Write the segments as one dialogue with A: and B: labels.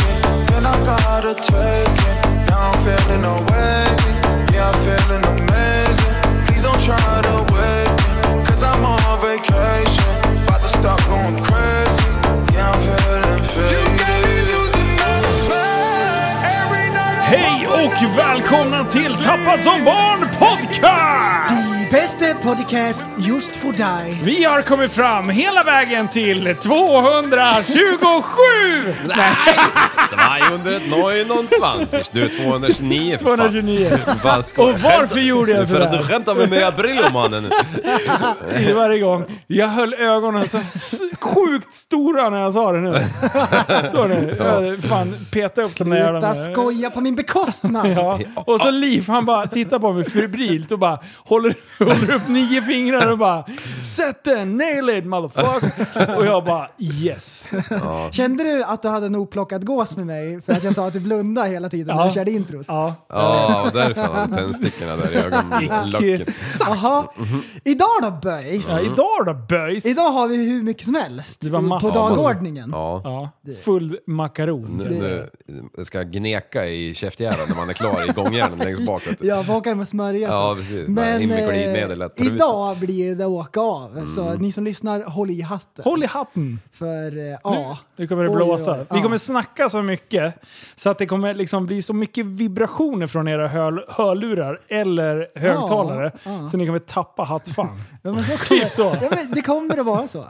A: it, then I gotta take it. Now I'm feeling away, yeah I'm feeling amazing. Please don't try to wake me, cause I'm on vacation. About to stop going crazy, yeah I'm feeling faded. You got me losing my mind. Every night I'm
B: Hej och välkomna till Tappad som barn podcast!
C: Bästa podcast just för dig.
B: Vi har kommit fram hela vägen till 227! Nej,
D: 229. Du, 229. för fan.
B: 229.
D: Fan, ska
B: Och
D: jag
B: varför
D: skämta?
B: gjorde jag
D: För att du
B: sådär?
D: skämtar med mig i april om mannen.
B: I varje gång. Jag höll ögonen så sjukt stora när jag sa det nu. Så nu. Jag fan petade upp de där
C: Sluta
B: jävla-
C: skoja på min bekostnad.
B: Ja. Och så Liv, han bara tittar på mig febrilt och bara håller, håller upp nio fingrar och bara Sätt den, nail it motherfucker! Och jag bara yes.
C: Kände du att du hade en oplockad gås med mig för att jag sa att du blundade hela tiden när
B: Ja.
C: du körde introt?
B: Ja.
D: Ja, och därför han tändstickorna där i ögonlocket.
C: Jaha. Idag då boys?
B: Mhm. Ja, idag då boys!
C: Idag har vi hur mycket som helst
B: var
C: på
B: massor.
C: dagordningen.
D: Ja.
B: Ja, full makaron.
D: Nu, nu ska jag gneka i käftjäveln när man är klar i gångjärnen längst bak. vet du.
C: Ja, vad kan man smörja sig?
D: Ja, precis. Bara in med glidmedel, lätt
C: eh,
D: förut.
C: idag blir det åka av. Så
D: Mm.
C: ni som lyssnar, håll i hatten.
B: Håll i hatten!
C: För eh,
B: Nu,
C: ja,
B: nu kommer det
C: Oj, oj, oj.
B: blåsa. Vi
C: Ja.
B: kommer snacka så mycket så att det kommer liksom bli så mycket vibrationer från era hör, hörlurar eller högtalare
C: ja.
B: så ni kommer tappa hattfan.
C: Ja, men så kommer,
B: Typ så.
C: Ja, men det kommer att vara så.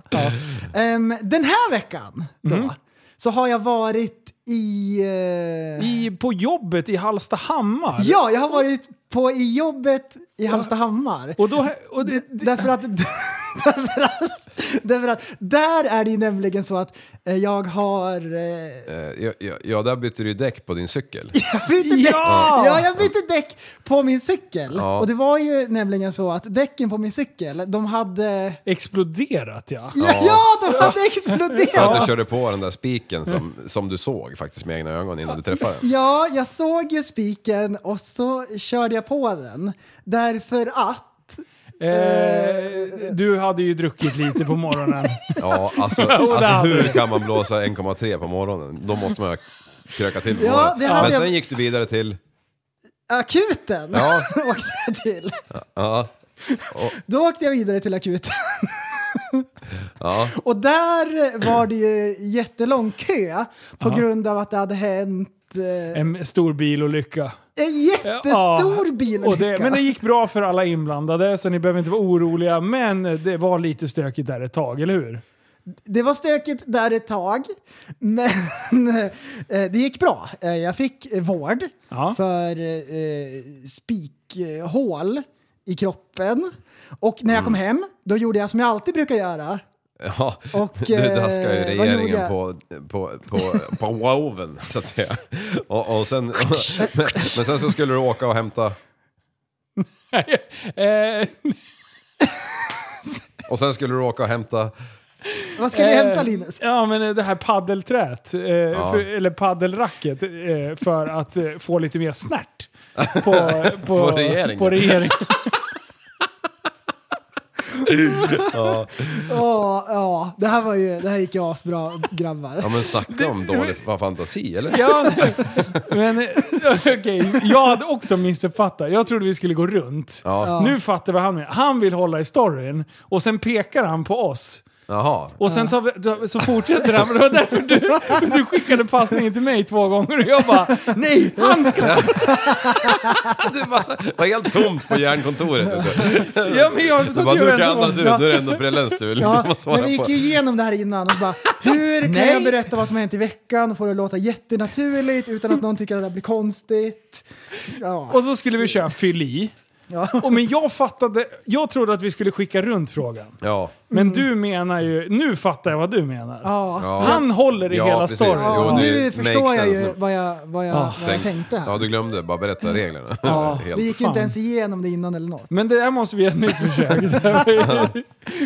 C: Ehm, den här veckan då,
B: Mm.
C: så har jag varit i... eh,
B: I, på jobbet i Hallstahammar.
C: Ja, jag har varit på i jobbet i Hallstahammar.
B: Och då, och det, det,
C: Därför att, därför, att, därför att där är det ju nämligen så att eh, jag har... Eh,
D: Eh, Ja, ja, ja, där bytte du ju däck på din cykel.
C: Jag bytte däck.
B: Ja!
C: Ja, jag bytte däck på min cykel.
D: Ja.
C: Och det var ju nämligen så att däcken på min cykel, de hade...
B: exploderat ja.
C: Ja, de hade
D: För att
C: exploderat!
D: jag körde på den där spiken som, som du såg faktiskt med egna ögon innan du träffade den.
C: Ja, jag såg ju spiken och så körde jag på den. Därför att...
B: Eh, du hade ju druckit lite på morgonen.
D: Ja,
C: Oh,
D: alltså, alltså
B: hade
D: hur kan man blåsa 1,3 på morgonen? Då måste man ju kröka till på
C: Ja,
D: morgonen.
C: det hade
D: Men
C: jag-
D: sen gick du vidare till...
C: Akuten
D: Ja.
C: åkte jag till.
D: Ja,
C: Då åkte jag vidare till akuten.
D: ja.
C: Och där var det ju jättelång kö på grund av att det hade hänt eh,
B: En stor bilolycka.
C: en jättestor
B: Ja,
C: bilolycka.
B: och det- Men det gick bra för alla inblandade så ni behöver inte vara oroliga. Men det var lite stökigt där ett tag, eller hur?
C: Det var stökigt där ett tag, men eh, det gick bra. Eh, Jag fick eh, vård
B: Ja.
C: för eh, spikhål i kroppen. Och när jag kom
D: Mm.
C: hem, då gjorde jag som jag alltid brukar göra.
D: ja.
C: Och,
D: du
C: eh,
D: daskar ju
C: vad gjorde
D: regeringen
C: jag?
D: på, på, på, på woven, så att säga. Och, och sen, men sen så skulle du åka och hämta...
B: Eh,
D: Och sen skulle du åka och hämta...
C: Vad
D: Eh,
C: skulle jag hämta Linus?
B: Eh, Ja, men eh, det här paddelträt. Eh, för, eller paddelracket. Eh, för att eh, få lite mer snärt. På, på,
D: På regeringen.
B: På regeringen.
C: Ja, ja, det här var ju, det här gick ju asbra grabbar.
D: Ja men snacka om dålig fantasi, eller?
B: Ja, nej. men eh, okej, jag hade också missuppfattat. Jag trodde vi skulle gå runt.
D: Ja.
B: Nu fattar vi vad han menar. Han vill hålla i storyn och sen pekar han på oss.
D: Jaha.
B: Och sen så, så fortsätter han, men det var därför du, du skickade passningen till mig två gånger och jag bara Nej, han ska!
D: Det var, så- det var helt tomt på järnkontoret.
B: Ja, men jag
D: Så
B: satt
D: bara,
B: ju
D: nu kan jag
B: ändå-
D: andas ut, nu är det ändå prelästur.
C: Ja,
D: Liksom, att
C: men
D: svara
C: vi
D: på.
C: gick ju igenom det här innan och bara hur kan
B: Nej.
C: jag berätta vad som har hänt i veckan och få det att låta jättenaturligt utan att någon tycker att det här blir konstigt. Ja,
B: Och så skulle vi köra fyll i.
C: ja.
B: Och men jag fattade, jag trodde att vi skulle skicka runt frågan.
D: Ja,
B: Men du menar ju, nu fattar jag vad du menar.
C: Mm. ja.
D: ja.
B: Han håller i
D: Ja,
B: hela
D: precis.
B: storyn.
D: Jo,
C: ja.
D: det
C: Nu
D: makes
C: förstår jag
D: sense
C: ju
D: nu.
C: vad jag, vad jag, vad jag
D: Tänk-
C: tänkte här.
D: Ja, du glömde. Bara berätta reglerna.
C: Vi
D: Helt.
C: gick ju inte
B: fan.
C: ens igenom det innan eller något.
B: Men det här måste vi göra ett nytt försök. Det här var ju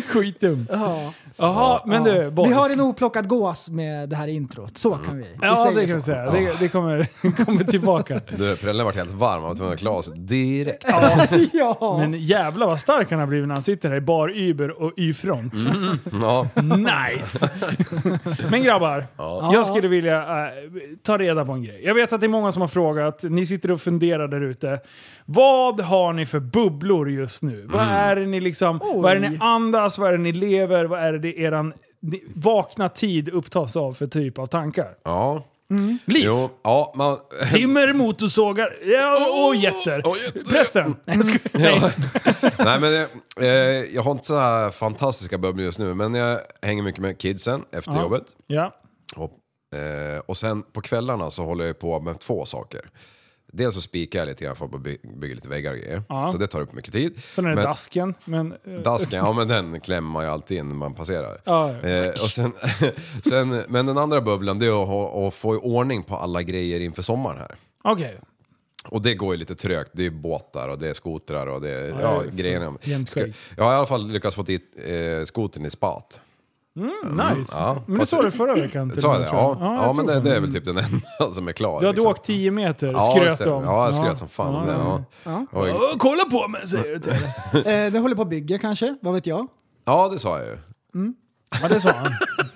B: Skitdumt.
C: Ja.
B: Jaha, men du boys.
C: Vi har en oplockad gås med det här introt, så kan vi. vi
B: Ja,
C: säger
B: det kan vi
C: så.
B: säga. Det, det kommer, kommer tillbaka.
D: Du, prällen vart helt varm. Han var tvungen att klä av sig direkt.
C: ja.
B: Men jävla vad stark han har blivit när han sitter här i bar Uber och Y-front.
D: Ja.
B: Nice! Men grabbar, jag skulle vilja eh, ta reda på en grej. Jag vet att det är många som har frågat, ni sitter och funderar där ute. Vad har ni för bubblor just nu?
D: Mm.
B: Vad är det ni liksom, vad är det ni andas, vad är det ni lever, vad är det eran ni- vakna tid upptas av för typ av tankar?
D: ja.
B: Liv!
D: Jo, ja, man...
B: Timmer, motorsågar ja, och, och jätter.
D: och jätter.
B: Prästen! Nej,
D: Mm.
B: jag skojar. Nej.
D: Nej men det, eh, jag har inte så här fantastiska bubblor just nu men jag hänger mycket med kidsen efter jobbet.
B: Ja.
D: Och, eh, och sen på kvällarna så håller jag på med två saker. Dels så spikar jag lite grann för att by- bygga lite väggar och grejer.
B: Ja.
D: Så det tar upp mycket tid.
B: Sen är det
D: men,
B: dasken. Men, eh,
D: Dasken, ja men den klämmer man ju alltid in när man passerar.
B: Ja.
D: Eh, och sen, sen, men den andra bubblan det är att, ha, att få i ordning på alla grejer inför sommaren här.
B: Okej.
D: Och det går ju lite trögt. Det är båtar och det är skotrar och det är ja, grejerna.
B: jämnt
D: Ska-
B: skägg.
D: Jag har i alla fall lyckats få dit eh, skotern i spat.
B: Nice.
D: Mm, ja.
B: Men det
D: Fast-
B: sa du förra veckan. till
D: Sa
B: och
D: jag
B: med,
D: det?
B: tror jag.
D: Ja, ja,
B: jag
D: men
B: tror
D: det, det är väl typ den enda som är klar.
B: Du hade
D: liksom.
B: åkt 10 meter,
D: Ja,
B: skröt
D: just
B: du
D: det.
B: om.
D: Ja, jag skröt som fan om det. Ja. Oj.
B: Åh, kolla på mig säger du till henne.
C: Eh, det håller på att bygga kanske, vad vet jag?
D: ja, det sa jag ju.
B: Ja, det sa han.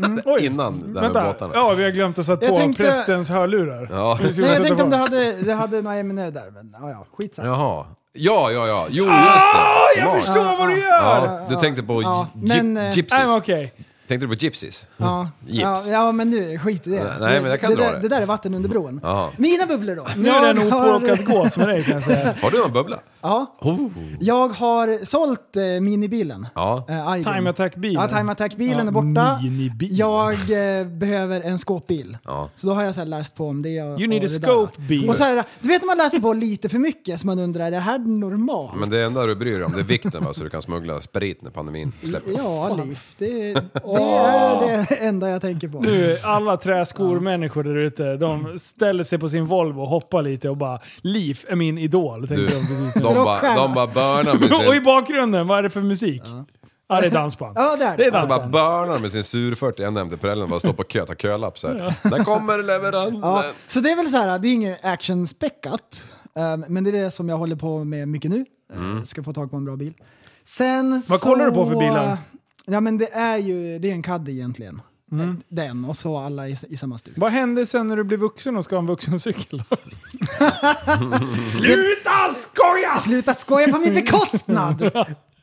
B: Mm. Oj,
D: Innan den här
B: vänta.
D: båtarna.
B: Ja, vi har glömt att sätta
C: Jag
B: på
C: tänkte-
B: prästens hörlurar.
D: Ja.
B: Nu ska vi
C: Nej, jag
B: sätta
C: tänkte
B: på.
C: om det hade, det hade några ämnen där, men ja, ja, skitsamma.
D: Jaha. Ja, ja, ja. Jo, just det.
B: Jag
D: Smart.
B: förstår vad du gör!
D: Ja, du tänkte på
C: Ja,
D: gi-
C: men, eh,
D: gypsies?
B: Nej, men okej.
D: Tänkte du på gypsies?
C: Ja,
D: Gips.
C: ja, ja, men nu, skit i det.
D: Nej, men jag kan
C: det,
D: dra
C: där,
D: det.
C: det där är vatten under bron.
D: Ja.
C: Mina bubblor då?
B: Nu är det en
C: Jag har-
B: opåkad gås med dig kan jag säga.
D: Har du någon bubbla?
C: Ja,
D: Oh.
C: jag har sålt eh, minibilen.
D: Ja.
C: Eh, Aydin.
B: Time Attack-bilen.
C: Ja, Time Attack-bilen är
B: Ja,
C: borta.
B: minibil.
C: Jag eh, behöver en skåpbil.
D: Ja.
C: Så då har jag så här läst på om det. Och,
B: You need
C: och
B: a
C: det där.
B: scope-bil.
C: Och så här, du vet när man läser på lite för mycket så man undrar, är det här normalt?
D: Men det enda du bryr dig om det är vikten va, så du kan smuggla sprit när pandemin släpper.
C: Ja, Liv. Det, det är det enda jag tänker på.
B: Nu, alla träskor-människor där ute, de ställer sig på sin Volvo och hoppar lite och bara “Liv är min idol”.
D: Du,
B: Tänkte de precis.
D: de bara de bara börnar med
B: Och i
D: sin...
B: bakgrunden, vad är det för musik? Ja, Alltså, det är dansband.
C: Ja, det är det.
B: det är
D: Så bara
B: dansband.
D: börnar med sin surfört. Jag nämnde prällen bara står på kö, tar kölapp så här. Där kommer leveransen!
C: Ja, så det är väl så här, det är inget actionspäckat. Um, men det är det som jag håller på med mycket nu. Eh, Ska få tag på en bra bil. Sen
B: Vad kollar du på för bilar?
C: Ja men det är ju, det är en Caddy egentligen.
B: Mm.
C: Eh, Den och så alla i, i samma stug.
B: Vad hände sen när du blev vuxen och ska ha en vuxencykel? Sluta skoja!
C: Sluta skoja på min bekostnad!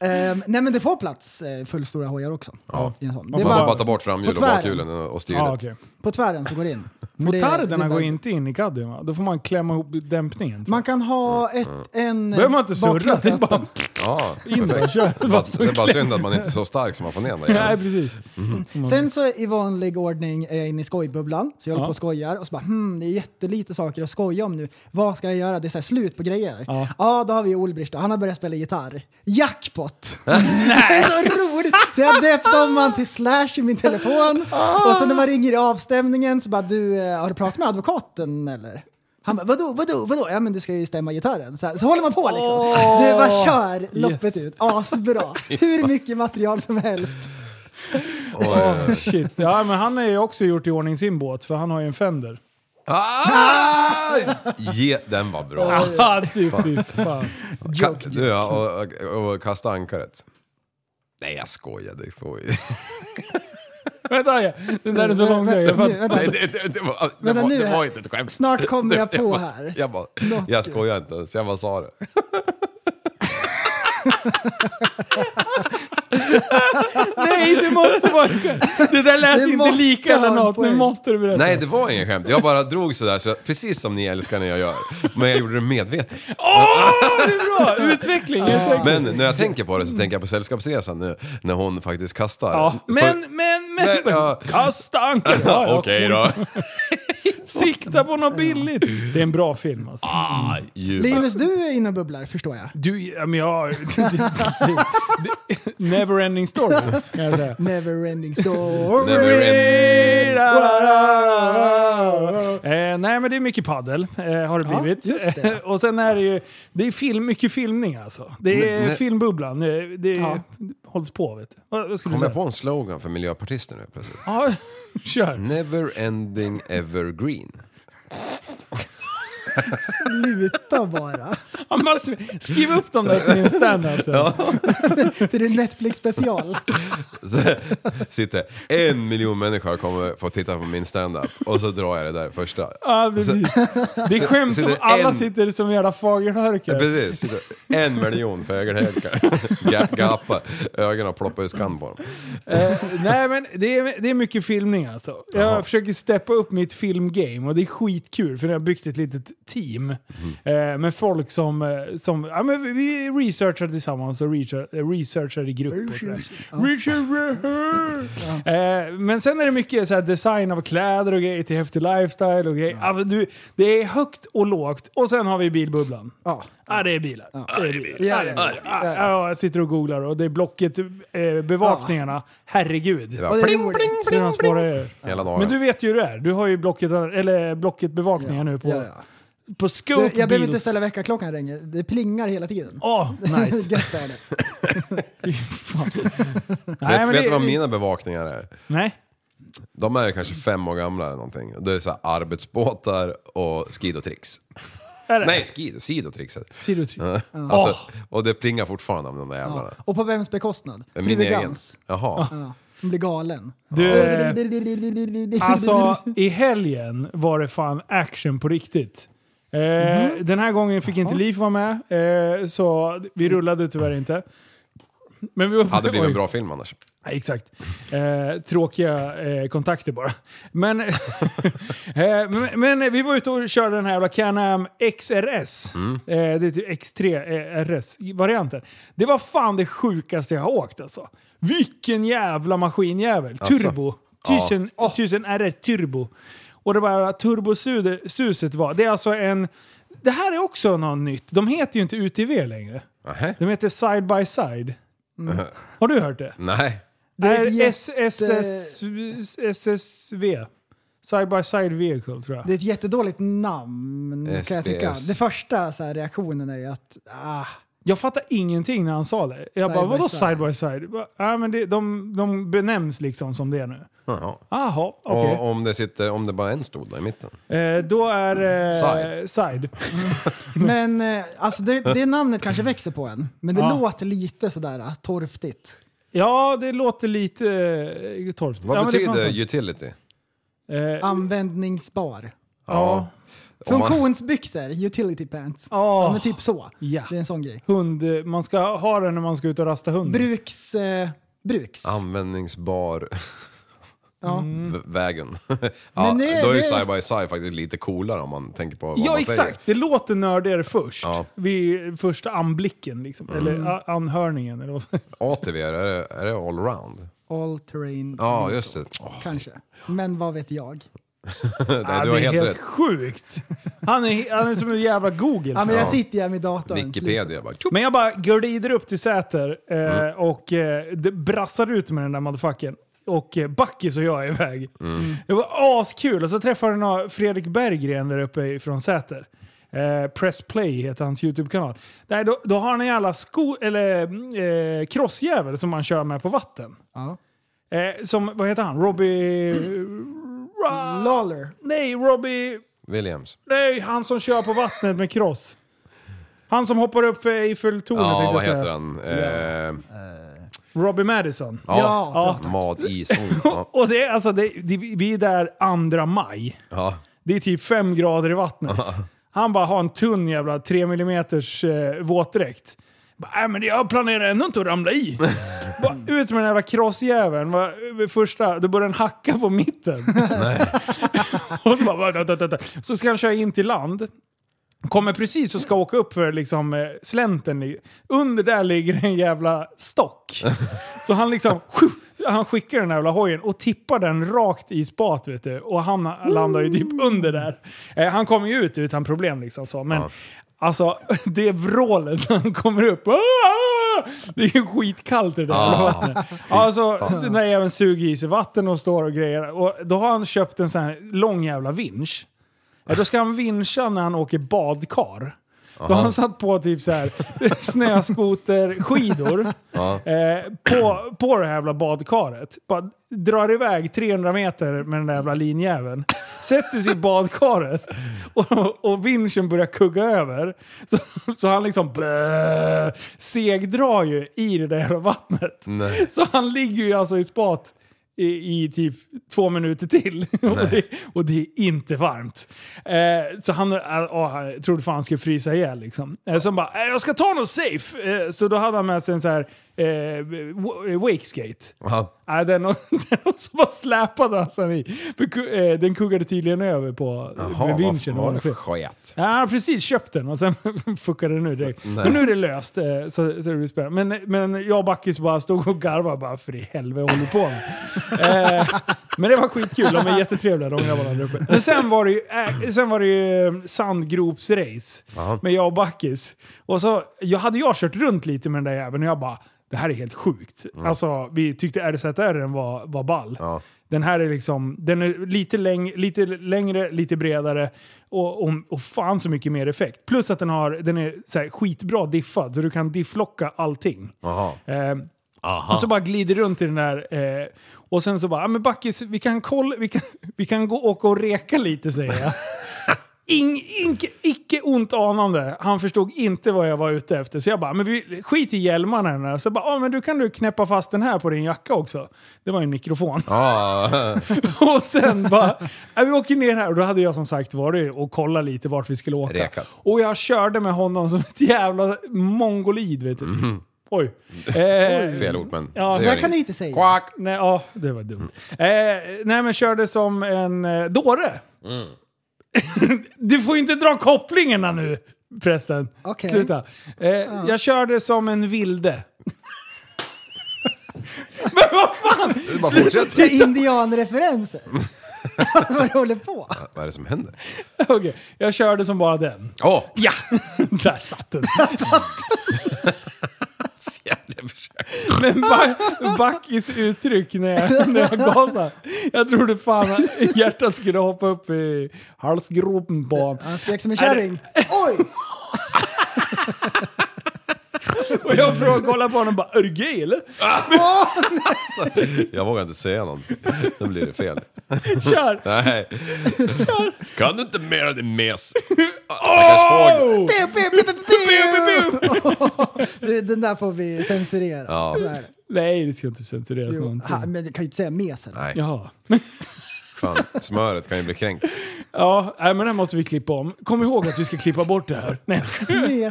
C: Ehm, nej men det får plats eh, fullstora hojar också.
D: Ja.
C: I en sån.
B: Man
C: Det är
B: får
D: Bara
C: bara,
D: bara ta bort framhjul
C: På
D: och
C: tvären.
D: bakhjulen och styret.
B: Ja, okay.
C: på tvären så går det in. För det-
B: Motarderna
C: det-
B: går inte in i caddien va? Då får man klämma ihop dämpningen.
C: Man kan ha ett, en...
B: Behöver man inte surra? Det är
C: baklucka öppen.
B: bara
D: ja.
B: in där. Kör. Bara stå
D: Det
B: i
D: är bara
B: kläm.
D: synd att man inte är så stark som man får ner den
B: Nej
D: där
B: precis.
C: Sen så i vanlig ordning är jag inne i skojbubblan, så jag håller
B: Ja.
C: på och skojar och så bara hmm, det är jättelite saker att skoja om nu. Vad ska jag göra? Det är så här slut på grejer.
B: Ja.
C: Ja, då har vi Ulbrich då. Han har börjat spela gitarr. Jackpot! det är så roligt! Så jag döpte om han till Slash i min telefon
B: Ah.
C: och sen när man ringer i avstämningen så bara du, eh, har du pratat med advokaten eller? Han bara, vadå, vadå, vadå? Ja men du ska ju stämma gitarren. Så, här, så håller man på liksom. Det bara kör loppet
B: Yes.
C: ut. Asbra! Hur mycket material som helst.
B: Oh, shit. Ja men han har ju också gjort i ordning sin båt för han har ju en Fender.
D: Ah! Ge, den var bra.
B: Ja, typ, typ, fan.
D: Ka, du, ja, och, och, och kasta ankaret. Nej jag skojade. Jag skojade.
B: Vänta, ja. den där är så lång grej. Jag
C: Vänta,
B: fattar.
C: nu, vänta.
D: Nej, det, det, det, var, det,
C: Vänta,
D: var,
C: nu
D: det
C: här.
D: var inte ett skämt.
C: Snart kommer jag
D: Det-
C: på
D: bara-
C: här.
D: Jag, bara,
C: Något
D: jag
C: ju.
D: skojar inte ens, jag bara sa det.
B: Nej, Nej, det måste vara ett skämt. Det där lät
C: Det
B: inte
C: måste ha en
B: likadant. Nu
C: poäng.
B: måste du berätta.
D: Nej, det var ingen skämt. Jag bara drog sådär, så, precis som ni älskar när jag gör. Men jag gjorde det medvetet.
B: Det är bra! Utveckling, utveckling.
D: Men när jag tänker på det så tänker jag på Sällskapsresan nu, när hon faktiskt kastar.
B: Ja,
D: För-
B: men, men, men.
D: Nej, ja.
B: Kasta anken. Ja, ja,
D: Okej då.
B: Sikta på något billigt. Det är en bra film alltså.
D: Ah, ju-
C: Linus, du är inne och bubblar förstår jag.
B: Du, ja, men jag... Neverending story, kan jag säga.
C: Neverending story.
D: Never end.
B: Eh, nej men det är mycket paddel eh, har det
C: Ja,
B: blivit.
C: just det.
B: och sen är det ju, det är film, mycket filmning alltså. Det är
D: Men- men-
B: filmbubblan, eh, det är,
C: Ja.
B: hålls på vet du. Vad, vad skulle du
D: Kom
B: säga?
D: jag på en slogan för miljöpartister nu plötsligt?
B: Ja, kör.
D: Never ending evergreen.
C: Sluta bara.
B: Ja, man s- Skriv upp dem där till din standup sen.
C: Till din Netflix special.
D: Sitter en miljon människor kommer få titta på min standup och så drar jag det där första.
B: Ja, precis. Det är skämt som
D: sitter
B: alla
D: en-
B: sitter som jävla fagerhörkar.
D: Precis, sitter en miljon fägelhäckar. Ga- Gapar. Ögonen ploppar ur skam på dem.
B: Eh, nej men det är, det är mycket filmning alltså. Jag försöker steppa upp mitt filmgame och det är skitkul för jag har byggt ett litet team eh, med folk som, eh, som ja, men vi- vi researchar tillsammans och research, eh, researchar i grupp. Och sådär. Research. eh, men sen är det mycket så här design av kläder och grejer till häftig lifestyle och grejer. Ja. men du, det är högt och lågt och sen har vi bilbubblan.
C: Ja.
B: Ja, det är bilar. Det är bilar. Ja,
C: Ja,
B: det är
C: ja,
B: bilar. Ja, ja, jag sitter och googlar och det är blocket eh, bevakningarna. Herregud.
D: Det var
C: Och det är
D: pling,
C: roligt.
B: Så när de spårar er.
D: hela dagen.
B: Men du vet ju hur det är. Du har ju blocket, eller blocket bevakningar nu på,
C: Ja, ja.
B: på
C: Du,
B: Scope
C: jag behöver
B: Deals.
C: inte ställa väckarklockan längre. Det plingar hela tiden.
B: Åh, nice.
C: Gött är det.
B: Nej, men
D: vet vet
B: det-
D: du vad mina bevakningar är?
B: Nej.
D: De är ju kanske fem år gamla eller någonting. Det är så här arbetsbåtar och skidotricks.
B: Är det?
D: Nej, skid, sidotricks. heter det.
B: Sidotryck.
D: Alltså, Och det plingar fortfarande om de där jävlarna.
C: Och på vems bekostnad?
D: Min
C: Frida
D: egen.
C: Gans.
D: Jaha.
C: Ja, hon blir galen.
B: Du, eh, Alltså, i helgen var det fan action på riktigt. Eh,
C: Mhm.
B: Den här gången fick inte Liv vara med, eh, så vi rullade tyvärr inte. Men vi var,
D: Hade blivit
B: Oj.
D: en bra film annars.
B: Ja, exakt. Eh, tråkiga eh, kontakter bara. Men, eh, men, men vi var ute och körde den här jävla Can-Am XRS. Eh, det är typ X3 eh, RS-varianten. Det var fan det sjukaste jag har åkt alltså. Vilken jävla maskinjävel.
D: Alltså.
B: Turbo. Tusen, tusen RR Turbo. Och det bara turbosuset var. Det är alltså en... Det här är också något nytt. De heter ju inte UTV längre.
D: Nähä?
B: De heter Side by Side. Mm. Har du hört det?
D: Nej.
B: Det
C: är ett
B: är
C: jätte-
B: SSS, SSV. Side by side vehicle tror jag.
C: Det är ett jättedåligt namn kan jag tycka.
D: SBS.
C: Det första så här, reaktionen är ju att ah,
B: Jag fattar ingenting när han sa det. Jag
C: Side
B: bara,
C: by
B: vadå
C: side?"
B: side by side? Bara, Ja, men det, de, de benämns liksom som det är nu.
D: Jaha.
B: Jaha, okej.
D: Och om det, sitter, om det bara är en stol då i mitten.
B: Eh, då är... Eh, side.
D: Side.
C: Men eh, alltså det, det namnet kanske växer på en. Men det
B: Ja.
C: låter lite sådär ah, torftigt.
B: Ja, det låter lite eh, torrt.
D: Vad
B: ja, men det är
D: betyder
B: fan
D: utility?
B: så. Eh,
C: Användningsbar.
B: ja.
D: Om man-
C: Funktionsbyxor, utility pants. Ja,
B: Ja,
C: men typ så.
B: ja.
C: Det är en sån grej.
B: Hund, eh, man ska ha den när man ska ut och rasta hunden.
C: Bruks... Eh, bruks.
D: Användningsbar
C: Ja.
D: v- vägen. ja,
C: Men det-
D: då är ju
C: det-
D: side by side faktiskt lite coolare om man tänker på vad
B: Ja
D: man
B: exakt, det låter nördigare först.
D: Ja. Mm.
B: Vid första anblicken liksom. Eller a- anhörningen. Eller vad.
D: säger. ATV, är det, är det allround?
C: All terrain.
D: Ja, just det. Åh,
C: Kanske. Men vad vet jag?
D: nej,
B: Ah,
D: du
B: det är
D: har helt
B: helt
D: rätt.
B: sjukt! Han är, han är som en jävla Google.
C: Ja, men jag sitter ju med datorn.
D: Wikipedia bara.
B: Men jag bara glider upp till Säter eh,
D: Mm.
B: och eh, det brassar ut med den där motherfuckern. Och eh, Backis och jag är iväg.
D: Mm.
B: Det var askul. Och så träffade jag några- Fredrik Berggren där uppe från Säter. Eh, Press Play heter hans YouTube-kanal. Nej, då, då har han en jävla sko, eller, eh, crossjävel som man kör med på vatten.
C: Ja.
B: Eh, som, vad heter han? Robbie... Ra-
C: Lawler.
B: nej, Robbie...
D: Williams.
B: Nej, han som kör på vattnet med cross. Han som hoppar upp för Eiffeltornet
D: Ja,
B: tänkte
D: vad
B: jag
D: heter
B: säga.
D: han? Eh,
B: Robbie Madison.
D: ja,
C: Ja,
D: Mad Ison. Ja,
B: Och det, är alltså, det, det, vi är där andra maj.
D: ja.
B: Det är typ fem grader i vattnet. Han bara har en tunn jävla 3 mm eh, våtdräkt. Bara, äh, men jag planerar ändå inte att ramla i. Bara, ut med den jävla krossjäveln. Bara, vid Första, då börjar den hacka på mitten. och så bara... vänta, vänta, vänta. Så ska han köra in till land. Kommer precis och ska åka upp för liksom, eh, slänten. i- Under där ligger en jävla stock. Så han liksom... sju, Han skickar den här jävla hojen och tippar den rakt i spat vet du. Och han landar ju typ under där. Eh, han kommer ju ut utan problem liksom så. Men alltså det vrålet när han kommer upp. Ah! Det är ju skitkallt i det där jävla vattnet. Alltså den där jäveln suger i sig vatten och står och grejer. Och då har han köpt en sån här lång jävla vinsch. Ja, då ska han vincha när han åker badkar. Då har han satt på typ så här snöskoterskidor eh, på, på det här jävla badkaret. Bara drar iväg 300 meter med den där jävla linjäveln. Sätter sig i badkaret och, och vinschen börjar kugga över. Så, så han liksom blö, segdrar ju i det där jävla vattnet.
D: Nej.
B: Så han ligger ju alltså i spat i, i typ två minuter till. och, det, och det är inte varmt. Eh, så han, äh, åh, han trodde fan han skulle frysa ihjäl. Liksom. Eh, så han bara, "Äh, jag ska ta något safe. Eh, så då hade han med sig en sån här eh, wa- wakeskate.
D: Aha.
B: Nej, den, den också bara släpade han sen i. För ku- eh, Den kuggade tydligen över på
D: Jaha,
B: med
D: vad
B: vinschen.
D: vad var det
B: ovanför.
D: för sket?
B: Ja, han har precis köpt den och sen fuckade den nu direkt. Men nu är det löst. eh, Så, så det blir spännande. Men, men jag och Backis bara stod och garvade bara för i helvete håller du på med? eh, men det var skitkul. De är jättetrevliga de grabbarna där uppe. Men sen var det ju, eh, sen var det ju eh, sandgropsrace med jag och Backis. Och så jag, hade jag kört runt lite med den där jäveln och jag bara det här är helt sjukt. Alltså, vi tyckte RZR var, var ball.
D: Ja.
B: Den här är liksom, den är lite, läng, lite längre, lite bredare och, och, och fan så mycket mer effekt. Plus att den, har, den är så här skitbra diffad så du kan difflocka allting.
D: Aha.
B: Eh, och så bara glider runt i den där. Eh, och sen så bara, "Ja, men Backis, vi kan, kolla, vi kan, vi kan gå och åka och reka lite säger jag. Ing, ink, icke ont anande. Han förstod inte vad jag var ute efter. Så jag bara, "Ah, men vi, skit i hjälmarna. i den här." Så jag bara, "Ja, men du kan du knäppa fast den här på din jacka också. Det var ju en mikrofon.
D: Ah.
B: Och sen bara, "Ja, vi åker ner här. Och då hade jag som sagt varit och kollat lite vart vi skulle åka.
D: Rekat.
B: Och jag körde med honom som ett jävla mongolid vet du. Oj. Eh,
D: Fel ord men...
B: Ja,
D: det
C: Så
D: gör
C: där kan du
D: inget.
C: inte säga.
D: Quack!
B: Nej, ja, det var dumt. Eh, nej, men körde som en eh, dåre. du får ju inte dra kopplingarna nu, prästen.
C: Okej.
B: Sluta. Eh, Jag körde som en vilde. men vad fan!
D: Du bara fortsätter.
C: Det är indianreferenser. Alltså, vad du håller på.
D: Vad är det som händer?
B: Okej, Jag körde som bara den.
D: Åh! Oh,
B: Ja! Där satt den. Men ba Backis uttryck när jag, när jag gav så här. Jag trodde fan att hjärtat skulle hoppa upp i halsgropen på honom.
C: Han skrek som en kärring. Oj!
B: Och jag frågade, kollade på honom och bara “Är du gay eller?”
D: jag vågar inte säga någonting. Då blir det fel.
B: Kör!
D: Nej. Kan du inte mera din mes? Stackars fågel.
C: Pew, pew, pew, pew, pew. Du, Den där får vi censurera. Så är det.
B: Nej, det ska inte censureras
C: Jo.
B: någonting.
C: Ha, men du kan ju inte säga mes heller.
D: Nej,
B: Jaha.
D: fan. Smöret kan ju bli kränkt.
B: Ja, nej, men det här måste vi klippa om. Kom ihåg att vi ska klippa bort det här. Nej, jag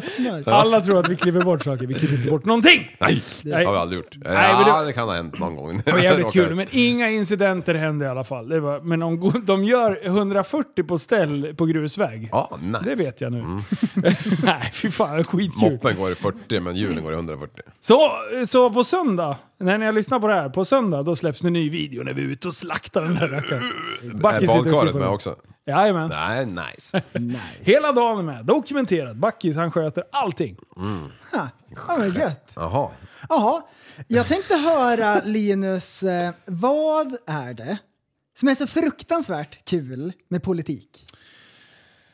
B: skojar.
C: Messmör.
B: alla tror att vi klipper bort saker. Vi klipper inte bort någonting!
D: Nej,
B: Nej.
D: det har vi aldrig gjort.
B: Nej, men
D: ja,
B: det-
D: det kan ha hänt någon gång.
B: Det var jävligt kul, men inga incidenter hände i alla fall. Det var, men de, go- de gör 140 på ställ på grusväg.
D: Ja, nice.
B: Det vet jag nu. nej, fy fan, skitkul.
D: Mm. Moppen går i 40 men hjulen går i 140.
B: Så, så på söndag, när ni har lyssnat på det här, på söndag då släpps en ny video när vi är ute och slaktar den här rackaren. Backis
D: Är
B: sitter och
D: Äh, badkaret
B: klipper
D: med
B: den.
D: också?
B: Jajamän.
D: Nej, nice.
B: Hela dagen är med, dokumenterat. Backis han sköter allting.
C: Ja, men Ah, gött.
D: Jaha.
C: Jaha, jag tänkte höra Linus, eh, vad är det som är så fruktansvärt kul med politik?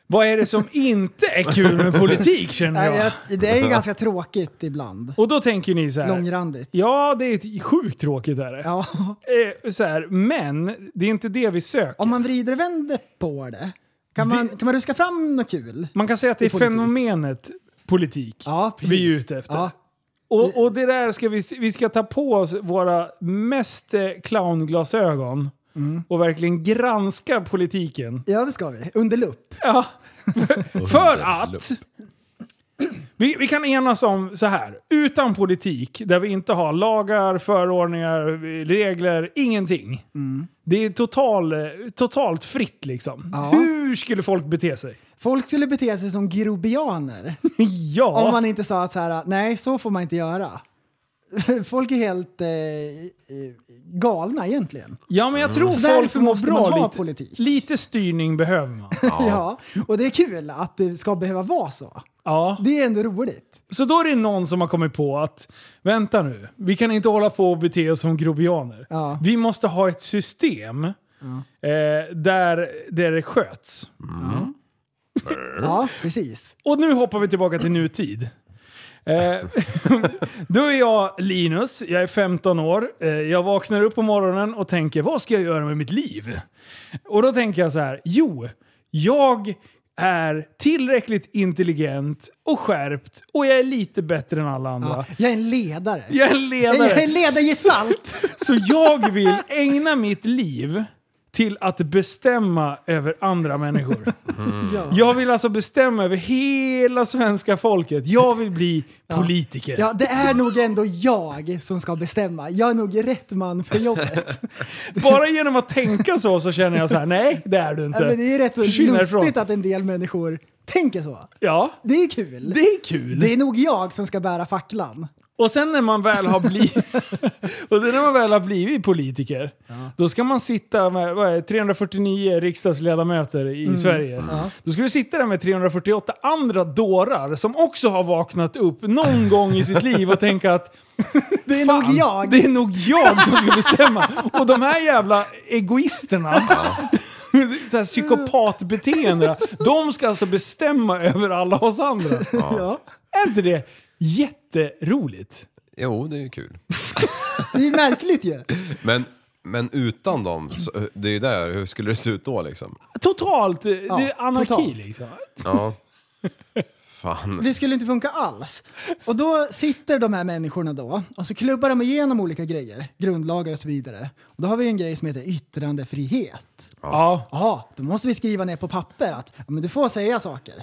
B: Vad är det som inte är kul med politik känner
C: Nej,
B: jag?
C: jag- Det är ju ganska tråkigt ibland.
B: Och då tänker ni så här.
C: Långrandigt.
B: Ja, det är ett- sjukt tråkigt är det.
C: Ja.
B: Eh, så här, men det är inte det vi söker.
C: Om man vrider och vänder på det, kan man, kan man ruska fram något kul?
B: Man kan säga att det är
C: politik.
B: fenomenet politik
C: Ja, precis.
B: vi är ute efter.
C: Ja.
B: Och, och det där ska vi, vi ska ta på oss våra mest eh, clownglasögon
C: Mm.
B: och verkligen granska politiken.
C: Ja, det ska vi. Under lupp.
B: Ja. För att Vi, vi kan enas om så här. Utan politik, där vi inte har lagar, förordningar, regler, ingenting.
C: Mm.
B: Det är total, totalt fritt liksom.
C: Ja.
B: Hur skulle folk bete sig?
C: Folk skulle bete sig som grobianer.
B: ja,
C: Om man inte sa att så här, nej så får man inte göra. Folk är helt eh, eh, galna egentligen.
B: ja, men jag tror
C: Mm. Så
B: folk
C: därför
B: mår
C: måste man
B: bra
C: ha
B: lite.
C: politik.
B: Lite styrning behöver man.
C: Ja. Och det är kul att det ska behöva vara så.
B: Ja.
C: Det är ändå roligt.
B: Så då är det någon som har kommit på att vänta nu, vi kan inte hålla på och bete oss som grobianer.
C: Ja.
B: Vi måste ha ett system eh, där, där det sköts. Mm.
C: Ja, precis.
B: Och nu hoppar vi tillbaka till nutid. Eh, då är jag Linus, jag är 15 år. Eh, jag vaknar upp på morgonen och tänker, vad ska jag göra med mitt liv? Och då tänker jag så här, jo, jag är tillräckligt intelligent och skärpt och jag är lite bättre än alla andra.
C: Ja. Jag är en ledare.
B: Jag är en ledare.
C: Jag är en ledargestalt.
B: Så jag vill ägna mitt liv till att bestämma över andra människor.
C: Mm. ja.
B: Jag vill alltså bestämma över hela svenska folket. Jag vill bli politiker.
C: ja, det är nog ändå jag som ska bestämma. Jag är nog rätt man för jobbet.
B: Bara genom att tänka så så känner jag så här: nej det är du inte.
C: Ja, men det är ju rätt så
B: Försvinn
C: lustigt
B: härifrån.
C: att en del människor tänker så.
B: Ja,
C: Det är kul.
B: det är kul.
C: Det är nog jag som ska bära facklan.
B: Och sen när man väl har blivit, och sen när man väl har blivit politiker, då ska man sitta med vad är, det, 349 riksdagsledamöter i
C: Mm.
B: Sverige. Då ska du sitta där med 348 andra dårar som också har vaknat upp någon gång i sitt liv och tänka att
C: Det är
B: Fan,
C: nog jag.
B: Det är nog jag som ska bestämma. Och de här jävla egoisterna, så här psykopatbeteendena, de ska alltså bestämma över alla oss andra.
C: Ja.
B: Är inte det jätteroligt?
D: Jo, det är ju kul.
C: Det är ju märkligt ju.
D: Men, men utan dem, så, det är ju där, hur skulle det se ut då liksom?
B: Totalt, eh, det är anarki
C: totalt.
B: liksom.
D: Ja. Fan.
C: Det skulle inte funka alls. Och då sitter de här människorna då och så klubbar de igenom olika grejer, grundlagar och så vidare. Och då har vi en grej som heter yttrandefrihet.
B: Ja.
C: Ja, då måste vi skriva ner på papper att ja, men du får säga saker.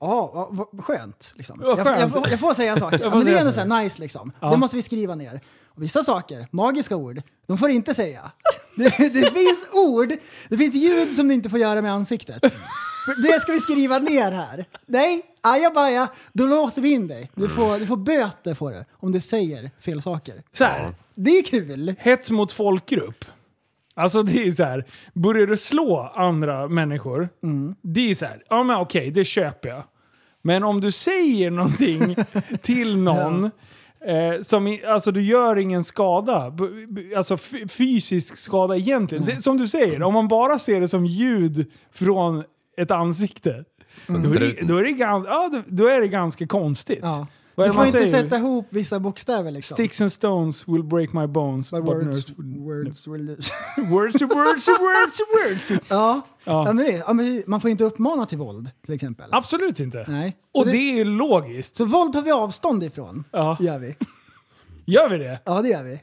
C: Ja, vad- vad skönt. Liksom.
B: Vad
C: Jag, jag,
B: skönt.
C: får- jag får säga saker.
B: får
C: Ja, men det
B: säga
C: är ändå så här nice liksom. Det måste vi skriva ner. Och vissa saker, magiska ord, de får inte säga. Det, det finns ord, det finns ljud som du inte får göra med ansiktet. Det ska vi skriva ner här. Nej, ajabaja, då låser vi in dig.
B: Mm.
C: Du får, du får böter får du, om du säger fel saker.
B: Så här,
C: Det är kul.
B: hets mot folkgrupp. Alltså det är så här, börjar du slå andra människor, det är så här, ja men okej, det köper jag. Men om du säger någonting till någon, eh, som, i- alltså du gör ingen skada, b- b- alltså f- fysisk skada egentligen. Det, som du säger, om man bara ser det som ljud från ett ansikte,
C: Mm.
B: då, är det, då, är det, gan- ja, då- då är det ganska konstigt.
C: Ja.
B: Vad är
C: Du
B: det
C: får
B: man
C: inte
B: säger?
C: sätta ihop vissa bokstäver liksom.
B: Sticks and stones will break my bones.
C: My
B: but
C: words,
B: nerves will-
C: words will...
B: Words, words, words, words.
C: ja.
B: Ja.
C: Ja. men, det- ja, men man får inte uppmana till våld till exempel.
B: Absolut inte.
C: Nej.
B: Och
C: Så
B: det är ju logiskt.
C: Så våld tar vi avstånd ifrån.
B: Ja.
C: Gör vi.
B: Gör vi det?
C: Ja, det gör vi.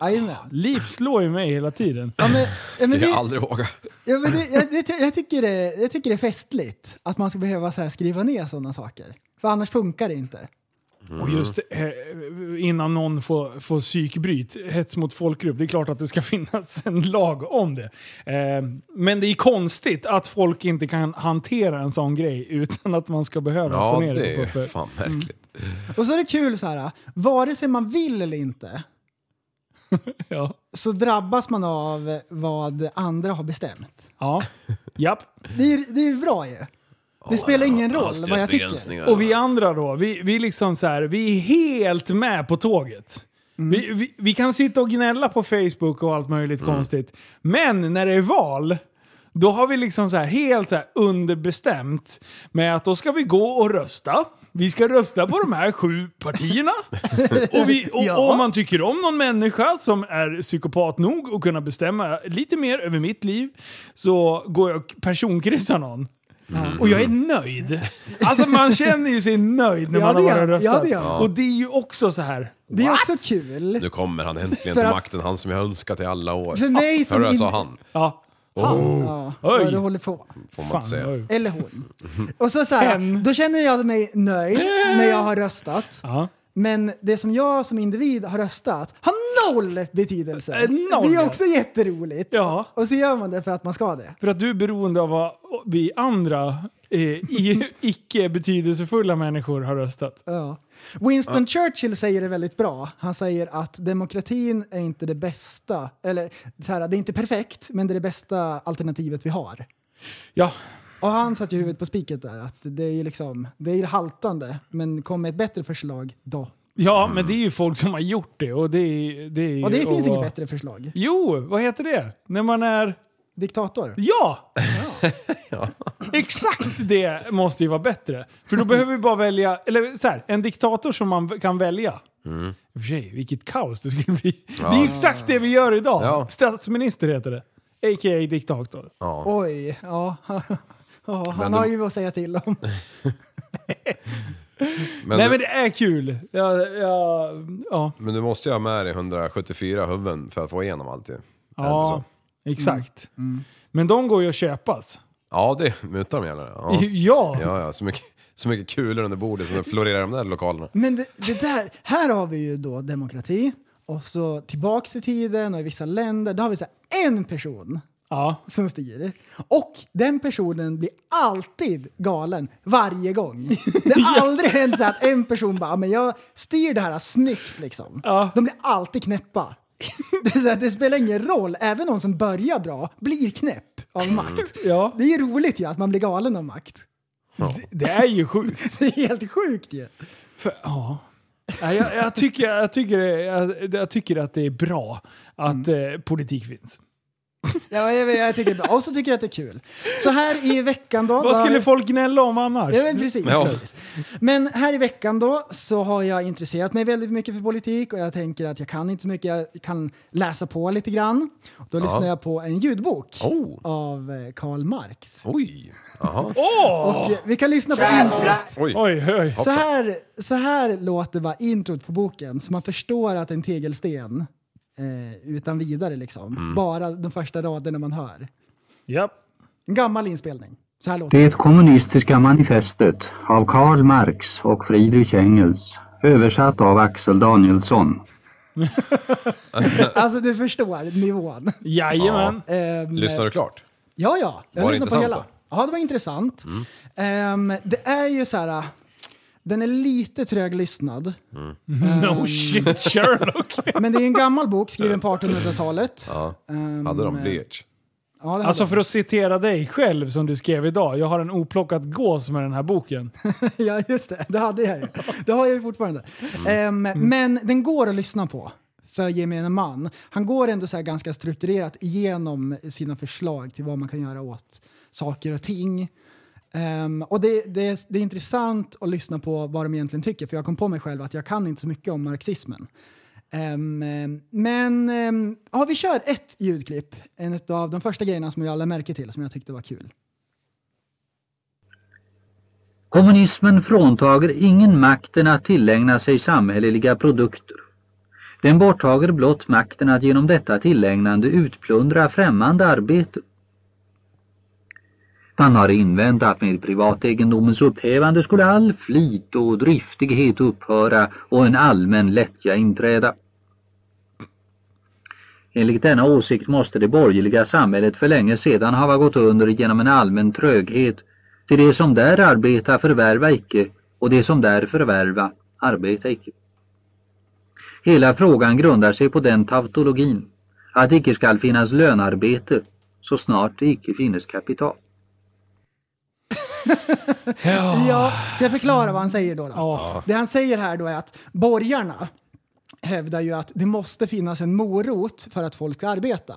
C: Jajamän.
B: Liv slår ju mig hela tiden.
C: Ja, men, ja, men
D: Skulle jag
C: det,
D: aldrig våga.
C: ja, men det, jag, det, jag, tycker det, jag tycker det är festligt att man ska behöva så här skriva ner sådana saker. För annars funkar det inte.
B: Och just eh, innan någon får, får psykbryt, hets mot folkgrupp, det är klart att det ska finnas en lag om det. Eh, men det är konstigt att folk inte kan hantera en sån grej utan att man ska behöva
D: Ja,
B: få ner
D: det
B: det.
D: är
B: på- Mm.
D: fan märkligt.
C: Och så är det kul så här, vare sig man vill eller inte
B: Ja.
C: så drabbas man av vad andra har bestämt.
B: ja. Japp.
C: Det är, det är bra ju. Det spelar ingen roll vad jag tycker.
D: Hastighetsbegränsningar.
B: Och vi andra då, vi, vi, liksom så här, vi är helt med på tåget. Vi, vi, vi kan sitta och gnälla på Facebook och allt möjligt konstigt. Men när det är val, då har vi liksom så här, helt så här underbestämt med att då ska vi gå och rösta. Vi ska rösta på de här sju partierna. Och, vi, och, och om man tycker om någon människa som är psykopat nog att kunna bestämma lite mer över mitt liv så går jag och personkryssar någon.
C: Mm.
B: Och jag är nöjd. Alltså man känner ju sig nöjd när
C: Ja,
B: man har
C: det
B: varit
C: gör-
B: och
C: ja,
B: röstat.
C: det gör man.
B: Och det är ju också så här.
C: Det är också kul.
D: Nu kommer han äntligen
C: För
D: till
C: att-
D: makten, han som jag önskat i alla år.
C: För mig som
D: Hörru, jag
C: in-
D: sa han.
B: Ja.
C: Han. Oh. Ja,
B: Oj.
C: vad du håller på.
D: Får man inte säga.
B: vad-
C: Eller hon. Och så, så här,
B: Hen.
C: då känner jag mig nöjd när jag har röstat.
B: Ja.
C: Men det som jag som individ har röstat har noll betydelse.
B: Eh, noll.
C: Det är också jätteroligt.
B: Ja.
C: Och så gör man det för att man ska det.
B: För att du är beroende av vad vi andra eh, i- icke betydelsefulla människor har röstat.
C: Ja. Winston Churchill säger det väldigt bra. Han säger att demokratin är inte det bästa, eller så här, det är inte perfekt, men det är det bästa alternativet vi har.
B: Ja,
C: Och han satte ju huvudet på spiket där, att det är ju liksom, det är ju haltande, men kom med ett bättre förslag då.
B: ja men det är ju folk som har gjort det och det, är- det är ju
C: Och det
B: att
C: finns inget
B: vara-
C: bättre förslag.
B: Jo, vad heter det? När man är...
C: Diktator.
B: Ja! Exakt det måste ju vara bättre. För då behöver vi bara välja, eller så här, en diktator som man kan välja. I och för sig, vilket kaos det skulle bli. Det är ju exakt det vi gör idag.
D: Ja.
B: Statsminister heter det. A.k.a. diktator.
C: Oj, ja. Ja, han
D: de-
C: har ju att säga till om.
D: Men,
B: Nej
D: du,
B: men det är kul! Ja, ja, ja,
D: men du måste ju ha med dig 174 huvuden för att få igenom allt ju. Är det inte
B: ja
D: så?
B: exakt. Men de går ju att köpas.
D: Ja, det mutar de gärna. Ja.
B: Ja.
D: Ja, ja, så mycket, så mycket kulor under bordet som florerar i de där lokalerna.
C: Men det, det där, här har vi ju då demokrati och så tillbaks i tiden och i vissa länder, då har vi så här, en person
B: ja.
C: som styr. Och den personen blir alltid galen varje gång. Det har aldrig hänt så att en person bara, "Ja, men jag styr det här snyggt liksom.
B: Ja.
C: De blir alltid knäppa. Det, är så här, det spelar ingen roll, även någon som börjar bra blir knäpp av makt.
B: Ja.
C: Det är ju roligt ju att man blir galen av makt.
B: Det är ju sjukt.
C: Det är helt sjukt ju.
B: För, ja. Nej, Jag, jag, tycker, jag, tycker, det- jag, jag tycker att det är bra att eh, politik finns.
C: Ja, jag, jag tycker det är bra. Och så tycker jag att det är kul. Så här i veckan då.
B: Vad
C: var-
B: skulle folk gnälla om annars?
C: Ja, men precis,
D: Ja.
C: precis. Men här i veckan då så har jag intresserat mig väldigt mycket för politik och jag tänker att jag kan inte så mycket, jag kan läsa på lite grann. Då lyssnar jag på en ljudbok
D: Oh.
C: av eh, Karl Marx.
D: Oj! Jaha.
C: Och eh, vi kan lyssna på introt.
D: Oj.
B: Oj, oj.
C: Så här, så här låter bara introt på boken så man förstår att det är en tegelsten eh, utan vidare liksom.
D: Mm.
C: Bara de första raderna man hör.
B: Ja.
C: En gammal inspelning. Så här låter
E: Det kommunistiska manifestet av Karl Marx och Friedrich Engels, översatt av Axel Danielsson.
C: Alltså du förstår nivån.
B: Jajamän.
D: Eh,
C: Ehm,
D: Lyssnar du klart?
C: Ja, ja. Jag
D: Var det
C: lyssnade på
D: intressant
C: hela.
D: då? Mm.
C: Ja, det var intressant. Ehm, det är ju så här... äh, Den är lite tröglyssnad.
D: ehm.
B: No shit Sherlock.
C: Men det är en gammal bok skriven på 1800-talet.
D: Ja.
C: Ehm,
D: Hade de blyerts?
C: ja, det
B: Alltså
C: hade
B: för att citera dig själv som du skrev idag. Jag har en oplockad gås med den här boken.
C: de. Ja, just det. Det hade jag ju. Det har jag ju fortfarande. Ehm, Men den går att lyssna på för gemene man. Han går ändå så här ganska strukturerat igenom sina förslag till vad man kan göra åt saker och ting. Ehm, och det, det, är- det är intressant att lyssna på vad de egentligen tycker, för jag kom på mig själv att jag kan inte så mycket om marxismen. Ehm, ehm, men um, ja, vi kör ett ljudklipp, en av de första grejerna som jag lade märke till som jag tyckte var kul.
E: Kommunismen fråntager ingen makten att tillägna sig samhälleliga produkter. Den borttager blott makten att genom detta tillägnande utplundra främmande arbete. Man har invänt att med privategendomens upphävande skulle all flit och driftighet upphöra och en allmän lättja inträda. Enligt denna åsikt måste det borgerliga samhället för länge sedan hava gått under genom en allmän tröghet, till det som där arbeta förvärva icke och det som där förvärva arbeta icke. Hela frågan grundar sig på den tautologin, att icke skall finnas lönarbete så snart det icke finnes kapital.
C: Ja, så jag förklarar vad han säger då. då. Det han säger här då är att borgarna hävdar ju att det måste finnas en morot för att folk ska arbeta.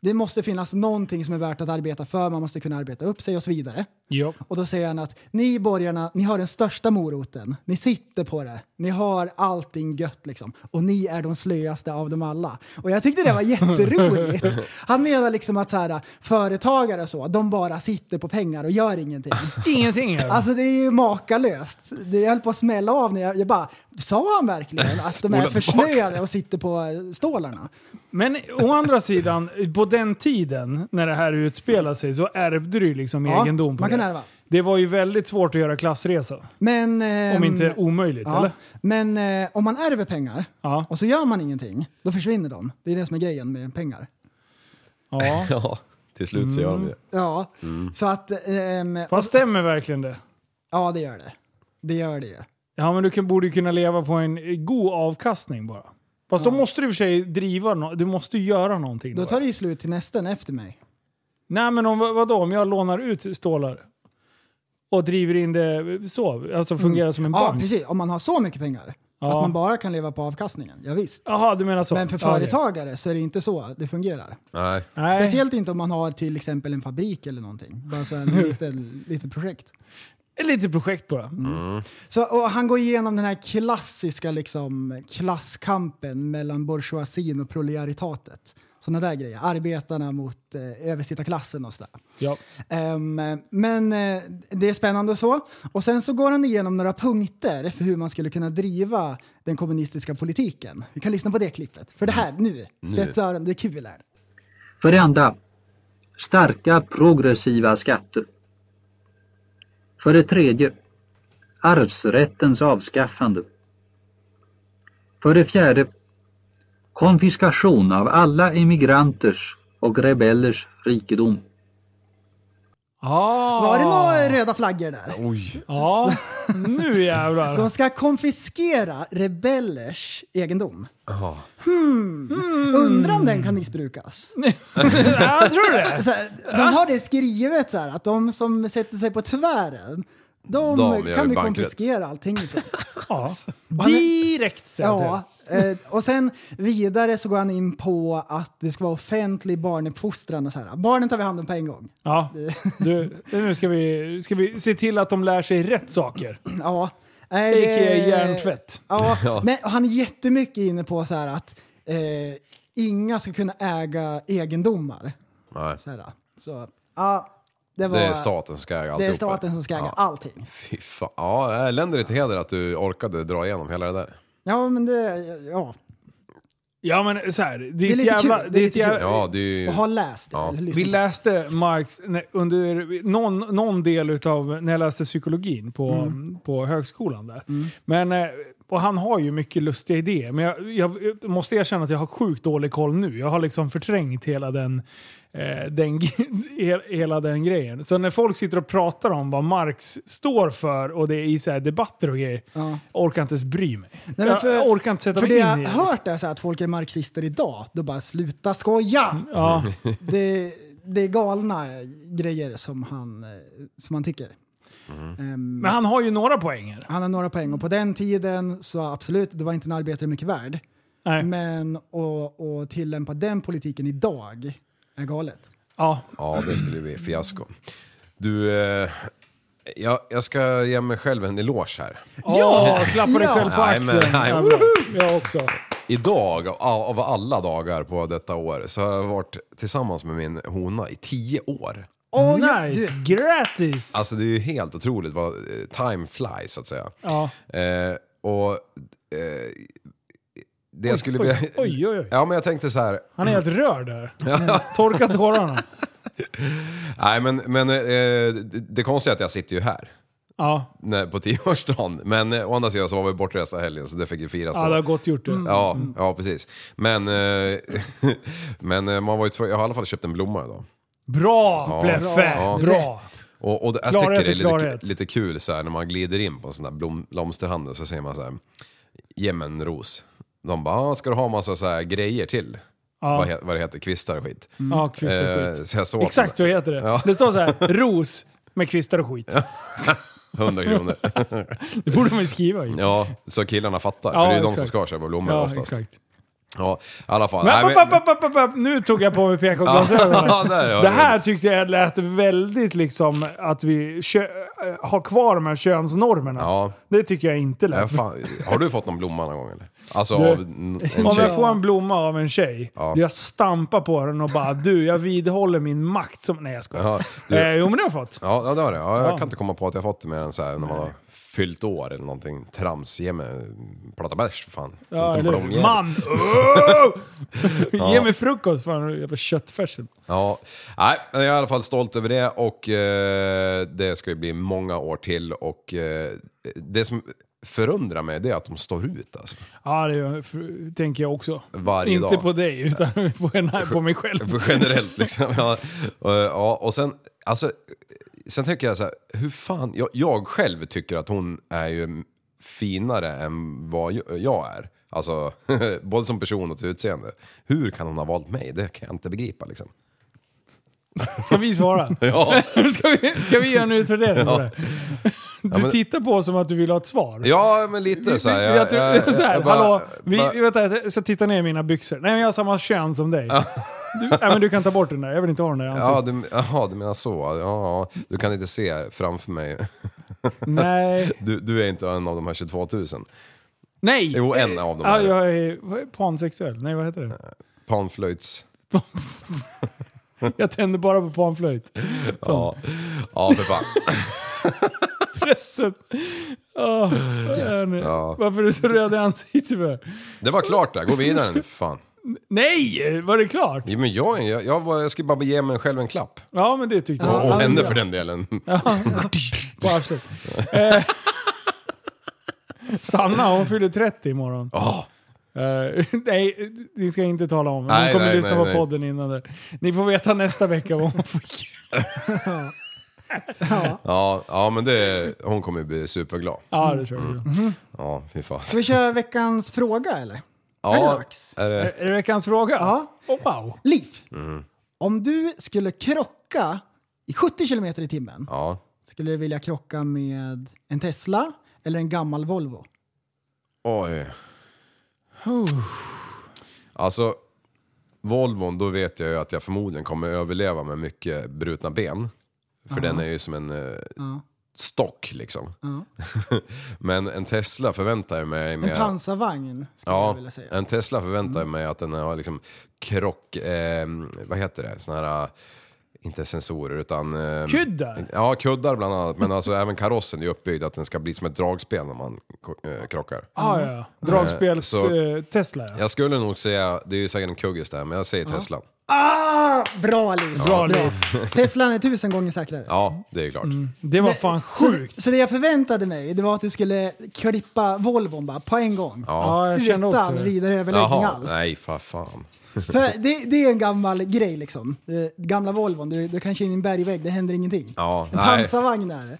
C: Det måste finnas någonting som är värt att arbeta för, man måste kunna arbeta upp sig och så vidare.
B: Ja.
C: Och då säger han att ni borgarna, ni har den största moroten. Ni sitter på det. Ni har allting gött liksom. Och ni är de slöaste av dem alla. Och jag tyckte det var jätteroligt. Han menar liksom att så här, företagare och så, de bara sitter på pengar och gör ingenting.
B: Ingenting.
C: Alltså det är ju makalöst. Det jag höll på att smälla av när jag, jag bara, sa han verkligen att de är
D: Spola tillbaka.
C: försnöade och sitter på eh, stålarna?
B: Men å andra sidan, på den tiden när det här utspelade sig så ärvde du ju liksom
C: Ja,
B: egendom på
C: man kan
B: det.
C: ärva.
B: Det var ju väldigt svårt att göra klassresa.
C: Men,
B: Om
C: ehm,
B: inte omöjligt,
C: ja,
B: eller?
C: Men eh, om man ärver pengar
B: Ja.
C: och så gör man ingenting, då försvinner de. Det är det som är grejen med pengar.
B: ja.
F: Ja, till slut så gör
C: Mm.
F: de det.
C: Ja, så att... ehm,
B: Mm. Fast stämmer verkligen det?
C: ja, det gör det. Det gör det ju.
B: Ja, men du kan, borde ju kunna leva på en god avkastning bara. Fast då måste du i och för sig driva no- Du måste ju göra någonting.
C: Då
B: bara.
C: tar det ju slut till nästan efter mig.
B: Nej, men om, vadå? Om jag lånar ut stålar och driver in det så, alltså fungerar som en
C: Mm. Ja,
B: bank?
C: precis. Om man har så mycket pengar.
B: Ja.
C: Att man bara kan leva på avkastningen. Ja, visst.
B: Jaha, du menar så?
C: Men för
B: Ja, okej.
C: företagare så är det inte så det fungerar.
D: Nej.
B: Nej.
C: Speciellt inte om man har till exempel en fabrik eller någonting. Bara så en liten, liten projekt.
B: Ett litet projekt bara.
C: Mm. Så, och han går igenom den här klassiska liksom, klasskampen mellan bourgeoisien och proletariatet. Sådana där grejer. Arbetarna mot eh, översittarklassen och sådär.
B: Ja.
C: Ehm, men eh, det är spännande och så. Och sen så går han igenom några punkter för hur man skulle kunna driva den kommunistiska politiken. Vi kan lyssna på det klippet. För det här, nu, spetsa öronen, det är kul här.
E: För det andra, starka progressiva skatter. För det tredje, arvsrättens avskaffande. För det fjärde, konfiskation av alla immigranters och rebellers rikedom.
B: Ah,
C: Var det några röda flaggor där?
B: Ja, nu jävlar.
C: De ska konfiskera rebellers egendom. Hmm. Undrar om den kan missbrukas.
B: ja, jag tror det.
C: Så här, de har det skrivet så här, att de som sätter sig på tvären, de,
D: De gör
C: kan
D: ju
C: vi
D: bankrätt.
C: konfiskera allting ifrån.
B: Ja. Direkt säger jag till
C: Ja,
B: dig.
C: eh, och sen vidare så går han in på att det ska vara offentlig barnuppfostran och så här. Barnen tar vi hand om på en gång.
B: Ja. Du, nu ska vi, ska vi se till att de lär sig rätt saker.
C: Ja. Nej,
B: A.k.a. hjärntvätt.
C: Ja, men han är jättemycket inne på så här att eh, inga ska kunna äga egendomar.
D: Nej.
C: Så, här, så ja, det, var,
D: Det är staten som ska äga
C: det är
D: alltihopa.
C: staten som ska äga
D: ja.
C: allting.
D: Fy fan. Ja, länder till heder att du orkade dra igenom hela det där.
C: Ja, men det... Ja.
B: Ja men så här, det är,
C: är
B: ett
C: lite
B: jävla...
C: kul,
B: Det
C: det
B: är
C: är
B: ett
C: lite kul.
B: jävla
D: Ja, det är ju...
C: Och ha läst det.
D: Ja.
C: eller lyssnat
B: Vi
C: på det.
B: läste Marx när- under någon, någon del utav när jag läste psykologin på,
C: Mm.
B: på högskolan där. Men, eh, och han har ju mycket lustiga idéer, men jag, jag, jag måste erkänna att jag har sjukt dålig koll nu. Jag har liksom förträngt hela den, eh, den, he- hela den grejen. Så när folk sitter och pratar om vad Marx står för och det är i så här debatter och grejer,
C: Ja.
B: orkar inte ens bry mig.
C: Nej, men för-
B: jag orkar inte sätta
C: För
B: mig
C: det
B: in i
C: jag
B: det. liksom.
C: hört är så här att folk är marxister idag, då bara sluta skoja!
B: Ja.
C: Det, det är galna grejer som han, eh, som han tycker. Ehm,
B: Men han har ju några poänger.
C: han har några poäng och på den tiden så absolut, det var inte en arbetare mycket värd.
B: Nej.
C: Men att- att tillämpa den politiken idag är galet.
B: Ja.
D: Ja, det skulle bli fiasko. Du, eh, jag, jag ska ge mig själv en eloge här.
B: Ja, klappa dig
C: Ja.
B: själv på
D: Nej,
B: axeln.
D: men- nej. oh,
B: Ja, bra. jag också.
D: Idag, av- av alla dagar på detta år, så har jag varit tillsammans med min hona i tio år.
B: nice, grattis!
D: Alltså det är ju helt otroligt vad eh, time flies så att säga.
B: ja.
D: Eh, och eh, det jag skulle vilja...
B: Oj, oj, oj.
D: Ja men jag tänkte så här,
B: Han är helt rörd där. Torka tårarna.
D: nej men, men eh, det, det konstiga är att jag sitter ju här.
B: Ja,
D: när- På tioårsdagen. Men eh, å andra sidan så var vi borta resten av helgen så det fick ju firas
B: ja
D: då.
B: det har gott gjort det.
D: Ja, ja precis. Men, eh, men eh, man var ju tvungen, jag har i alla fall köpt en blomma idag.
B: Bra
D: Ja.
B: Pleffe!
D: Ja.
B: Bra!
D: Och, och det- jag
B: Klarhet är
D: tycker det är
B: klarhet.
D: lite, lite kul så här, när man glider in på en sån där blom, blomsterhandel så säger man så här, ge mig en ros. De bara, ah, ska du ha massa så här grejer till? Vad, he, vad det heter, kvistar och skit.
B: Ja, Mm. kvistar och
D: Eh,
B: skit.
D: så jag såg
B: Exakt så heter det.
D: Ja.
B: Det står så här, ros med kvistar och skit.
D: 100 kronor.
B: Det borde man ju skriva ju.
D: ja, så killarna fattar.
B: Ja,
D: för det är ju de
B: exakt.
D: som ska köpa blommor
B: Ja,
D: oftast.
B: exakt.
D: Ja, i alla fall.
B: Men,
D: Nej,
B: upp, upp, upp, upp, upp, upp. Nu tog jag på mig
D: Ja,
B: PK-glasögonen.
D: där har
B: det
D: du.
B: här tyckte jag lät väldigt liksom att vi kö- äh, har kvar de här könsnormerna.
D: Ja.
B: Det tycker jag inte
D: Nej,
B: lät.
D: fan, har du fått någon blomma någon gång eller? Alltså
B: Du-
D: av n-
B: Om
D: en
B: jag
D: tjej?
B: får en blomma av en tjej,
D: Ja.
B: jag stampar på den och bara du, jag vidhåller min makt som... Nej jag skojar.
D: Ja, du,
B: Eh, jo men det har jag fått.
D: ja, ja, det har du. Ja, jag
B: Ja.
D: kan inte komma på att jag har fått det mer än så här, när man har fyllt år eller någonting. Trams, ge mig en platta bärs för fan.
B: Ja,
D: inte en
B: eller
D: blomjävel.
B: hur? Man! Oh! Ge mig frukost fan, jävla köttfärsen.
D: Ja, nej, jag är i alla fall stolt över det och eh, det ska ju bli många år till och eh, det som förundrar mig det är att de står ut alltså.
B: Ja, det är- för- tänker jag också.
D: Varje
B: Inte
D: dag.
B: på dig, utan på, en, på mig själv.
D: Generellt liksom. Ja, och, ja, och sen, alltså, sen tycker jag så här, hur fan, jag, jag själv tycker att hon är ju finare än vad jag- jag är. Alltså, både som person och till utseende. Hur kan hon ha valt mig? Det kan jag inte begripa liksom.
B: Ska vi svara?
D: Ja.
B: Ska vi, ska vi göra en utvärdering på det? Du
D: men-
B: tittar på oss som att du vill ha ett svar.
D: Ja, men lite så här.
B: jag, tror, så här,
D: jag bara-
B: hallå, vi,
D: bara-
B: vänta, jag ska titta ner i mina byxor. Nej, men jag har samma kön som dig. Du, nej, men du kan ta bort den där, jag vill inte ha den där i
D: Ja,
B: ansiktet.
D: du, aha, du menar så. Ja, du kan inte se framför mig.
B: Nej.
D: Du, du är inte en av de här 22 000.
B: Nej!
D: Jo, en av dem
B: Ja,
D: är det.
B: jag är vad är pansexuell. Nej, vad heter det?
D: Panflöjts...
B: Jag tänder bara på panflöjt.
D: Ja. ja, för fan.
B: Pressen! Åh, vad är ni? Varför är du så röd i ansiktet för?
D: Det var klart där, gå vidare nu för fan.
B: Nej! Var det klart?
D: Ja, men jag, jag, jag, var, jag skulle bara ge mig själv en klapp.
B: Ja, men det tyckte jag.
D: Och
B: Ja,
D: henne
B: ja.
D: för den delen.
B: På arslet. Eh, Sanna, hon fyller 30 imorgon.
D: Ja.
B: Eh, nej, ni ska inte tala om. Hon
D: Nej,
B: kommer
D: nej,
B: lyssna
D: nej,
B: på
D: nej.
B: podden innan det. Ni får veta nästa vecka vad hon fick.
D: Ja, ja, men det, hon kommer ju bli superglad.
B: Ja, det tror jag.
D: Mm. Ja, fy fan.
C: Ska vi köra veckans fråga eller? Är det
D: Ja,
C: dags?
D: är det,
B: Är det veckans fråga?
C: Ja.
B: Oh, wow.
C: Liv,
D: Mm.
C: om du skulle krocka i 70 km i timmen,
D: ja.
C: skulle du vilja krocka med en Tesla eller en gammal Volvo?
D: Oj. Alltså, Volvon, då vet jag ju att jag förmodligen kommer överleva med mycket brutna ben. För den är ju som en eh, stock liksom. Men en Tesla förväntar jag mig...
C: En
D: med-
C: pansarvagn skulle jag
D: Ja,
C: vilja säga. Mm.
D: en Tesla förväntar jag mig att den har liksom krock... Eh, vad heter det? Såna här... eh, Inte sensorer utan... Eh,
B: Kuddar?
D: Ja, kuddar bland annat. Men alltså även karossen är uppbyggd att den ska bli som ett dragspel när man ko- eh, krockar.
B: Ah, ja, ja. Dragspels
D: Eh, så-
B: eh, Tesla. Ja.
D: Jag skulle nog säga, det är ju säkert en kuggis där, men jag säger Tesla.
C: Ah, bra Liv!
B: Bra liv.
C: Teslan är tusen gånger säkrare.
D: Ja, det är klart.
C: Mm.
B: Det var fan sjukt.
C: Så, så det jag förväntade mig det var att du skulle klippa Volvon bara på en gång.
B: Ja, jag kände också
C: Utan
B: det.
C: vidare överläggning
D: Jaha,
C: alls.
D: nej för fan.
C: För det, det är en gammal grej liksom. Eh, Gamla Volvon, du, du kan köra in i en bergvägg, det händer ingenting.
D: Ja,
C: en
D: nej.
C: pansarvagn är det.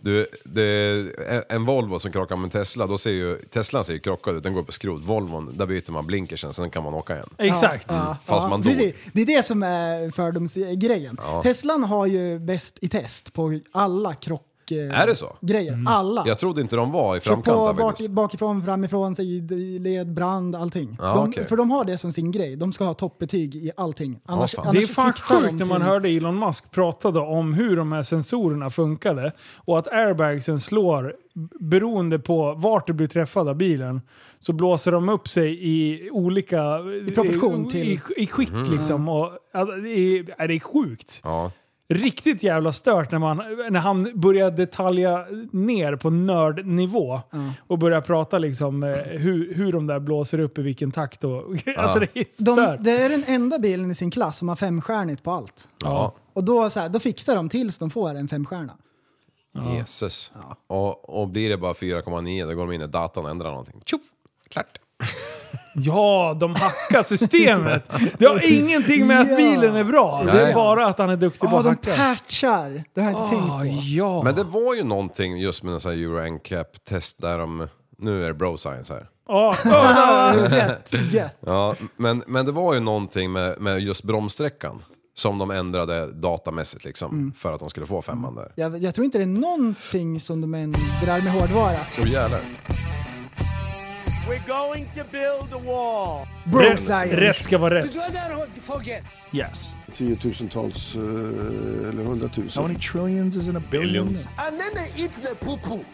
D: Du, det, en Volvo som krockar med en Tesla, då ser ju, Teslan ser ju krockad ut, den går på skrot. Volvon, där byter man blinkersen, sen kan man åka igen.
B: Exakt.
D: Fast man dog.
C: precis. Det är det som är fördomsgrejen. Teslan har ju bäst i test på alla krock... eh,
D: Är det så?
C: Grejer.
B: Mm.
C: Alla.
D: Jag trodde inte de var i
C: Ah. Kör
D: framkant
C: på
D: där
C: bak,
D: faktiskt.
C: bakifrån, framifrån, sid, i led, brand, allting.
D: Ja,
C: de,
D: okej.
C: För de har det som sin grej. De ska ha toppbetyg i allting. Annars,
D: fan.
C: annars
B: Det är fan
C: fixar de
B: sjukt när man
C: till-
B: hörde Elon Musk pratade om hur de här sensorerna funkade och att airbagsen slår beroende på vart du blir träffad av bilen så blåser de upp sig i olika... I
C: proportion
B: i,
C: till-
B: I, i skick liksom. Och, alltså, det, är, nej, det är sjukt.
D: Mhm. Ja.
B: Riktigt jävla stört när, man, när han började detalja ner på nördnivå och började prata liksom eh, hur, hur de där blåser upp i vilken takt. Och, alltså det är
C: De,
B: stört.
C: det är den enda bilen i sin klass som har femstjärnigt på allt.
D: Ja.
C: Och då, så här, då fixar de tills de får en femstjärna.
D: Jesus. Och, och blir det bara 4,9 då går de in i datan och ändrar någonting. Tjoff! Klart.
B: Ja, de hackar systemet. Det har ingenting med att
C: Ja.
B: bilen är bra. Det är
D: Nej.
B: bara att han är duktig på
C: Ja,
B: att
C: de
B: hacka.
C: patchar! Det har jag inte
B: Ah,
C: tänkt på.
B: ja.
D: Men det var ju någonting just med en sån här Euro NCAP test där de... Nu är det bro science här.
B: Ja, ja.
C: Gött, gött.
D: Ja, men, men det var ju någonting med, med just bromssträckan som de ändrade datamässigt liksom för att de skulle få femman där.
C: Jag, jag tror inte det är någonting som de ändrar med hårdvara.
D: Åh jävlar.
G: We're going to build a wall.
C: Bro
B: Rätt, rätt
C: science.
B: ska vara rätt.
G: Yes.
H: Tiotusentals eh, eller hundratusen.
G: How many trillions is in a billion?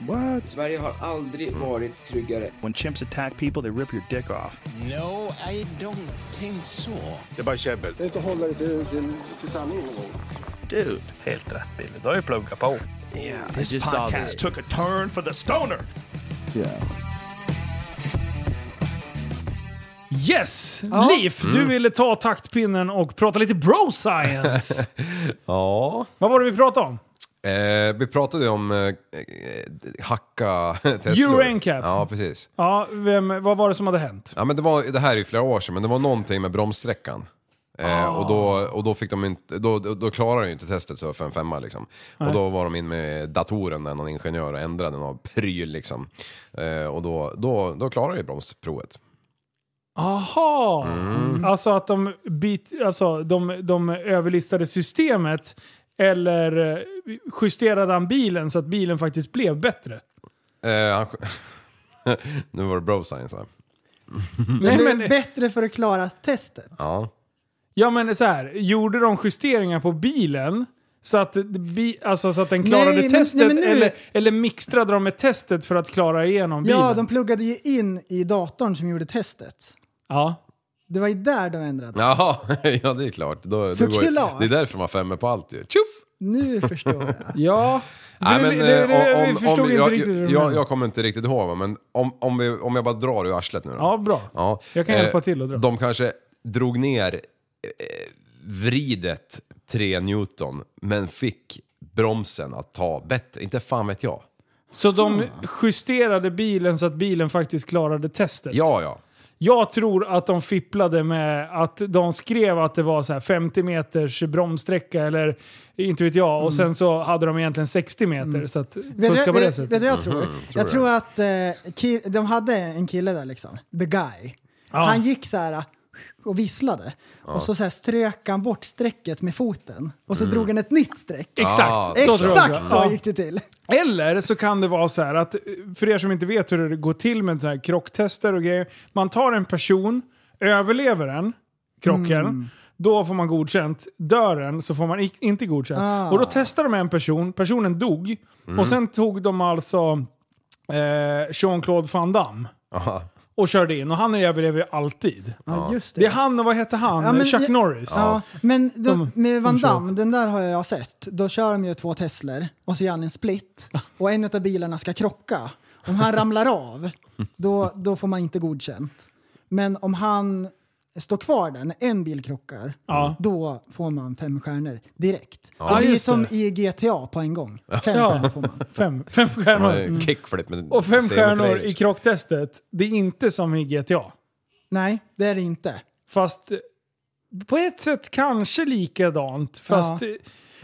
G: What?
I: Sverige har aldrig varit tryggare.
G: When chimps attack people, they rip your dick off.
J: No, I don't think so.
H: Det är inte att hålla det till, till, till sanningen någon gång.
G: Dude. Helt rätt Billy, du har ju pluggat på. Yeah, this podcast took a turn for the stoner.
B: Yes! Leif, du ville ta taktpinnen och prata lite bro science.
D: Ja.
B: Vad var det vi pratade om?
D: Eh, vi pratade ju om eh, eh, hacka Teslor.
B: Euro NCAP.
D: Ja, precis.
B: Ja, vem, vad var det som hade hänt?
D: Ja, men det, var, det här är ju flera år sedan, men det var någonting med bromssträckan. Eh, och, då, och då fick de inte, då, då, då klarade de ju inte testet så för en femma liksom. Och då var de in med datoren där någon ingenjör och ändrade någon pryl liksom. Eh, och då, då, då klarade ju bromsprovet.
B: Aha! Alltså att de, bit, alltså de, de överlistade systemet eller eh, justerade han bilen så att bilen faktiskt blev bättre?
D: Eh, han, nu var det bro science va?
B: Nej,
C: Det blev
B: men-
C: bättre för att klara testet.
D: Ja.
B: Ja men så här, gjorde de justeringar på bilen så att, bi, alltså, så att den klarade
C: Nej, men-
B: testet
C: nej, men nu-
B: eller, eller mixtrade de med testet för att klara igenom bilen?
C: Ja, de pluggade ju in i datorn som gjorde testet.
B: ja.
C: Det var ju där de ändraade.
D: Jaha, ja det är klart. Då, då går, ju-
C: Såklart.
D: det är därför man har femmor på allt ju. Tjoff!
C: Nu förstår jag.
B: Ja.
D: Nej,
B: Det-
D: men,
B: det- det-
D: eh,
B: vi förstod inte
D: jag,
B: riktigt hur
D: jag,
B: de
D: jag,
B: menade.
D: jag kommer inte riktigt ihåg, va, men om, om, vi, om jag bara drar ur arslet nu då.
B: Ja, bra.
D: Ja. Eh,
B: Jag kan hjälpa till att dra.
D: De kanske drog ner eh, vridet 3 Newton, men fick bromsen att ta bättre. Inte fan vet jag.
B: Så de justerade bilen så att bilen faktiskt klarade testet?
D: Ja, ja.
B: Jag tror att de fipplade med att de skrev att det var så här 50 meters bromssträcka eller inte vet jag. Och sen så hade de egentligen 60 meter. Så att
C: Mm. Vet du
B: fuska på det
C: vet- vet du
B: sättet.
C: vad jag tror? Jag tror att eh, ki- de hade en kille där liksom, the guy.
B: Ah.
C: Han gick så här och visslade. Och så, så här strök han bort strecket med foten. Och så drog han ett nytt streck.
D: Ah,
B: Exakt! så tror jag
C: Exakt
B: också.
C: så
B: Ja.
C: gick det till.
B: Eller så kan det vara så här att, eh, för er som inte vet hur det går till med så här krocktester och grejer. Man tar en person, överlever den, krocken,
C: Mm.
B: då får man godkänt. Dör den så får man i- inte godkänt.
C: Ah.
B: Och då testar de en person, personen dog.
C: Mm.
B: Och sen tog de alltså eh, Jean-Claude Van Damme. Och körde in. Och han överlever ju alltid.
C: Ja, just det.
B: Det är han och vad heter han?
C: Ja, men
B: Chuck
C: jag-
B: Norris.
C: Ja, men då,
B: De-
C: med Van
B: de kör
C: Damme, den där har jag sett. Då kör de ju två Teslor och så gör han en split och en av bilarna ska krocka. Om han ramlar av, då, då får man inte godkänt. Men om han står kvar där när en bil krockar,
B: Ja.
C: då får man fem stjärnor direkt.
B: Ja,
C: det är
B: just
C: som
B: det.
C: i GTA på en gång. Fem
B: Ja.
C: stjärnor får man.
B: Fem, fem stjärnor.
D: Mm. Kickflip med
B: Och fem stjärnor
D: segeltrailer.
B: i krocktestet, det är inte som i GTA.
C: Nej, det är det inte.
B: Fast eh, på ett sätt kanske likadant. Fast
C: Ja.
B: eh,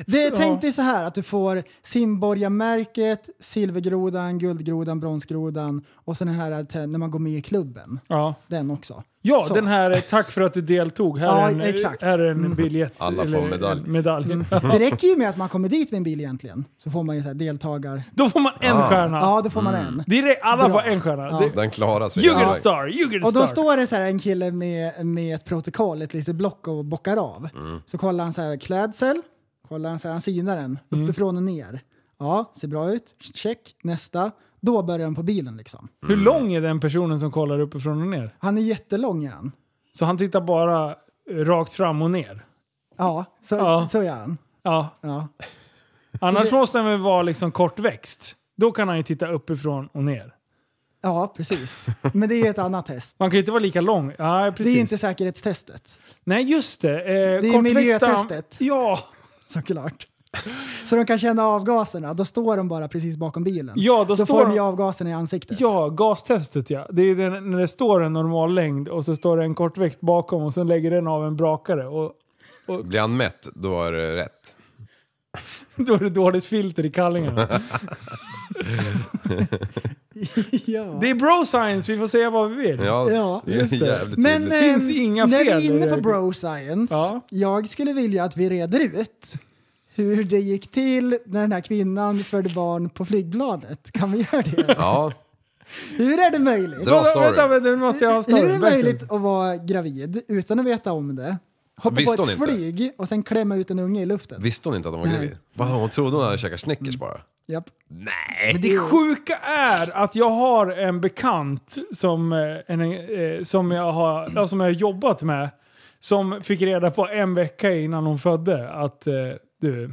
C: Det,
B: Ja.
C: Tänk dig så här att du får simborgarmärket, silvergrodan, guldgrodan, bronsgrodan och sen den här te- när man går med i klubben.
B: ja.
C: Den också.
B: Ja,
C: Så.
B: den här eh, tack för att du deltog. Här
C: Ja,
B: är en, eh,
C: exakt. Mm.
B: Här är en biljett.
D: Alla får
B: eller
D: medalj.
B: en medalj.
C: Det räcker ju med att man kommer dit med en bil egentligen. Så får man ju så här deltagar...
B: Då får man en stjärna.
C: Ja, då får man en.
B: Mm. Det är det, alla
C: Ah. Bra. Ah.
B: får en stjärna.
C: Ja.
B: Det,
D: Den klarar sig.
B: you get a
D: Ja.
B: star, you get a
C: Och då
B: star.
C: står det så här en kille med, med ett protokoll, ett litet block och bockar av.
B: Mm.
C: Så kollar han så här klädsel, kollar han så här, han synar den
B: Mm.
C: uppifrån och ner. Ja, ser bra ut. Check, nästa. Då börjar den på bilen liksom.
B: Hur lång är den personen som kollar uppifrån och ner?
C: Han är jättelång är han.
B: Så han tittar bara eh, rakt fram och ner.
C: Ja, så,
B: Ja.
C: så är han.
B: Ja.
C: Ja.
B: Annars
C: det-
B: måste han väl vara liksom kortväxt. Då kan han ju titta uppifrån och ner.
C: ja, precis. Men det är ju ett annat test.
B: Man kan ju inte vara lika lång. Ja,
C: Det är
B: precis.
C: ju inte säkerhetstestet,
B: Nej, just det. Eh,
C: Det är
B: kortväxta-
C: miljötestet.
B: Ja,
C: såklart. Så de kan känna avgaserna. Då står de bara precis bakom bilen.
B: ja då,
C: Då
B: står
C: får de ju
B: de-
C: avgaserna i ansiktet.
B: Ja, gastestet ja. Det är den, när det står en normal längd och så står det en kortväxt bakom och sen lägger den av en brakare. Och
D: Blir han mätt, då är det rätt.
B: då är det dåligt filter i kallingarna.
C: Ja.
B: det är bro science, vi får säga vad vi vill.
D: Ja,
C: Ja,
D: det är
C: just det.
D: jävligt
C: Men
D: tydligt.
B: finns
C: ehm,
B: inga
C: när vi
B: fel
C: är inne
B: i
C: på
B: det.
C: bro science,
B: Ja.
C: jag skulle vilja att vi reder ut hur det gick till när den här kvinnan förde barn på flygbladet. Kan vi göra det?
D: Ja,
C: Hur är det möjligt?
D: Dra storyn.
B: Vänta, vänta, nu måste jag ha storyn,
C: Hur är det
B: verkligen.
C: möjligt att vara gravid utan att veta om det? Hoppa
D: Visste
C: på
D: hon
C: ett
D: inte?
C: flyg och sen klämma ut en unge i luften.
D: Visste hon inte att hon var
C: Nej.
D: gravid? Va, hon trodde hon hade käkat Snickers bara.
C: Japp.
D: Nej!
B: Men det sjuka är att jag har en bekant som, eh, en, eh, som, jag, har, ja, som jag har jobbat med som fick reda på en vecka innan hon födde att eh, du,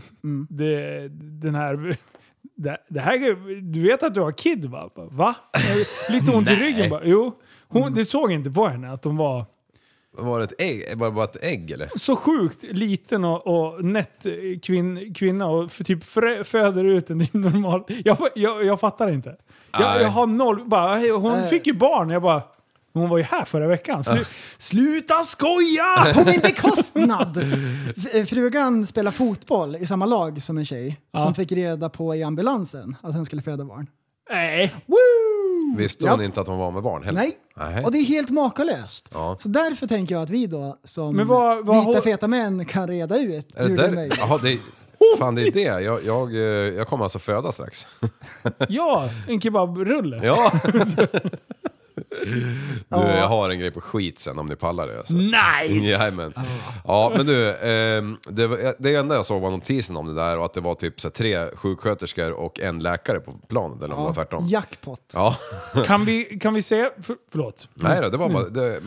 B: det, den här... Det, det här, du vet att du har kid va? Va? Lite ont i
D: Nej.
B: ryggen bara. Jo. Hon, Det såg inte på henne att hon var
D: Var det ett ägg? Var det bara ett ägg eller?
C: Mm.
B: så sjukt liten och, och nätt eh, kvin, kvinna och för, typ frö, föder ut en typ normal... Jag, jag, jag fattar inte. Jag,
D: Nej.
B: jag har noll... Bara, hej, hon
C: Nej.
B: fick ju barn. Jag bara... Hon var ju här förra veckan. Slu,
C: Ja.
B: Sluta skoja!
C: På min bekostnad! F- Frugan spelar fotboll i samma lag som en tjej
B: Ja.
C: som fick reda på i ambulansen att hon skulle föda barn.
B: Nej.
D: Visste hon inte att hon var med barn heller?
C: Nej.
D: Nej.
C: Och det är helt makalöst.
D: Ja.
C: Så därför tänker jag att vi då som
B: Men vad- vad
C: vita
B: har-
C: feta män kan reda ut
D: Är det
C: hur det är
D: där?
C: möjligt.
D: Jaha, det är, fan det är det. Jag, jag, eh, jag kommer alltså föda strax.
B: Ja, en kebabrulle.
D: Ja. Du, jag har en grej på skit sen om ni pallar det. Alltså.
B: Nice!
D: Jajamän. Ja, men du. ehm, det, var, det enda jag såg var notisen om det där och att det var typ så här, tre sjuksköterskor och en läkare på planet. Eller om det var tvärtom.
C: Jackpot.
D: Ja.
B: Kan vi, kan vi se... För, förlåt.
D: Nej då, det var bara, det,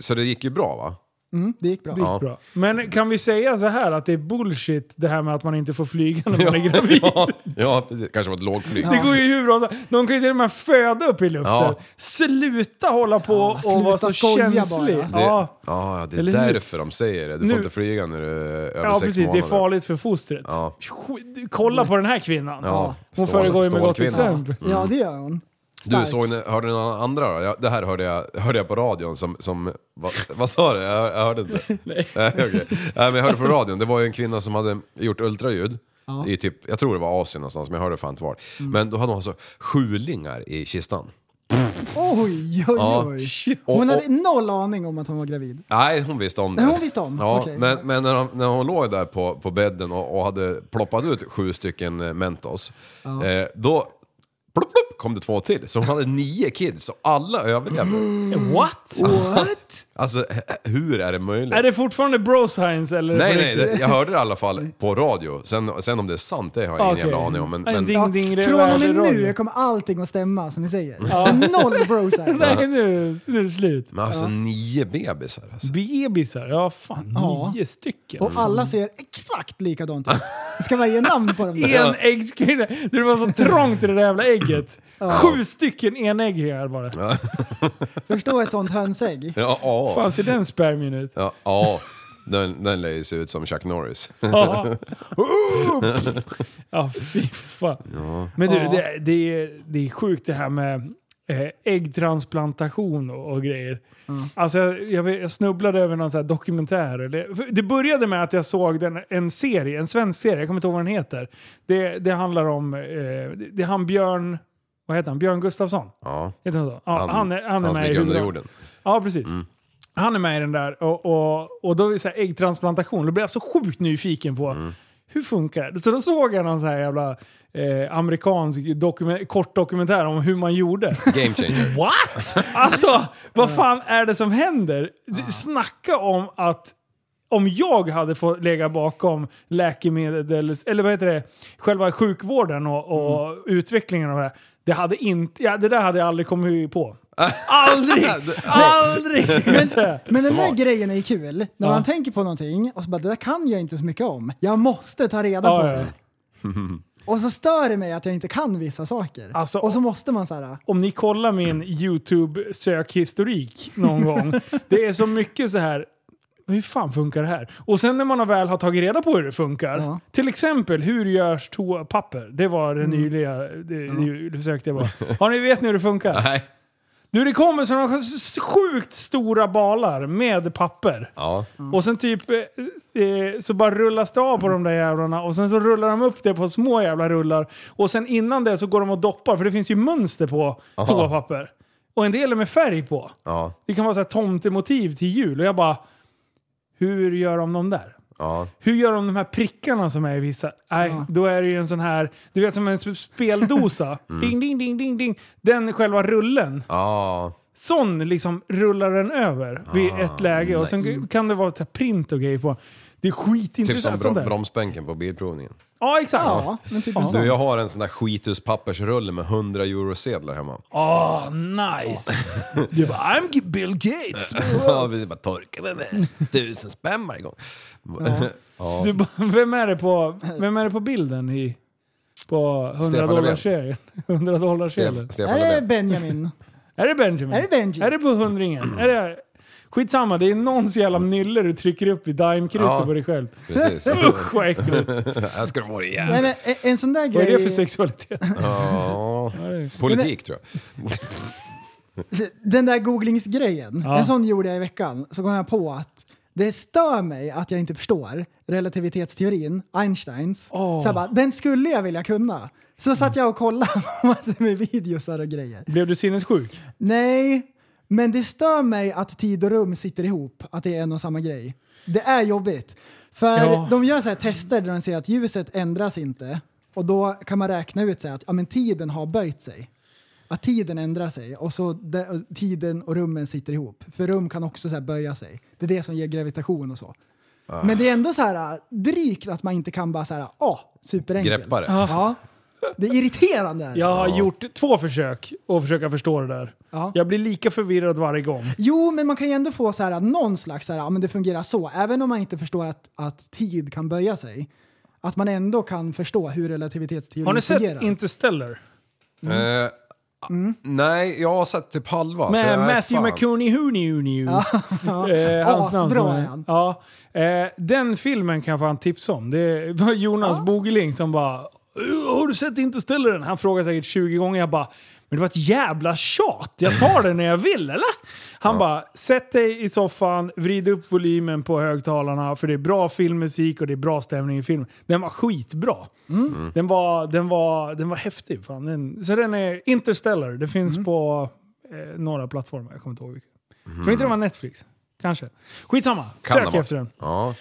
D: så det gick ju bra va?
C: Mm, det gick bra.
B: Det gick
D: Ja.
B: bra. Men kan vi säga så här att det är bullshit det här med att man inte får flyga när man är gravid?
D: Ja, ja precis. kanske var ett lågflyg.
B: Det går ju hur bra som- De kan ju till och med föda upp i luften.
D: Ja.
B: Sluta hålla på och
C: sluta
B: vara så
C: skoja
B: känslig.
D: Det,
B: Ja.
D: ja. det är
B: Eller hur?
D: därför de säger det. Du
B: Nu-
D: får inte flyga när du är över
B: Ja
D: sex
B: precis, det
D: månader.
B: är farligt för fostret.
D: Ja.
B: Sk- Kolla på den här kvinnan.
D: Ja,
B: Hon
D: stål-
B: föregår ju med gott
D: stålkvinna.
B: exempel.
C: Ja, det gör hon.
D: Mm. Du,
C: Stark.
D: såg ni, hörde ni någon andra då? Jag, det här hörde jag, hörde jag på radion som... som vad, vad sa du? Jag, jag hörde inte. Nej. Nej, okej. Nej, men jag hörde på radion. Det var ju en kvinna som hade gjort ultraljud. I typ, jag tror det var Asien någonstans, men jag hörde fan inte var.
C: Mm.
D: Men då hade hon alltså sjulingar i kistan.
C: Oj, oj,
D: Ja.
C: oj.
D: Shit. Och-
C: Hon
D: och-
C: hade noll aning om att hon var gravid.
D: Nej, hon visste om det.
C: Nej, hon visste om.
D: Ja,
C: Okej.
D: Men, men när, hon, när hon låg där på, på bädden och, och hade ploppat ut sju stycken eh, Mentos, eh, då plopp, plopp, kom det två till. Så hon hade nio kids och alla överlevde.
B: What?
C: What?
D: Alltså, h- hur är det möjligt?
B: Är det fortfarande bro science eller?
D: Nej,
B: på
D: nej,
B: riktigt?
D: det, jag hörde det i alla fall på radio. Sen, sen om det är sant, det har jag
B: Okej.
D: ingen jävla aning om. Men,
B: En
D: men,
B: ding, ding, det
C: Från
B: var
C: och med
B: det
C: nu
B: radio.
C: kommer allting att stämma som vi säger.
B: Ja.
C: Noll bro
B: Nej, nu, nu är det slut.
D: men alltså nio bebisar alltså.
B: Bebisar, ja fan.
C: Ja.
B: Nio stycken.
C: Och alla ser exakt likadant ut. Det ska vara ge namn på dem.
B: En äggskrinna. Det var så trångt i det där jävla ägget. Sju stycken enäggingar bara.
C: Förstå ett sånt hönsägg.
D: Ja, ja,
B: Fan ser den spermien ut?
D: ja, ja. Den, den lär ju se ut som Chuck Norris.
B: Ja. ja, fy fan. Men du, det, det, är, det är sjukt det här med eh, äggtransplantation och, och grejer. Alltså, jag, jag, vet- jag snubblade över någon sån här dokumentär. Eller, för det började med att jag såg den, en serie, en svensk serie, jag kommer inte ihåg vad den heter. Det, det handlar om, eh, det, det är han Björn, vad heter han? Björn Gustafsson?
D: Ja.
B: Heter han så? Ja, han, är, han är
D: han som
B: med i
D: gick under
B: huvudrollen.
D: jorden.
B: Ja, precis. Han är med i den där och, och, och då är det så här äggtransplantation. Då blev jag så sjukt nyfiken på hur funkar det? Så då såg jag någon så här jävla eh, amerikansk dokumen- kort dokumentär om hur man gjorde.
D: Game changer.
B: What? Alltså, vad fan är det som händer? Du, Snacka om att om jag hade fått lägga bakom läkemedels... Eller vad heter det? Själva sjukvården och, och utvecklingen av det här. Det, hade inte, ja, det där hade jag aldrig kommit på. Aldrig! aldrig! Men,
C: Men den där
D: Smart.
C: grejen är ju kul. När
B: Ja.
C: man tänker på någonting och så bara det där kan jag inte så mycket om. Jag måste ta reda
B: Ja,
C: på
B: ja, ja.
C: det. Och så stör det mig att jag inte kan vissa saker.
B: Alltså-
C: och så måste man så här.
B: om ni kollar min YouTube-sökhistorik någon gång. Det är så mycket så här. Hur fan funkar det här? Och sen när man har väl har tagit reda på hur det funkar.
C: Ja.
B: Till exempel, hur görs toapapper? Det var det nyliga, det, det, det försökte jag bara. Har ni vet ni hur det funkar?
D: Nej.
B: Du, det kommer sådana sjukt stora balar med papper.
D: Ja.
B: Och sen typ eh, eh, så bara rullas det av på de där jävlarna och sen så rullar de upp det på små jävla rullar. Och sen innan det så går de och doppar för det finns ju mönster på
D: Aha.
B: toapapper. Och en del är med färg på.
D: Ja.
B: Det kan vara så här tomtemotiv till jul och jag bara... Hur gör de de där?
D: Ja.
B: Hur gör de de här prickarna som är i vissa? Nej, då är det ju en sån här, du vet som en sp- speldosa.
D: Mm.
B: Ding, ding, ding, ding, ding. Den själva rullen.
D: Ja.
B: Sån liksom rullar den över vid ett läge och sen
D: Ah, nice.
B: kan det vara så här print och grejer på. Det är
D: Typ som
B: skitintressant. sånt
D: brom-
B: där.
D: bromsbänken på bilprovningen.
B: Ja, exakt.
D: Ja,
B: men typ
D: Du, jag har en sån där skituspappersrulle med 100 eurosedlar hemma.
B: Åh, Ah, nice! Du bara, "Äh, I'm G- Bill Gates!
D: Ja, vi bara torkar mig med tusen spänn varje gång.
B: Ja.
D: Ja.
B: Du bara, vem är det på, vem är det på bilden i, på 100
D: Stefan
B: dollar
D: Löfven.
B: serien 100 dollar serien
D: Stef- Stefan Är det Löfven.
C: Benjamin?
B: Är det Benjamin? Är det Benjamin? Är det på hundringen? Är det, skitsamma, det är någons jävla nylle du trycker upp i daimkrysset
D: Ja.
B: på dig själv.
D: Precis.
B: Usch vad äckligt.
D: Här ska de vara igen.
C: Nej, men en, en sån där
B: Vad
C: grej...
B: är det för sexualitet?
D: Ja, politik tror jag.
C: Den där googlingsgrejen,
D: Ja.
C: en sån gjorde jag i veckan. Så kom jag på att det stör mig att jag inte förstår relativitetsteorin, Einsteins. Så jag bara, den skulle jag vilja kunna. Så satt jag och kollade massor med videosar och grejer.
B: Blev du sinnessjuk?
C: Nej, men det stör mig att tid och rum sitter ihop, att det är en och samma grej. Det är jobbigt. För
B: Ja.
C: de gör så här tester där de ser att ljuset ändras inte och då kan man räkna ut så här att ja, men tiden har böjt sig. Att tiden ändrar sig och så de, och tiden och rummen sitter ihop. För rum kan också så här böja sig. Det är det som ger gravitation och så.
B: Ah.
C: Men det är ändå så här äh, drygt att man inte kan bara så här, ah, superenkelt.
B: Greppa det.
C: Ja. Det är irriterande. är det.
B: Jag har gjort två försök att försöka förstå det där. Jag blir lika förvirrad varje gång.
C: Jo, men man kan ju ändå få så här, någon slags så här, ja, men det fungerar så, även om man inte förstår att, att tid kan böja sig. Att man ändå kan förstå hur relativitetsteorin
B: Har ni
C: fungerar.
B: sett Interstellar?
D: Eh, Nej, jag har sett typ halva. så
B: Mm. Med
D: jag är
B: Matthew
D: fan-
B: McConaughey Huni eh, Hans namn
C: Asbra
B: som
C: är
B: är
C: han.
B: Ja. Eh, den filmen kan jag fan tipsa om. Det var Jonas Bogeling som bara "Uh, "Har du sett Interstellar? den?" Han frågar säkert 20 gånger. Jag bara men det var ett jävla tjat. Jag tar den när jag vill, eller? Han bara, sätt dig i soffan, vrid upp volymen på högtalarna för det är bra filmmusik och det är bra stämning i filmen. Den var skitbra.
C: Mm.
B: Den, var, den, var, den var häftig. Fan. Den, så den är Interstellar. Det finns
C: Mm.
B: på eh, några plattformar. Jag kommer inte ihåg vilka. Tror inte det var Netflix? Kanske. Skitsamma.
D: Kan det
B: Sök
D: vara.
B: efter den.
D: Ja.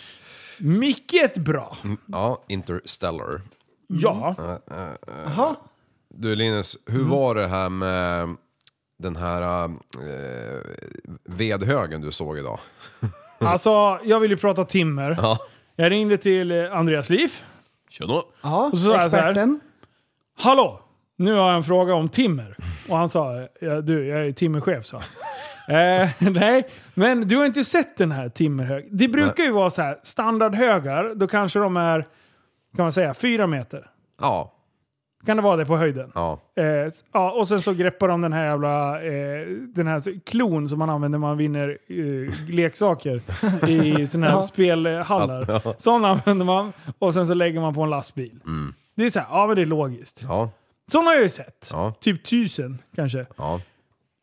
B: Mycket bra.
D: Mm, Ja, Interstellar.
B: Ja.
D: Eh, eh, eh.
C: Jaha.
D: Du Linus, hur
B: Mm.
D: var det här med den här eh, vedhögen du såg idag?
B: Alltså, jag vill ju prata timmer.
D: Ja.
B: Jag ringde till eh, Andreas Liv.
D: Tjena!
C: Ja,
B: och så sa jag så här, Hallå! Nu har jag en fråga om timmer. Och han sa, eh, ja, du jag är timmerchef sa han. eh, nej, men du har inte sett den här timmerhögen. Det brukar ju vara så här, standardhögar, då kanske de är, kan man säga, fyra meter.
D: Ja.
B: Kan det vara det på höjden?
D: Ja.
B: Eh, s- ja, och sen så greppar de den här jävla eh, den här s- klon som man använder när man vinner eh, leksaker i sådana här
G: Ja.
B: spelhallar.
G: Ja.
B: Sådana använder man och sen så lägger man på en lastbil.
D: Mm.
B: Det är så här, ja men det är logiskt.
D: Ja.
B: Sådana har jag ju sett.
D: Ja.
B: Typ tusen kanske.
D: Ja.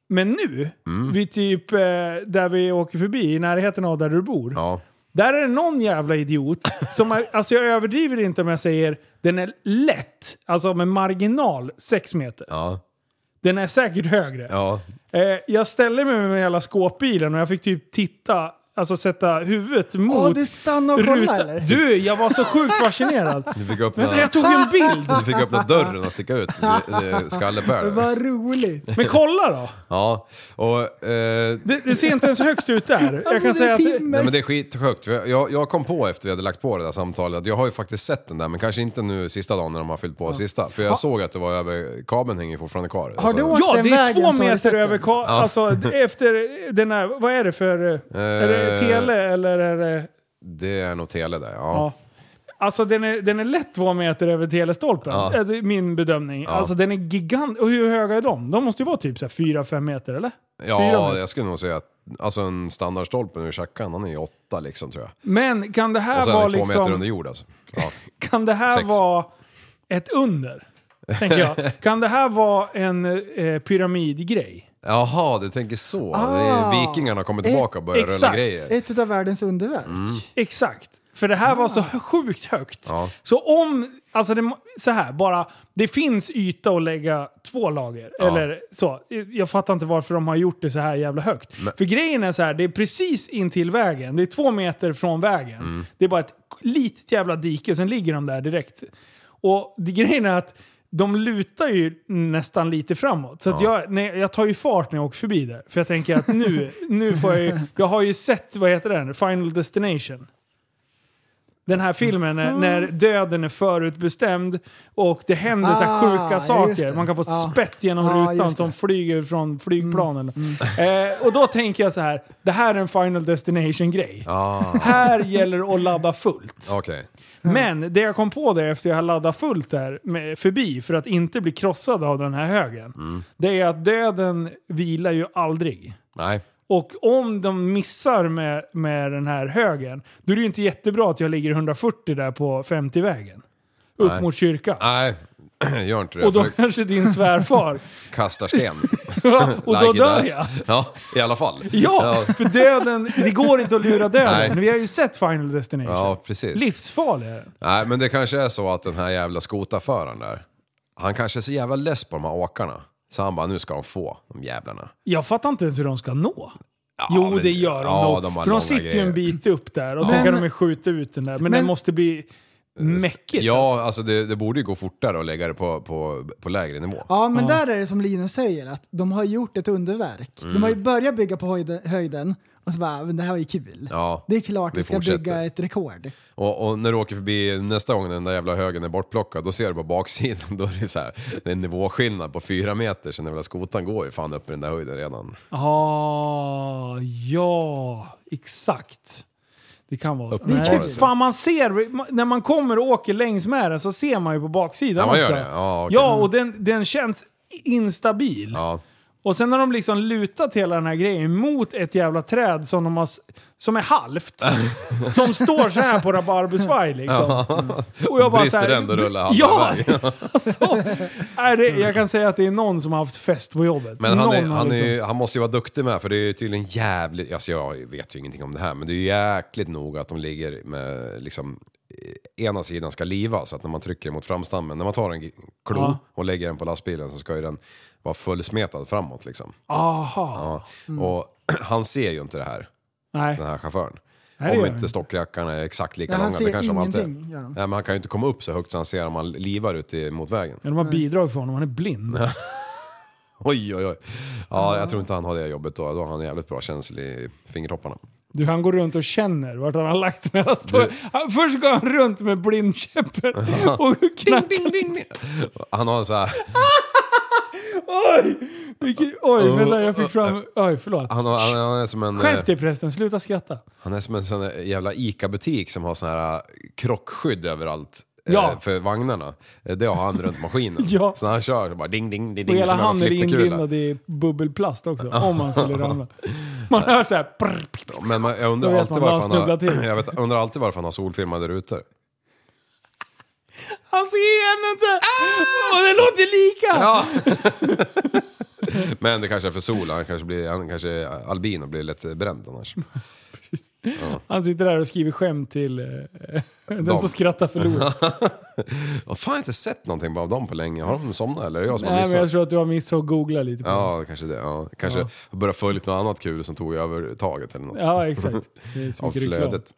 B: Men nu,
D: Mm.
B: vid typ eh, där vi åker förbi, i närheten av där du bor.
D: Ja.
B: Där är det någon jävla idiot som, är, alltså jag överdriver inte om jag säger den är lätt, alltså med marginal 6 meter.
D: Ja.
B: Den är säkert högre.
D: Ja.
B: Eh, jag ställde mig med hela skåpbilen och jag fick typ titta, alltså sätta huvudet mot
C: Åh, du stannade och kollade, eller?
B: Du, jag var så sjukt fascinerad.
D: Du fick öppna,
B: Vänta, jag tog en bild!
D: du fick öppna dörren och sticka ut. Det, det, skallebär.
C: Vad roligt!
B: Men kolla då!
D: Ja, och... Eh,
B: Det, det ser inte ens högt ut där. jag
C: Alltså,
B: kan säga att...
D: Nej, men det är skithögt. För Jag, jag kom på efter vi hade lagt på det där samtalet att jag har ju faktiskt sett den där, men kanske inte nu sista dagen när de har fyllt på sista. För jag
B: Ja.
D: såg att det var över, kabeln hänger fortfarande kvar. Alltså,
B: Har du åkt Ja, den det är vägen två som har meter sett den? över ka- alltså, efter den här, vad är det för... Är
D: Eh.
B: det tele eller är det...
D: Det är nog tele där, ja.
B: Alltså den är, den är lätt två meter över telestolpen,
D: Ja.
B: Är det min bedömning.
D: Ja.
B: Alltså den är gigant. Och hur höga är de? De måste ju vara typ 4-5 meter eller?
D: Ja,
B: Fyra meter.
D: jag skulle nog säga att alltså en standardstolpe nu i tjackan, han är ju åtta liksom tror jag.
B: Men kan det
D: Och
B: här
D: så är
B: vara
D: han två meter
B: liksom...
D: under jord alltså. Ja.
B: Kan det här
D: Sex.
B: vara ett under? Tänker jag. Kan det här vara en eh, pyramidgrej?
D: Jaha, du tänker så. Det är vikingarna kommer tillbaka och börjar rulla
B: Ah, Exakt.
D: grejer.
C: Ett
D: Mm.
C: av världens underverk.
B: Exakt. För det här var så sjukt högt.
D: Ah. Ja.
B: Så om Alltså det, må- så här, bara, det finns yta att lägga två lager.
D: Ja.
B: Eller så. Jag fattar inte varför de har gjort det så här jävla högt.
D: Men-
B: För grejen är så här, det är precis intill vägen. Det är två meter från vägen.
D: Mm.
B: Det är bara ett litet jävla dike, sen ligger de där direkt. Och det, grejen är att de lutar ju nästan lite framåt. Så att
D: Ja.
B: jag, nej, jag tar ju fart när jag åker förbi där. För jag tänker att nu, nu får jag ju... Jag har ju sett, vad heter den? Final Destination. Den här filmen
C: Mm.
B: när, när döden är förutbestämd och det händer så här
C: Ah,
B: sjuka
C: just
B: saker.
C: det.
B: Man kan få ett
C: Ja.
B: spett genom
C: Ja,
B: rutan
C: just det. Mm,
B: som flyger från flygplanen. Eh, och då tänker jag så här, det här är en Final Destination-grej.
D: Ah,
B: Här gäller det att ladda fullt.
D: okej.
B: Men det jag kom på där efter jag hade laddat fullt där med, förbi för att inte bli krossad av den här högen.
D: Mm.
B: Det är att döden vilar ju aldrig.
D: Nej.
B: Och om de missar med, med den här högen, då är det ju inte jättebra att jag ligger 140 där på 50-vägen. Upp
D: Nej.
B: mot kyrkan.
D: Nej, gör inte det.
B: Och då
D: för
B: kanske din svärfar...
D: du kastar sten.
B: Ja, och då
D: Like it
B: dör
D: does.
B: jag.
D: Ja, i alla fall.
B: Ja, för döden, det går inte att lura döden.
D: Nej.
B: Vi har ju sett Final Destination.
D: Ja, precis.
B: Livsfarlig är den.
D: Nej, men det kanske är så att den här jävla skotaföraren där, han kanske är så jävla less på de här åkarna. Så han bara, nu ska de få, de jävlarna.
B: Jag fattar inte ens hur de ska nå. jo,
D: men-
B: det gör de
D: ja,
B: nog.
D: de har
B: För de
D: långa
B: sitter ju
D: grejer.
B: en bit upp där och
D: Ja.
B: sen kan
D: Men-
B: de ju skjuta ut den där. Men, den
D: Men-
B: måste bli mäckigt.
D: Ja, alltså det, det borde ju gå fortare att lägga det på, på, på lägre nivå.
C: Ja, men där är det som Linus säger, att de har gjort ett underverk.
D: Mm.
C: De har ju börjat bygga på höjde- höjden och så bara, men det här var ju kul.
D: Ja,
C: Det är klart
D: vi
C: vi ska
D: fortsätter.
C: bygga ett rekord.
D: Och, och när du åker förbi nästa gång den där jävla högen är bortplockad, då ser du på baksidan, då är det så här, det är en nivåskillnad på fyra meter, så den jävla skotan går ju fan upp i den där höjden redan.
B: Ah, ja, exakt. Det kan vara så.
D: Uppenbarligen.
B: Det är kul. Fan, man ser, man- när man kommer och åker längs med den så ser man ju på baksidan
D: Ja, man gör
B: också.
D: det. Ja, okej.
B: ja, och den, den känns instabil.
D: Ja.
B: Och sen har de liksom lutat hela den här grejen mot ett jävla träd som, de har, s- som är halvt. som står så här på rabarbersvaj liksom. Och jag bara
D: Brister
B: så här-
D: den då rullar halva
B: Ja! Alltså,
D: vägen.
B: Nej, det, jag kan säga att det är någon som har haft fest på jobbet.
D: Men han,
B: någon
D: är,
B: har
D: han, är,
B: liksom-
D: ju- han måste ju vara duktig med, för det är ju tydligen jävligt... Alltså jag vet ju ingenting om det här, men det är ju jäkligt noga att de ligger med liksom... eh, Ena sidan ska liva, så att när man trycker mot framstammen, när man tar en g- klo
B: Ja.
D: och lägger den på lastbilen så ska ju den vara fullsmetad framåt liksom.
B: Aha.
D: Ja.
B: Mm.
D: Och han ser ju inte det här,
B: Nej.
D: den här chauffören.
B: Nej, det
D: om
B: gör han
D: inte
B: inte.
D: stockrackarna är exakt lika
B: Nej, han
D: långa.
B: ser
D: det kanske de alltid är.
B: ingenting, gör han.
D: Nej, men han kan ju inte komma upp så högt så han ser om han livar ut i- mot vägen.
B: Ja, de har bidrag för honom, han är blind.
D: Oj, oj, oj. Ja, jag tror inte han har det jobbet då. Då har han jävligt bra känsel i fingertopparna.
B: Du, han går runt och känner vart han har lagt den. Han står- han, först går han runt med blindkäppen och knackar.
D: Han har en så här,
B: Oj! Vilket, oj,
D: Oh,
B: vänta jag fick fram... Oj, förlåt.
D: han, har, han, han är som en...
B: Skärp dig prästen, sluta skratta.
D: Han är som en sån där jävla ICA-butik som har sån här eh, krockskydd överallt. eh,
B: Ja.
D: För vagnarna. Eh, Det har han runt maskinen.
B: Ja.
D: Så när han kör så bara ding, ding, ding,
B: Och
D: ding.
B: hela
D: som en
B: handen är
D: flipperkula.
B: inlindad i bubbelplast också, om han skulle ramla. Man hör såhär... prr,
D: Men man, jag undrar
B: Då vet
D: alltid
B: man vad
D: varför
B: han
D: han
B: snubblar
D: har,
B: till.
D: jag vet, undrar alltid varför han har solfilmade rutor.
B: Han ser henne inte!
D: Ah!
B: Och det låter lika!
D: Men det kanske är för sol, han kanske, blir, han kanske är albin och blir lätt bränd annars. Ja.
B: Han sitter där och skriver skämt till eh, den
D: Dem.
B: som skrattar förlorar.
D: Jag har fan inte sett någonting av dem på länge. Har de somnat eller är det jag som har
B: Nej, men jag
D: missat?
B: tror att du har missat att googla lite på
D: Ja, kanske det. Ja. Kanske
B: Ja.
D: börja följa något annat kul som tog över taget eller något.
B: Ja, exakt. Det är så
D: Av
B: mycket reklam.
D: flödet.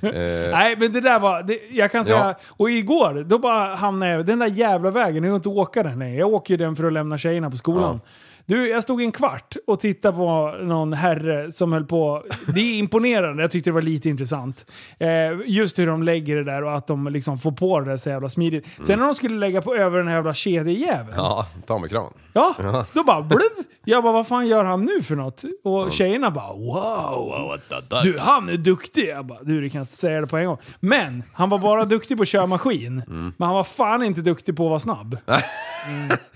B: det.
D: eh,
B: Nej, men det där var... Det, jag kan säga...
D: Ja.
B: Och igår, då bara hamnade jag... Den där jävla vägen, jag vill inte åka den längre. Jag åker ju den för att lämna tjejerna på skolan. Du, jag stod en kvart och tittade på någon herre som höll på... Det är imponerande, jag tyckte det var lite intressant. Eh, just hur de lägger det där och att de liksom får på det där så jävla smidigt.
D: Mm.
B: Sen när de skulle lägga på över den här jävla kedjejäveln.
D: ja, ta med kran.
B: Ja,
D: Ja.
B: då bara blub. Jag bara, vad fan gör han nu för något? Och tjejerna bara, wow. Du, han är duktig. Jag bara, du, du kan säga det på en gång. Men, han var bara duktig på att köra maskin.
D: Mm.
B: Men han var fan inte duktig på att vara snabb.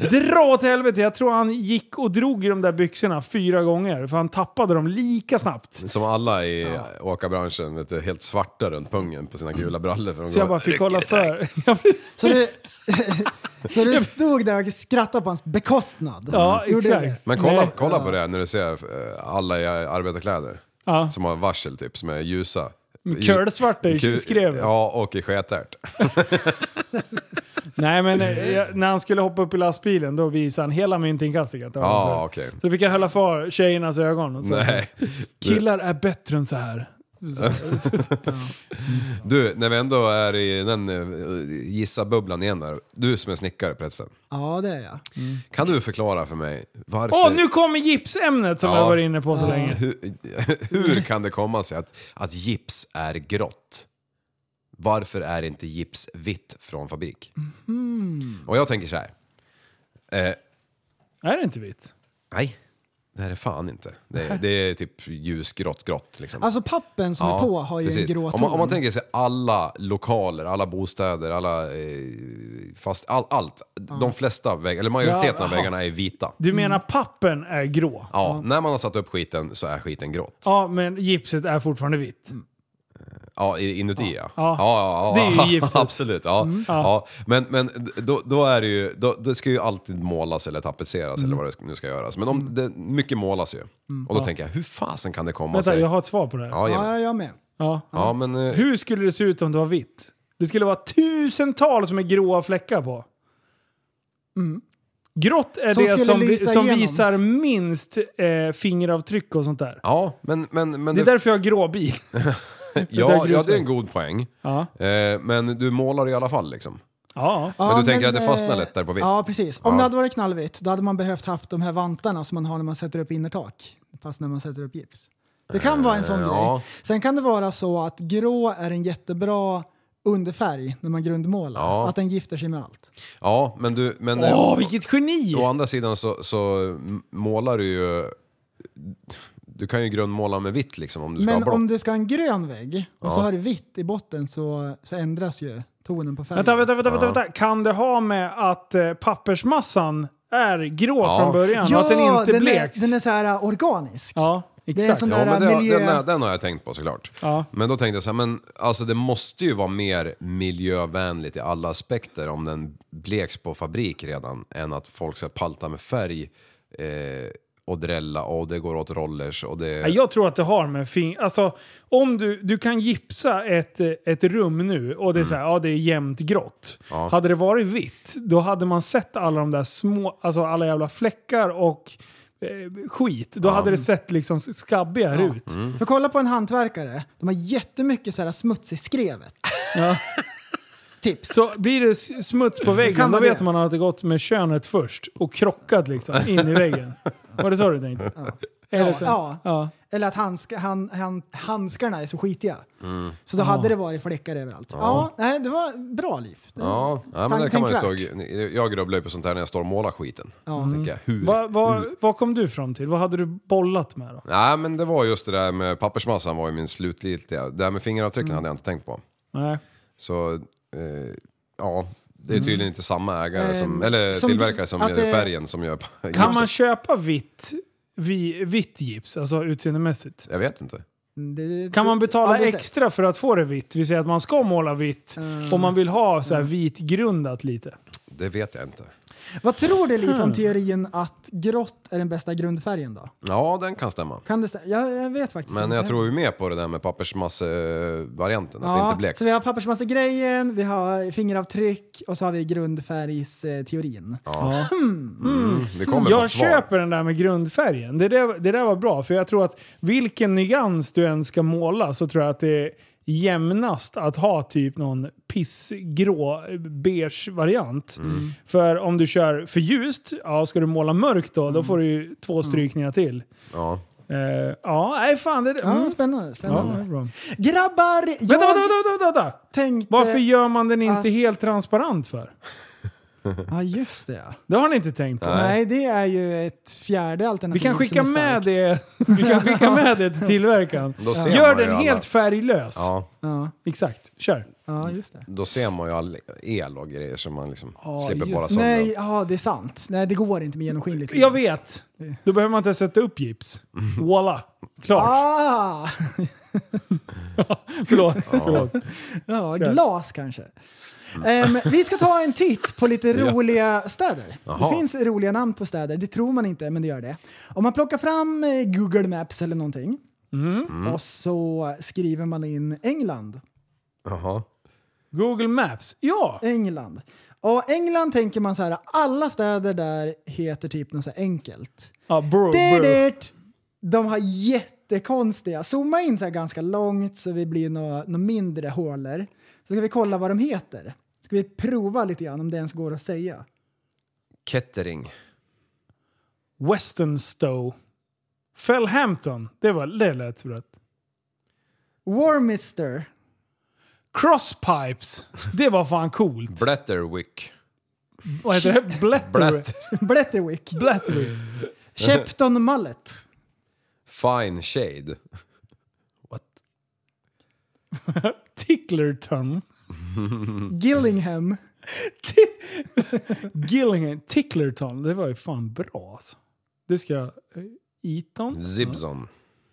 D: Mm.
B: Dra åt helvete. Jag tror han gick och drog i de där byxorna fyra gånger. För han tappade dem lika snabbt.
D: Som alla i åkarbranschen, vet du, helt svarta runt pungen på sina gula brallor. För de
B: Så jag
D: går-
B: bara fick hålla för.
C: Så du, så du stod där och skrattade på hans bekostnad? Gjorde du det?
D: Mm. Men kolla, kolla på det här när du ser eh, alla i arbetarkläder.
B: Ja.
D: Som har varsel typ, som är ljusa.
B: Kölsvarte i
D: Kul-
B: skrevet.
D: Ja, och i sketärt.
B: Nej men eh, jag- när han skulle hoppa upp i lastbilen då visade han hela myntinkastet. att det var
D: Ja,
B: han.
D: okej.
B: Så då fick jag hålla för tjejernas ögon. Och så.
D: Nej.
B: Killar är bättre än så här. Så,
D: Du, när vi ändå är i den eh, gissa-bubblan igen där. Du som är snickare prästen.
C: Ja, det är jag. Mm.
D: Kan du förklara för mig varför...
B: Åh, nu kommer gipsämnet som
D: Ja.
B: jag var inne på så länge.
D: Hur, hur kan det komma sig att, att gips är grått? Varför är inte gips vitt från fabrik?
C: Mhm.
D: Och jag tänker så här. Eh,
B: Är det inte vitt?
D: nej, det här är fan inte. Det, det är typ ljusgrått, grått liksom.
C: Alltså pappen som är på har ju
D: precis.
C: en grå
D: om man, om man
C: ton.
D: tänker sig alla lokaler, alla bostäder, alla, eh, fast, all, allt. De flesta väggar, eller majoriteten av
B: Ja,
D: väggarna är vita.
B: Du menar pappen är grå?
D: Ja, när man har satt upp skiten så är skiten grått.
B: Ja, men gipset är fortfarande vitt.
D: Ja, i- inuti ja.
B: Ja. Det är ju Mm. gipset.
D: Absolut, ja. ja. Men, men då, då är det ju, då, det ska ju alltid målas eller tapetseras eller vad det nu ska göras. Men om, det, mycket målas ju. Och då
B: Mm. Ja.
D: tänker jag, hur fasen kan det komma
B: Vänta,
D: sig?
B: jag har ett svar på det här.
D: Ja, jajamän.
C: jag med.
B: Ja.
D: ja, men... eh,
B: Hur skulle det se ut om det var vitt? Det skulle vara tusentals med gråa fläckar på. Mm. Grått är
C: Som
B: det
C: skulle
B: som, vi-
C: lysa
B: som
C: igenom.
B: visar minst eh, fingeravtryck och sånt där.
D: Ja, men... men, men
B: det är därför jag har grå bil.
D: ja, ja, det är en god poäng.
B: Ja.
D: Eh, men du målar i alla fall liksom.
B: Ja.
D: Men du tänker att det fastnar lättare på vitt?
C: eh, Ja, precis. Om
D: Ja.
C: det hade varit knallvitt, då hade man behövt haft de här vantarna som man har när man sätter upp innertak. Fast när man sätter upp gips. Det kan vara en sån
D: Eh, ja.
C: grej. Sen kan det vara så att grå är en jättebra underfärg när man grundmålar.
D: Ja.
C: Att den gifter sig med allt.
D: Ja, men du... Men, eh,
B: Åh, vilket geni!
D: Å andra sidan så, så m- målar du ju... Du kan ju grundmåla med vitt liksom om du ska ha
C: Men
D: blått.
C: om du ska ha en grön vägg och så
D: Ja.
C: har du vitt i botten så, så ändras ju tonen på färgen.
B: Vänta, vänta, vänta, vänta, vänta. Kan det ha med att eh, pappersmassan är grå
D: Ja.
B: från början och att den inte
C: den
B: bleks?
C: Är, den är så här äh, organisk.
B: Ja,
C: Det är en
B: exakt.
C: sån
D: Ja,
C: där
D: men det,
C: miljö...
D: den, här- den har jag tänkt på såklart.
B: Ja.
D: Men då tänkte jag så här, men alltså det måste ju vara mer miljövänligt i alla aspekter om den bleks på fabrik redan än att folk ska palta med färg eh, och drälla och det går åt rollers och det...
B: Nej, Jag tror att det har med fing... Alltså, om du, du kan gipsa ett, eh, ett rum nu och det är så här, ja det är jämnt grått.
D: Mm. Ja.
B: Hade det varit vitt, då hade man sett alla de där små, alltså alla jävla fläckar och eh, skit. Då hade det sett liksom skabbigare ut.
C: För kolla på en hantverkare, de har jättemycket så här smuts i skrevet.
B: Ja.
C: Tips.
B: Så blir det s- smuts på väggen, då
C: Kan man det?
B: vet man att det gått med könet först och krockat liksom in i väggen. Var det så du tänkte? Eller
C: Ja,
B: så?
C: ja.
B: Ja.
C: Eller att handska, han, han, handskarna är så skitiga.
D: Mm.
C: Så då hade det varit fläckar överallt. Ja, nej, det var bra liv. Det-
D: Ja, ja men
C: Tänk-
D: det kan man ju stå,
C: tänkvärt.
D: Jag grubblar ju på sånt här när jag står och målar skiten.
C: Ja. Mm.
D: Tänker jag, hur?
B: Vad vad- vad kom du fram till? Vad hade du bollat med då?
D: Nej men det var just det där med pappersmassan var ju min slutgiltiga. Det där med
C: Mm.
D: fingeravtrycken hade jag inte tänkt på.
B: Nej.
D: Så eh, ja, det är tydligen inte samma ägare som,
C: Ehm,
D: eller
C: Mm. som-
D: tillverkare som
C: att
D: gör
C: det-
D: färgen som gör gipset.
B: Kan man köpa vitt, vi, vitt gips, alltså utseendemästigt?
D: Jag vet inte.
C: Det-
B: Kan man betala
C: Aldrig sett.
B: extra för att få det vitt? Vi säger att man ska måla vitt
C: Mm.
B: om man vill ha så här vitgrundat lite.
D: Det vet jag inte.
C: Vad tror du Liv om teorin att grått är den bästa grundfärgen då?
D: Ja, den kan stämma.
C: Kan det stä- jag, jag vet faktiskt
D: Men
C: inte.
D: jag tror ju med på det där med pappersmassevarianten, att det inte är
C: Ja,
D: blekt.
C: så vi har pappersmassegrejen, vi har fingeravtryck och så har vi grundfärgsteorin.
D: Ja. Mm. Vi kommer få
B: Jag
D: ett svar.
B: köper den där med grundfärgen. Det där, det där var bra, för jag tror att vilken nyans du än ska måla så tror jag att det är jämnast att ha typ någon pissgrå eh, beige variant.
D: Mm.
B: För om du kör för ljust, ja, ska du måla mörkt då, då får du ju två strykningar till.
D: Mm. Ja.
B: Eh, ja, nej fan. Det, mm.
C: Ja, spännande.
B: Ja,
C: spännande.
B: det är bra.
C: Grabbar, jag
B: Vänta, vänta, vänta, vänta, vänta!
C: tänkte...
B: Varför gör man den inte
C: att-
B: helt transparent för?
C: Ja, just det. ja.
B: Det har ni inte tänkt på.
C: Nej. det är ju ett fjärde
B: Vi
C: alternativ
B: kan skicka
C: som är
B: med
C: starkt.
B: det, vi kan skicka med det till tillverkaren.
D: Då ser
B: Gör
D: man ju
B: den
D: alla-
B: helt färglös.
D: Ja,
C: Ja,
B: Exakt, kör.
C: ja just det.
D: då ser man ju all el och grejer som man liksom
B: Ja,
D: slipper
B: just-
D: bara sönder.
C: Nej, ja, det är sant. Nej, det går inte med genomskinligt.
B: Jag vet! Då behöver man inte sätta upp gips. Voila! Klart.
C: Ah,
B: Förlåt. förlåt.
C: ja,
B: Kör.
C: glas kanske.
D: Mm.
C: Ehm, vi ska ta en titt på lite roliga städer.
D: Jaha.
C: Det finns roliga namn på städer, det tror man inte, men det gör det. Om man plockar fram eh, Google Maps eller någonting
D: Mm.
C: och så skriver man in England.
D: Jaha.
B: Google Maps, ja!
C: England. Och England tänker man så här, alla städer där heter typ något så här enkelt.
B: Ja, bro, bro.
C: Didit! De har jättekonstiga. Zooma in så här ganska långt så vi blir några nå mindre hålor. Så ska vi kolla vad de heter. Ska vi prova lite grann om det ens går att säga.
D: Kettering.
B: Westenstow. Fellhampton. Det, var, det lät rätt.
C: Warmister.
B: Crosspipes. Det var fan coolt.
D: Blätterwick.
B: Vad heter det? Blätter.
C: Blätterwick.
B: Blätterwick.
C: Shepton Mallet.
D: Fine shade.
B: Ticklerton.
C: Gillingham.
B: Gillingham. Ticklerton. Det var ju fan bra alltså. Det ska jag... eh, Eton?
D: Zibson.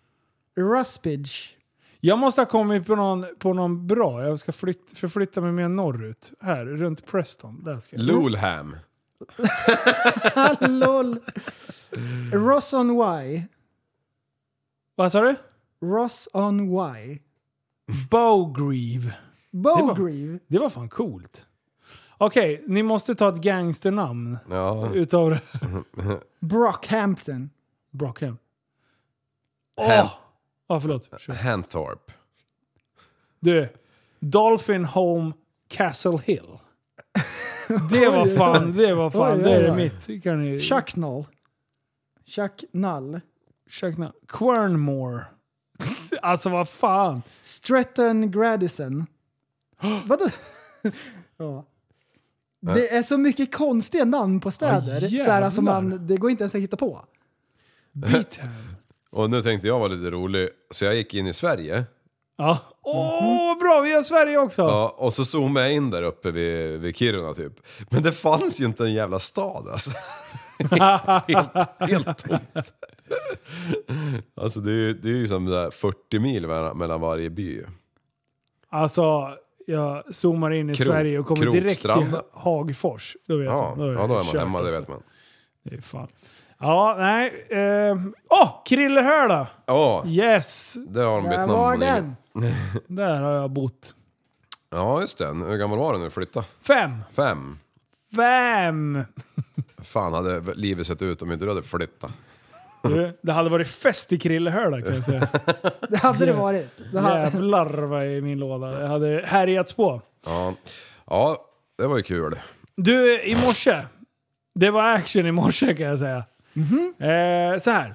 C: Ruspage.
B: Jag måste ha kommit på någon, på någon bra. Jag ska flytt, förflytta mig mer norrut. Här, runt Preston. Där ska jag.
D: Lulham.
C: Lol. Ross on Y.
B: Vad sa du?
C: Ross on Y.
B: Bowgreave.
C: Bowgreave.
B: Det var fan coolt. Okej, ni måste ta ett gangsternamn.
D: Ja.
B: Utav det.
C: Brockhampton.
B: Brockham.
D: Ham-
B: Ja, förlåt. Kör.
D: Hanthorpe.
B: Du. Dolphin Home Castle Hill. Det var fan, det var fan,
C: Oj,
B: det
C: oj,
B: är
C: oj.
B: mitt. Kan ni...
C: Chucknall. Chucknall.
B: Chuckna. Quernmore. Alltså vad fan.
C: Stretton Gradison. S- Vadå? ja. Det är så mycket konstiga namn på städer.
B: Åh,
C: så här, alltså
B: jävlar.
C: man, det går inte ens att hitta på.
B: Beatham.
D: Och nu tänkte jag vara lite rolig, så jag gick in i Sverige.
B: Ja. Åh,
D: Mhm.
B: vad bra! Vi har Sverige också!
D: Ja, och så zoomade jag in där uppe vid, vid Kiruna typ. Men det fanns ju inte en jävla stad alltså. helt, helt, helt tomt. Alltså det är, ju- det är ju som det där 40 mil mellan, mellan varje by.
B: Alltså, jag zoomar in i
D: Krok-
B: Sverige och kommer direkt till
D: Krokstranda.
B: Hagfors. Då vet
D: Ja,
B: man.
D: ja, då är man
B: kört,
D: hemma, det
B: alltså.
D: vet man.
B: Det är fan. Ja, nej. Åh! Eh, oh, Krillehöla!
D: Ja,
B: Yes!
D: det har de bytt
C: Där
D: namn
C: var
D: på länge.
C: den.
B: Där har jag bott.
D: Ja, just det. Hur gammal var du när du flyttade?
B: Fem!
D: Fem.
B: Fem!
D: Fan hade livet sett ut om inte du hade flyttat.
B: Du, det hade varit fest i Krillehöla kan jag säga.
C: Det hade det varit. Det hade,
B: Jävlar vad i min låda. Jag hade härjats på.
D: Ja. ja, det var ju kul.
B: Du, i morse. Det var action i morse kan jag säga. Eh, så här.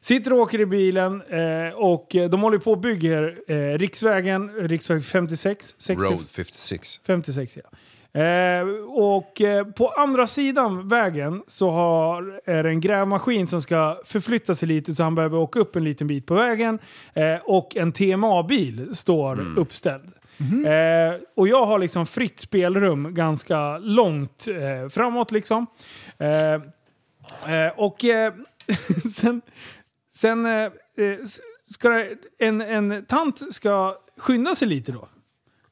B: Sitter och åker i bilen eh, och de håller på och bygger eh, riksvägen, riksväg 56. 60,
D: Road 56.
B: 56 ja. Eh, och eh, på andra sidan vägen så har, är det en grävmaskin som ska förflytta sig lite så han behöver åka upp en liten bit på vägen. Eh, och en TMA-bil står uppställd. Eh, och jag har liksom fritt spelrum ganska långt eh, framåt liksom. Eh, eh, och eh, sen, sen eh, eh, s- ska det- en, en tant ska skynda sig lite då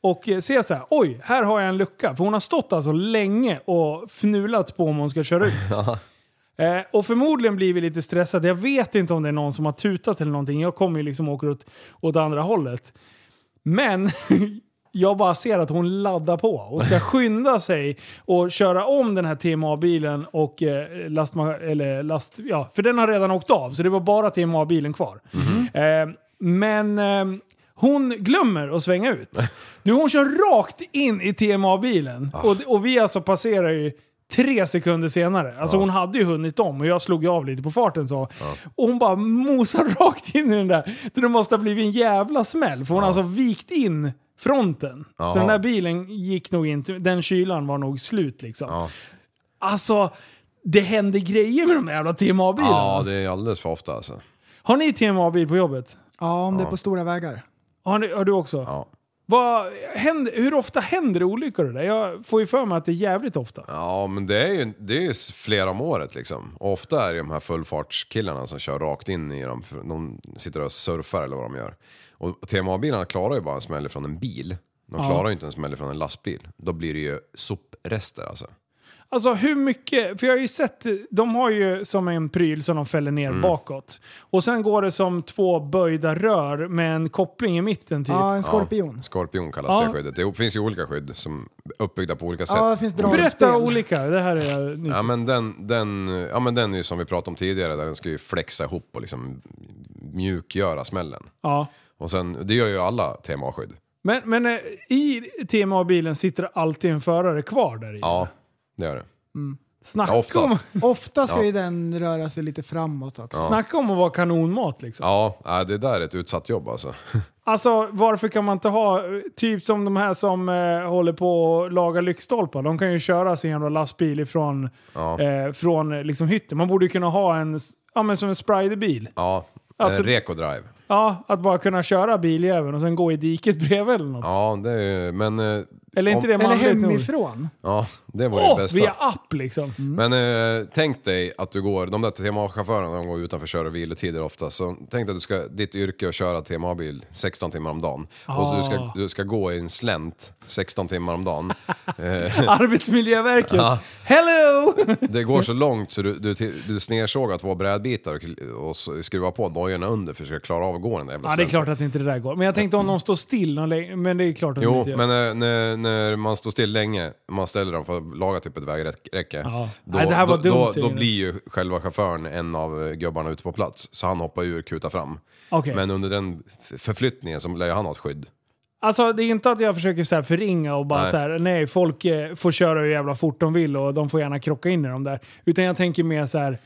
B: och eh, ser så här, oj, här har jag en lucka. För hon har stått alltså länge och fnulat på om hon ska köra ut. Eh, och förmodligen blir vi lite stressade. Jag vet inte om det är någon som har tutat eller någonting. Jag kommer ju liksom åka åt, åt andra hållet. Men jag bara ser att hon laddar på och ska skynda sig och köra om den här TMA-bilen och eh, lastma, eller last, ja, för den har redan åkt av så det var bara TMA-bilen kvar. Eh, men eh, hon glömmer att svänga ut. Du, hon kör rakt in i TMA-bilen och, och vi alltså passerar ju tre sekunder senare. Alltså hon hade ju hunnit om och jag slog ju av lite på farten så. Och hon bara mosar rakt in i den där. Så det måste ha blivit en jävla smäll för hon har alltså vikt in fronten.
D: Ja.
B: Så den där bilen gick nog inte, den kylan var nog slut liksom.
D: Ja.
B: Alltså, det händer grejer med de där jävla TMA-bilarna.
D: Ja,
B: alltså.
D: det är alldeles för ofta alltså.
B: Har ni TMA-bil på jobbet?
C: ja, om det är på stora vägar.
B: Har, ni, har du också?
D: Ja.
B: Vad händer, hur ofta händer det olyckor och det där? Jag får ju för mig att det är jävligt ofta.
D: Ja, men det är ju, det är ju flera om året liksom. Och ofta är det de här fullfartskillarna som kör rakt in i dem. för De sitter och surfar eller vad de gör. Och TMA-bilarna klarar ju bara en smäll från en bil. De
B: Ja.
D: klarar ju inte en smäll från en lastbil. Då blir det ju soprester alltså.
B: Alltså hur mycket, för jag har ju sett, de har ju som en pryl som de fäller ner
D: Mm.
B: bakåt. Och sen går det som två böjda rör med en koppling i mitten typ.
D: Ja, skorpion kallas
B: Ja.
D: det skyddet. Det finns ju olika skydd som är uppbyggda på olika sätt.
B: Berätta olika, det här är jag nyfiken
D: Ja men den, den, ja men den är ju som vi pratade om tidigare där den ska ju flexa ihop och liksom mjukgöra smällen.
B: Ja.
D: Och sen, det gör ju alla TMA-skydd.
B: Men, men eh, i TMA-bilen sitter alltid en förare kvar där i.
D: Ja, det gör det.
B: Snacka,
D: Ja, oftast.
B: om,
C: Ofta ska
D: Ja.
C: ju den röra sig lite framåt också.
D: Ja.
B: snacka om att vara kanonmat liksom.
D: Ja, nej, det där är ett utsatt jobb alltså.
B: Alltså varför kan man inte ha, eh, typ som de här som eh, håller på och lagar lyktstolpar. De kan ju köra sin jävla lastbil ifrån
D: Ja,
B: eh, från, eh, liksom, hytten. Man borde ju kunna ha en, s- ja men som en Sprider-bil.
D: ja.
B: Alltså-
D: en Eh, Reko Drive.
B: Ja, att bara kunna köra biljäveln och sen gå i diket bredvid eller något.
D: Ja, det är ju, men... eh,
B: Eller inte det manligt nog.
D: Ja, det var ju
B: Åh,
D: det bästa.
B: via app liksom.
D: Men eh, tänk dig att du går, de där TMA-chaufförerna de går utanför kör och vilotider ofta, så tänk dig att du ska, ditt yrke är att köra TMA-bil 16 timmar om dagen.
B: Ah.
D: Och du ska, du ska gå i en slänt 16 timmar om dagen. Eh,
B: Arbetsmiljöverket.
D: Ja.
B: Hello!
D: det går så långt så du, du, till- du snersågar två brädbitar och, kl- och s- skruvar på dojorna under för att försöka klara av att gå den där jävla
B: Ja, det är
D: slänten.
B: klart att inte det där går. Men jag tänkte om någon står still någon länge, men det är klart att de
D: Jo,
B: inte gör.
D: men eh, när, när man står still länge, man ställer dem för att laga typ ett vägräcke.
B: Ja.
D: Då,
B: Nej, det här var
D: då,
B: dumt,
D: då, då
B: Jörgen.
D: blir ju själva chauffören en av eh, gubbarna ute på plats. Så han hoppar ur kutar fram.
B: Okej.
D: Men under den f- förflyttningen så lär ju han ha ett skydd.
B: Alltså det är inte att jag försöker så här förringa och bara
D: Nej.
B: så här, nej folk eh, får köra hur jävla fort de vill och de får gärna krocka in i dem där. Utan jag tänker mer så här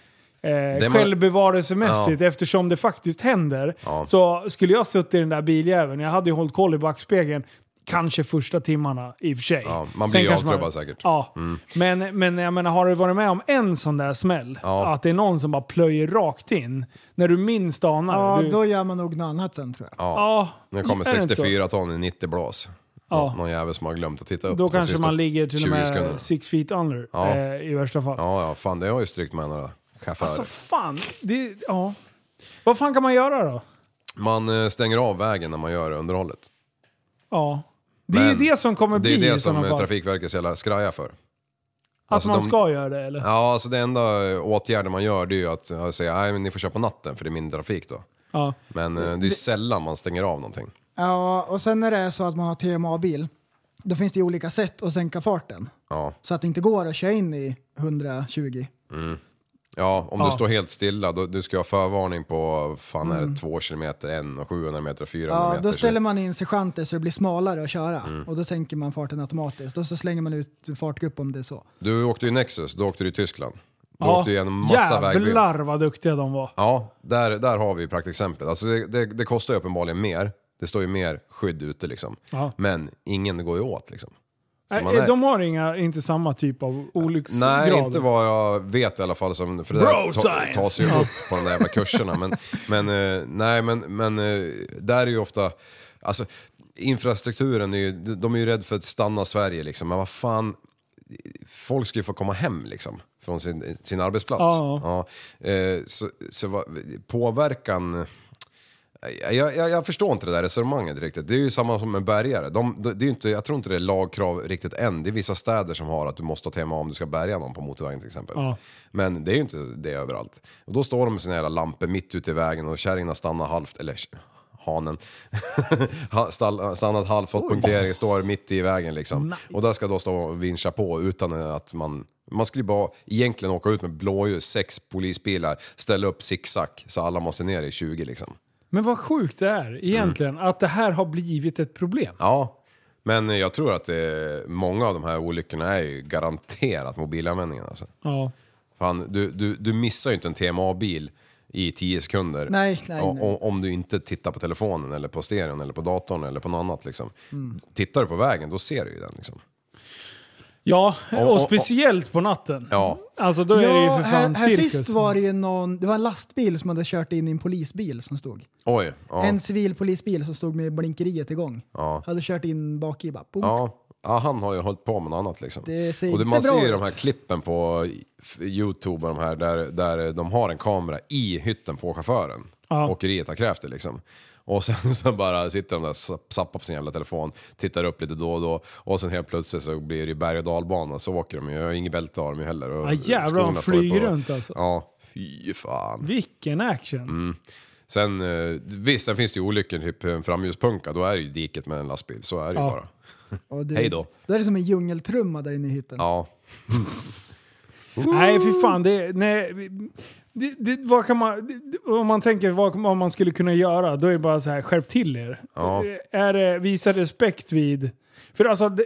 B: eh,
D: man-
B: självbevarelsemässigt eftersom det faktiskt händer. Så skulle jag suttit i den där biljäveln, jag hade ju hållit koll i backspegeln, kanske första timmarna i och för sig.
D: Ja, man
B: Sen
D: blir ju
B: kanske
D: avtrubbad säkert.
B: Ja,
D: Mm.
B: men, men jag menar har du varit med om en sån där smäll?
D: Ja.
B: Att det är någon som bara plöjer rakt in när du minst anar.
C: Ja,
B: du,
C: då gör man nog något annat sen tror jag.
D: Ja.
B: Ja,
D: nu kommer
B: är det inte så?
D: 64 ton i 90 blås.
B: Ja.
D: Nå- Någon jävel som har glömt att titta upp
B: Då
D: de
B: kanske
D: sista
B: man ligger till och
D: 20
B: med
D: sekunderna.
B: six feet under
D: Ja.
B: eh, i värsta fall.
D: Ja, ja, fan det har ju strykt med några chaufförer.
B: Alltså fan, det, ja. Vad fan kan man göra då?
D: man eh, stänger av vägen när man gör underhållet.
B: Ja. Det är ju
D: Men
B: det som kommer
D: Det
B: bli
D: är
B: i
D: det som
B: sådana
D: eh,
B: fall.
D: Trafikverket jävla skraja för.
B: Att
D: Alltså,
B: man
D: de-
B: ska göra det eller?
D: Ja, alltså det enda eh, åtgärden man gör det är ju att eh, säga nej men ni får köra på natten för det är mindre trafik då.
B: Ja.
D: Men eh, det är ju sällan man stänger av någonting.
C: Ja, och sen när det är så att man har TMA-bil, då finns det ju olika sätt att sänka farten.
D: Ja.
C: Så att det inte går att köra in i 120.
D: Mm. Ja, om
C: Ja.
D: du står helt stilla, då, du ska ha förvarning på fan är
B: Mm.
D: det 2 km, 1 och 700 meter, 400
C: Ja,
D: meter. typ.
C: då
D: så-
C: ställer man in sergeanter så det blir smalare att köra
D: Mm.
C: och då sänker man farten automatiskt och så slänger man ut fartgupp om det är så.
D: Du åkte ju Nexus, då åkte du i Tyskland. Då
B: Ja.
D: åkte du igenom massa vägben.
B: Jävlar vad duktiga de var.
D: Ja, där, där har vi praktexemplet. Alltså det, det, det kostar ju uppenbarligen mer. Det står ju mer skydd ute liksom.
B: Ja.
D: Men ingen går ju åt liksom. Så man
B: Nej,
D: är-
B: De har inga, inte samma typ av olycksgrad.
D: Nej, inte vad jag vet i alla fall. Som, för det
B: Bro
D: där ta,
B: science!
D: tas ju
B: Ja.
D: upp på de där jävla kurserna. Men, men, eh, nej, men, men eh, där är ju ofta... Alltså, infrastrukturen, är ju, de är ju rädda för att stanna Sverige liksom. Men vad fan, folk ska ju få komma hem liksom. Från sin, sin arbetsplats.
B: Ja.
D: Ja, eh, så, så vad, påverkan... Jag, jag, jag förstår inte det där resonemanget riktigt. Det är ju samma som med bärgare. De, det det är ju inte, jag tror inte det är lagkrav riktigt än. Det är vissa städer som har att du måste ha TMA om du ska bärga någon på motorvägen till exempel.
B: Ja.
D: Men det är ju inte det överallt. Och då står de med sina jävla lampor mitt ute i vägen och kärringarna stannar halvt, eller hanen, Ha- stall- stannat halvt, fått punktering, står mitt i vägen liksom. Och där ska då stå och vincha på utan att man... Man skulle ju bara egentligen åka ut med blåljus, sex polisbilar, ställa upp zigzag så alla måste ner i 20 liksom.
B: Men vad sjukt det är egentligen
D: Mm.
B: att det här har blivit ett problem.
D: Ja, men jag tror att det, många av de här olyckorna är ju garanterat mobilanvändningen. Alltså.
B: Ja.
D: Fan, du, du, du missar ju inte en TMA-bil i 10 sekunder
C: Nej, nej,
D: O-
C: nej.
D: o- om du inte tittar på telefonen eller på stereon eller på datorn eller på något annat. Liksom.
B: Mm.
D: Tittar du på vägen, då ser du ju den. Liksom.
B: Ja,
D: Och- och-
B: och
D: och-
B: speciellt på natten.
D: Ja.
B: Alltså då är det ju för fan
C: här, här
B: cirkus.
C: sist var det ju någon, det var en lastbil som hade kört in i en polisbil som stod.
D: Oj. Ja.
C: En civil polisbil som stod med blinkeriet igång.
D: Ja.
C: Hade kört in bak i bara, boom.
D: Ja. ja, han har ju hållit på med något annat liksom.
C: Det ser
D: Och det,
C: inte
D: man
C: bra
D: ser ju
C: ut.
D: de här klippen på Youtube och de här där, där de har en kamera i hytten på chauffören.
B: Ja.
D: Åkeriet har krävt det liksom. Och sen så bara sitter de där och zappar på sin jävla telefon, tittar upp lite då och då. Och sen helt plötsligt så blir det ju berg och dalbana, så åker de ju. Jag har inget bälte av dem ju heller.
B: Ja,
D: Och
B: jävlar,
D: skorna
B: de
D: får ju
B: flyger
D: på-
B: runt alltså.
D: Ja, fy fan.
B: Vilken action.
D: Mm. Sen, eh, visst, sen finns det ju olyckor, typ en framljuspunka, då är det ju diket med en lastbil. Så är det ju
C: Ja.
D: bara.
C: Och du-
D: Hej då.
C: Då är det som en djungeltrumma där inne i hytten.
D: Ja.
B: Nej,
C: Mm.
B: fy fan. Det, nej, det, det, vad kan man, det- om man tänker vad, vad man skulle kunna göra, då är det bara så här, skärp till er. Eh,
D: Ja.
B: Är, det- visa respekt vid... För alltså, de,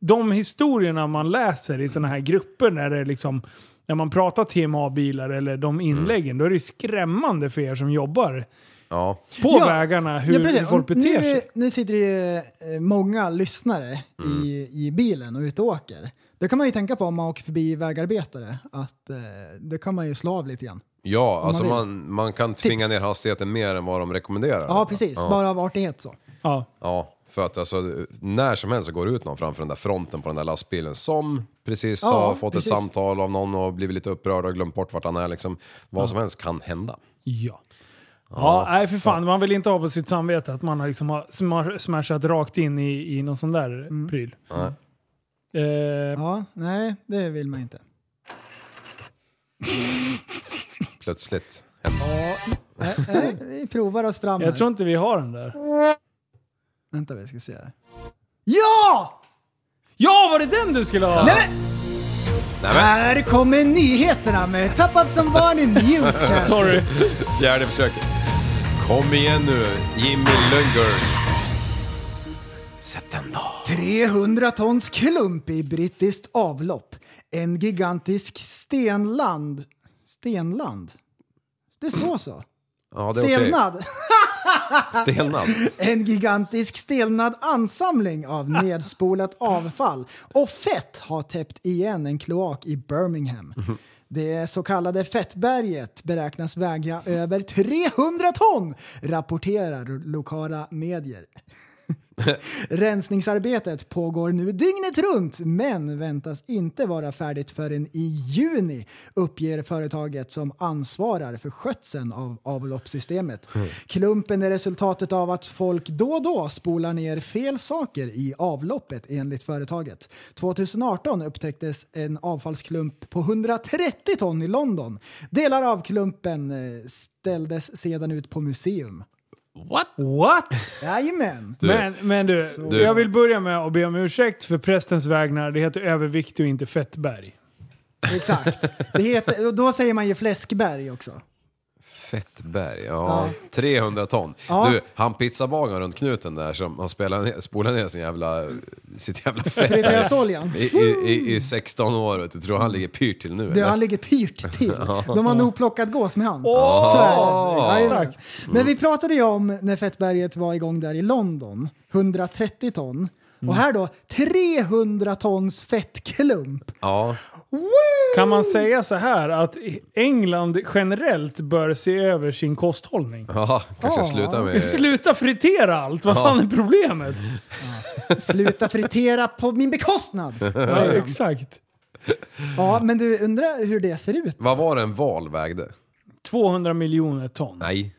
B: de historierna man läser i sådana här grupper när det liksom... När man pratar TMA-bilar eller de inläggen, då är det skrämmande för er som jobbar på
C: Ja,
B: vägarna hur,
C: ja, precis.
B: hur folk
C: Och
B: beter
C: nu,
B: sig.
C: Nu sitter det ju eh, många lyssnare i, i bilen och ute och åker. Det kan man ju tänka på om man åker förbi vägarbetare. Att eh, det kan man ju slå av lite grann.
D: Ja,
C: man
D: alltså
C: vill.
D: man, man kan tvinga
C: Tips.
D: ner hastigheten mer än vad de rekommenderar.
C: Ja, precis.
D: Ja.
C: Bara av artighet så.
B: Ja.
D: Ja, för att alltså, när som helst så går det ut någon framför den där fronten på den där lastbilen som precis
C: Ja,
D: har fått
C: precis.
D: ett samtal av någon och blivit lite upprörd och glömt bort vart han är liksom. Vad
B: Ja.
D: som helst kan hända.
B: Ja. Ja, nej för fan. Man vill inte ha på sitt samvete att man har liksom har smar- smashat rakt in i, i någon sån där pryl. Eh,
D: Nej.
C: Ja, nej, det vill man inte.
D: Plötsligt händer
C: Ja, nej, nej, Eh, vi provar oss fram
B: Jag
C: här.
B: tror inte vi har den där.
C: Vänta, vi ska se här. Ja!
B: Ja, var det den du skulle ha?
C: Nej, men, Här kommer nyheterna med Tappad som barn i Newscast.
D: Fjärde försöket. Kom igen nu, Jimmy Lundgren.
C: 300 tons klump i brittiskt avlopp. En gigantisk stenland. Stenland? Det står så.
D: Ja, det är okej.
C: Stelnad.
D: Stelnad.
C: En gigantisk stelnad ansamling av nedspolat avfall och fett har täppt igen en kloak i Birmingham. Det så kallade fettberget beräknas väga över 300 ton, rapporterar lokala medier. Rensningsarbetet pågår nu dygnet runt men väntas inte vara färdigt förrän i juni uppger företaget som ansvarar för skötseln av avloppssystemet. Klumpen är resultatet av att folk då och då spolar ner fel saker i avloppet enligt företaget. 2018 upptäcktes en avfallsklump på 130 ton i London. Delar av klumpen eh, ställdes sedan ut på museum.
D: What?
B: What?
C: Jajamän!
B: Du. Men, men du,
C: Du.
B: jag vill börja med att be om ursäkt för prästens vägnar. Det heter överviktig och inte fettberg.
C: Exakt. Det heter, och då säger man ju fläskberg också.
D: Fettberg, ja.
C: Ja.
D: 300 ton.
C: Ja.
D: Du, han pizzabagaren runt knuten där som har spelat ner, spolat ner sin jävla, sitt jävla
C: Friteasoljan.
D: fett i, i, i, i 16 år. vet Du tror han ligger pyrt till nu
C: Det,
D: eller?
C: han ligger pyrt till.
D: Ja.
C: De har nog plockat gås med han.
D: Åh!
C: Så är det. Jajamän.
D: Exakt.
C: Men vi pratade ju om när Fettberget var igång där i London. 130 ton. Och här då 300 tons fettklump.
D: Ja.
B: Kan man säga så här att England generellt bör se över sin kosthållning?
D: Ja, kanske sluta med...
B: Sluta fritera allt! Vad
D: Ja.
B: fan är problemet?
C: Sluta fritera på min bekostnad!
D: Ja,
B: exakt.
C: Ja, men du undrar hur det ser ut?
D: Vad var det en val vägde?
B: 200 miljoner ton.
D: Nej.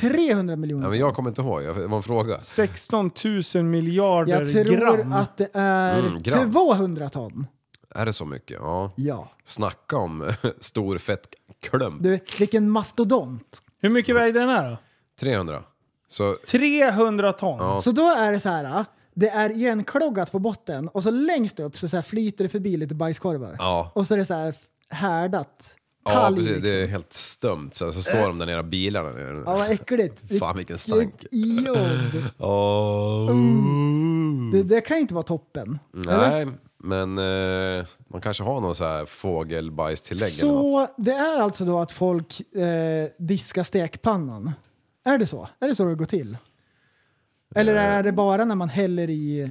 C: 300 miljoner.
D: Ja, men jag kommer inte ihåg, Jag- det var en fråga.
B: 16 000 miljarder
C: Jag tror
B: gram.
C: att det är
D: Mm, gram.
C: 200 ton.
D: Är det så mycket? Ja.
C: ja.
D: Snacka om stor fett klump.
C: Du, vilken mastodont.
B: Hur mycket vägde den här då?
D: 300. Så,
B: 300 ton.
D: Ja.
C: Så då är det så här. ah, Det är igenkloggat på botten och så längst upp så, så här flyter det förbi lite bajskorvar.
D: Ja.
C: Och så är det så här härdat.
D: ja,
C: Talg,
D: precis.
C: liksom.
D: Det är helt stömt. Sen så står de där nere i bilarna. nere.
C: Ja, vad äckligt.
D: Fan vilken stank.
C: jobb.
D: Åh.
C: Det, det kan inte vara toppen.
D: Nej, men eh, man kanske har någon så här fågelbajstillägg eller något.
C: Så det är alltså då att folk eh, diskar stekpannan? Är det så? Är det så det går till? Eller
D: Eh.
C: är det bara när man häller i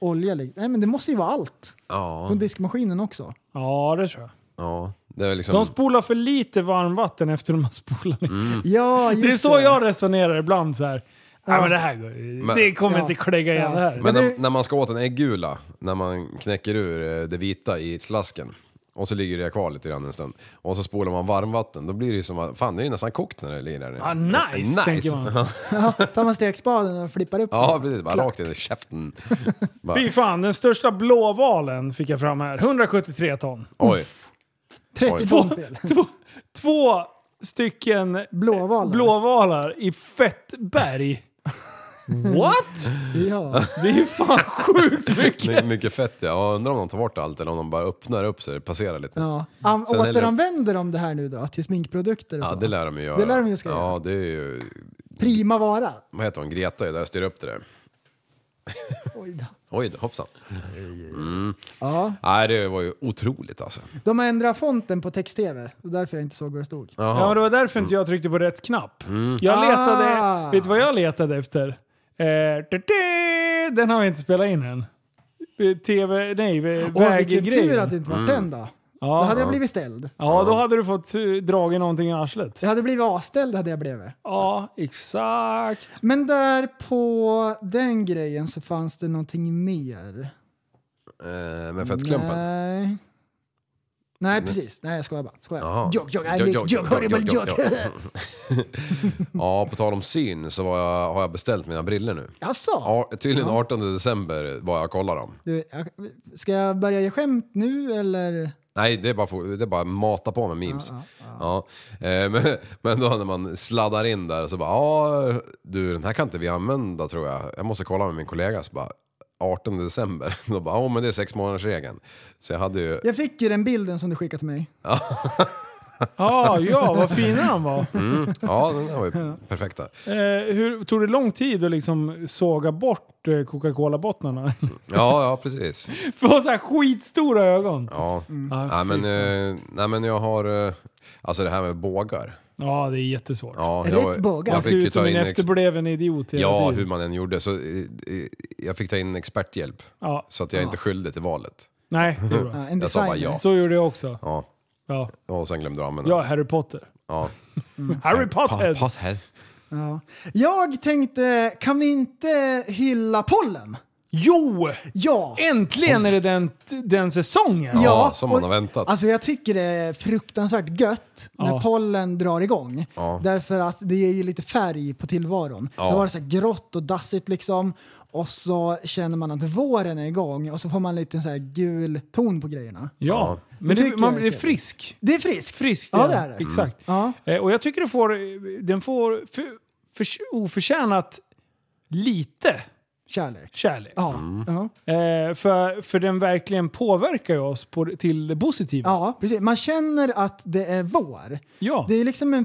C: olja? li- Nej, men det måste ju vara allt.
D: Ja. Mm.
C: Från diskmaskinen också.
B: Ja, det tror jag.
D: Ja, det är liksom...
B: De spolar för lite varmvatten efter de har spolat.
D: Mm.
C: Ja,
B: det är så jag resonerar ibland så här. Nej, men det här går ju-
D: Men-
B: Det kommer
D: Ja.
B: inte klägga igen det här.
D: Men när, när man ska åt en äggula, när man knäcker ur eh, det vita i slasken, Och så ligger det kvar lite grann en stund. Och så spolar man varmvatten, då blir det ju som att, fan det är ju nästan kokt när det ligger där nere.
B: Ah, nice, tänker man.
C: Ja, tar man stekspaden och flippar upp
D: ja,
C: den.
D: precis. Bara rakt in i käften. Bara,
B: Fy fan, den största blåvalen fick jag fram här. 173 ton.
D: oj.
C: 30
B: Två,
C: ton fel.
B: två, två stycken blåvalar. blåvalar i fettberg. What?
C: Ja.
B: Det är ju fan sjukt mycket.
D: My, mycket fett ja. Jag undrar om de tar bort allt eller om de bara öppnar upp så det passerar lite.
C: Ja. Am-
D: Sen häller de-
C: återanvänder de det här nu då till sminkprodukter och
D: Ja,
C: så?
D: det lär de ju göra.
C: Det lär de ju ska
D: Ja,
C: göra.
D: det är ju...
C: Prima vara.
D: Vad heter hon? Greta är där och styr upp det där.
C: Oj då.
D: Oj då, hoppsan. Mm.
C: Ja.
D: Nej, det var ju otroligt alltså.
C: De har ändrat fonten på text-tv. Det var därför jag inte såg vad det stod.
D: Jaha.
B: Ja, men det var därför inte jag tryckte på rätt knapp.
D: Mm.
B: Jag letade,
C: Ah.
B: vet du vad jag letade efter? Eh, du- du- den har vi inte spelat in än. Eh, TV, nej, eh,
C: Åh, vilken
B: väggrejen.
C: tur att det inte var den då.
B: Ja.
C: Då hade jag blivit ställd.
B: Ja, då hade du fått eh, dragit någonting i arslet.
C: Jag hade blivit avställd hade jag blivit.
B: Ja, exakt.
C: Men där på den grejen så fanns det någonting mer.
D: Eh, med fettklumpen.
C: Nej. Nej,
D: Mm.
C: precis. Nej, jag skojar bara. Skojar.
D: Jaha.
C: Jog, jog, I
D: Jog,
C: make
D: jog,
C: jog, horrible
D: jog,
C: jog.
D: jog, Ja, på tal om syn så var jag, har jag beställt mina briller nu.
C: Jaså?
D: Ja, tydligen 18 december var jag och kollade dem.
C: Du, jag- ska jag börja ge skämt nu eller?
D: Nej, det är bara, for- det är bara mata på med memes. Ja, Eh, men, men då när man sladdar in där så bara, ja du den här kan inte vi använda tror jag. Jag måste kolla med min kollega. Så bara, 18 december. Då bara, ja men det är sex månaders regeln. Så jag hade ju...
C: Jag fick ju den bilden som du skickade till mig.
B: Ah, ja, vad fina de var.
D: Mm, ja, den där var ju perfekta.
B: Eh, hur, tog det lång tid att liksom såga bort eh, Coca-Cola-bottnarna?
D: Ja, ja precis.
B: För att ha så här skitstora ögon.
D: Ja.
B: Ah,
D: Nej, men,
B: fy.
D: eh, nej men jag har... eh, Alltså det här med bågar.
B: ja, det är jättesvårt.
D: Ja, jag,
B: Han
D: Jag
B: ser
D: fick ju
B: ut som
D: ta
B: en
D: in ex-
B: efterbliven idiot hela
D: Ja,
B: tiden.
D: hur man än gjorde. Så, eh, eh, jag fick ta in experthjälp.
B: Ja.
D: Så att jag
B: Ja.
D: inte skyllde till valet.
B: Nej, det är bra.
C: Ja, en
D: Jag sa bara ja.
B: Så gjorde jag också.
D: Ja.
B: Ja,
D: Och sen glömde jag använda
B: ja
D: den.
B: Harry Potter.
D: ja.
B: Harry Potter!
D: Mm. Pa- Pothead.
C: Ja. Jag tänkte, kan vi inte hylla pollen?
B: Jo!
C: Ja!
B: Äntligen är det den, den säsongen!
C: Ja,
D: Ja, som man
C: och-
D: har väntat.
C: Alltså jag tycker det är fruktansvärt gött när
B: Ja.
C: pollen drar igång.
D: Ja.
C: Därför att det ger ju lite färg på tillvaron.
D: Ja.
C: Det var så här grått och dassigt liksom. Och så känner man att våren är igång och så får man lite så här gul ton på grejerna.
B: Ja, men
C: Det
B: det,
C: tycker
B: man
C: jag är
B: blir
C: kul.
B: frisk.
C: Det är friskt.
B: Friskt,
C: Ja, det är det. Mm.
B: Exakt.
C: Ja.
B: Eh, Och jag tycker det får, den får för, för, oförtjänat lite
C: Kärlek.
B: kärlek.
C: Ja.
D: Mm.
C: Ja.
B: Eh, för, för den verkligen påverkar ju oss på, till det positiva.
C: ja, precis. Man känner att det är vår.
B: Ja.
C: Det är liksom en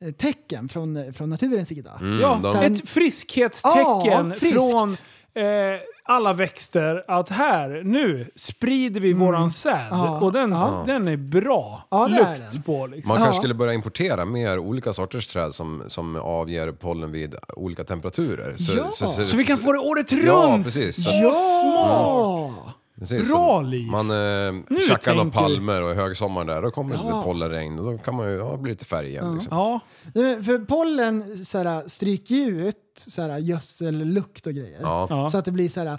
C: fruktbarhetstecken från, från naturens sida.
D: Mm.
B: ja,
C: Så här-
B: ett friskhetstecken
C: Ja, friskt.
B: från eh, alla växter att här, nu sprider vi våran säd.
C: Mm. Ja.
B: Och den,
C: Ja.
B: den är bra
C: Ja, det är
B: lukt
C: den.
B: på. Liksom.
D: Man kanske
C: Ja.
D: skulle börja importera mer olika sorters träd som, som avger pollen vid olika temperaturer. Så,
C: Ja.
B: Så vi kan få det året runt!
D: Ja, precis. Så-
B: Ja! Smart!
D: Precis,
B: Bra
D: så
B: liv!
D: Man eh, tjackar några
B: tänker du.
D: palmer och i högsommar där, då kommer det lite pollenregn och då kan man ju ja, bli lite färg igen. Liksom.
B: Ja,
C: Nej, men Eh, För pollen så här, stryker ju ut så här, gödsellukt och grejer.
D: Ja.
B: Ja. Mm.
C: Så att det blir så här...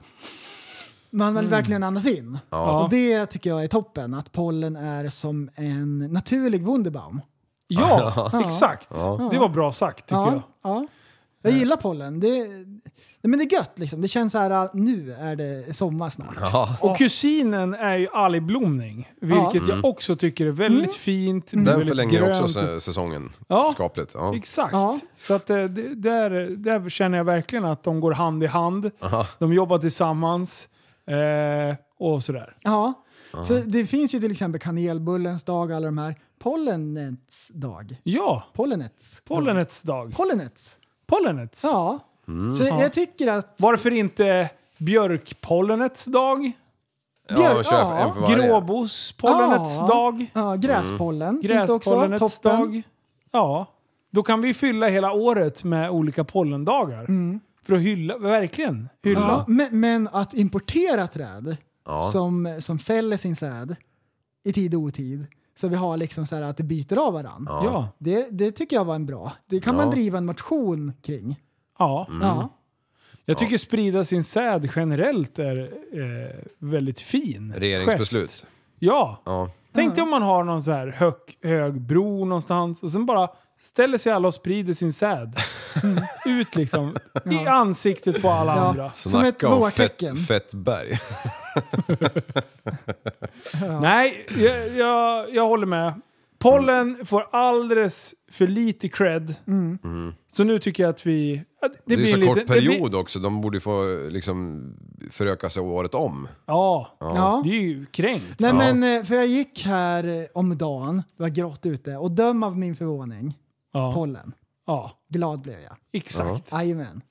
C: Man vill verkligen andas in.
D: Ja.
C: Och det tycker jag är toppen. Att pollen är som en naturlig Wunderbaum.
B: ja exakt.
D: Ja.
B: Det var bra sagt tycker
C: Ja,
B: jag. Eh.
C: ja. Jag gillar pollen. Det, nej, men det är gött liksom. Det känns så här, nu är det sommar snart.
D: Ja.
B: Och kusinen är ju algblomning, vilket jag också tycker är väldigt
C: Mm.
B: fint.
D: Mm. Den
B: väldigt
D: förlänger också
B: grönt. typ.
D: sä- säsongen
B: Ja.
D: skapligt. Ja.
B: Exakt.
C: Ja.
B: Så att eh, det, där, där känner jag verkligen att de går hand i hand. De jobbar tillsammans. Eh, och sådär.
C: Ja. Så det finns ju till exempel kanelbullens dag, alla de här. Pollenets dag.
B: Ja,
C: Pollenets.
B: pollenets dag.
C: Pollenets.
B: Pollenets.
C: Ja. Så jag tycker att...
B: Varför inte björkpollenets dag?
D: Ja, kör
C: Ja.
D: en för varje.
B: Gråbospollenets
C: Ja.
B: dag?
C: Ja, gräspollen finns det också.
B: Gräspollenets dag? Ja. Då kan vi fylla hela året med olika pollendagar. För att hylla, verkligen hylla.
C: Ja, men, men att importera träd
D: Ja.
C: som, som fäller sin säd i tid och otid, så vi har liksom så här att det byter av varandra.
B: Ja.
D: Mm.
C: Det, det tycker jag var en bra. Det kan man driva en motion kring.
B: Ja.
C: Ja.
B: Jag tycker sprida sin säd generellt är eh, väldigt fin
D: Regeringsbeslut.
B: gest. Ja.
D: Ja.
B: Tänk dig om man har någon så här hög, hög bro någonstans och sen bara ställer sig alla och sprider sin säd. Ut liksom. I ansiktet på alla
C: Ja.
B: andra.
D: Snacka om fett, fettberg.
B: Nej, jag, jag, jag håller med. Pollen får alldeles för lite cred.
D: Mm.
B: Så nu tycker jag att vi... Att det,
D: Det,
B: blir
D: är ju
B: en
D: så
B: liten,
D: kort
B: det blir-
D: period också, de borde ju få liksom, föröka sig året om.
B: Ja.
D: Ja.
C: Ja.
B: det är ju kränkt.
C: Nej
D: Ja.
C: men, eh, för jag gick här eh, om dagen, det var grått ute, och döm av min förvåning.
B: Ja.
C: Pollen.
B: Ja.
C: Glad blev jag.
B: Exakt.
C: Jajamän.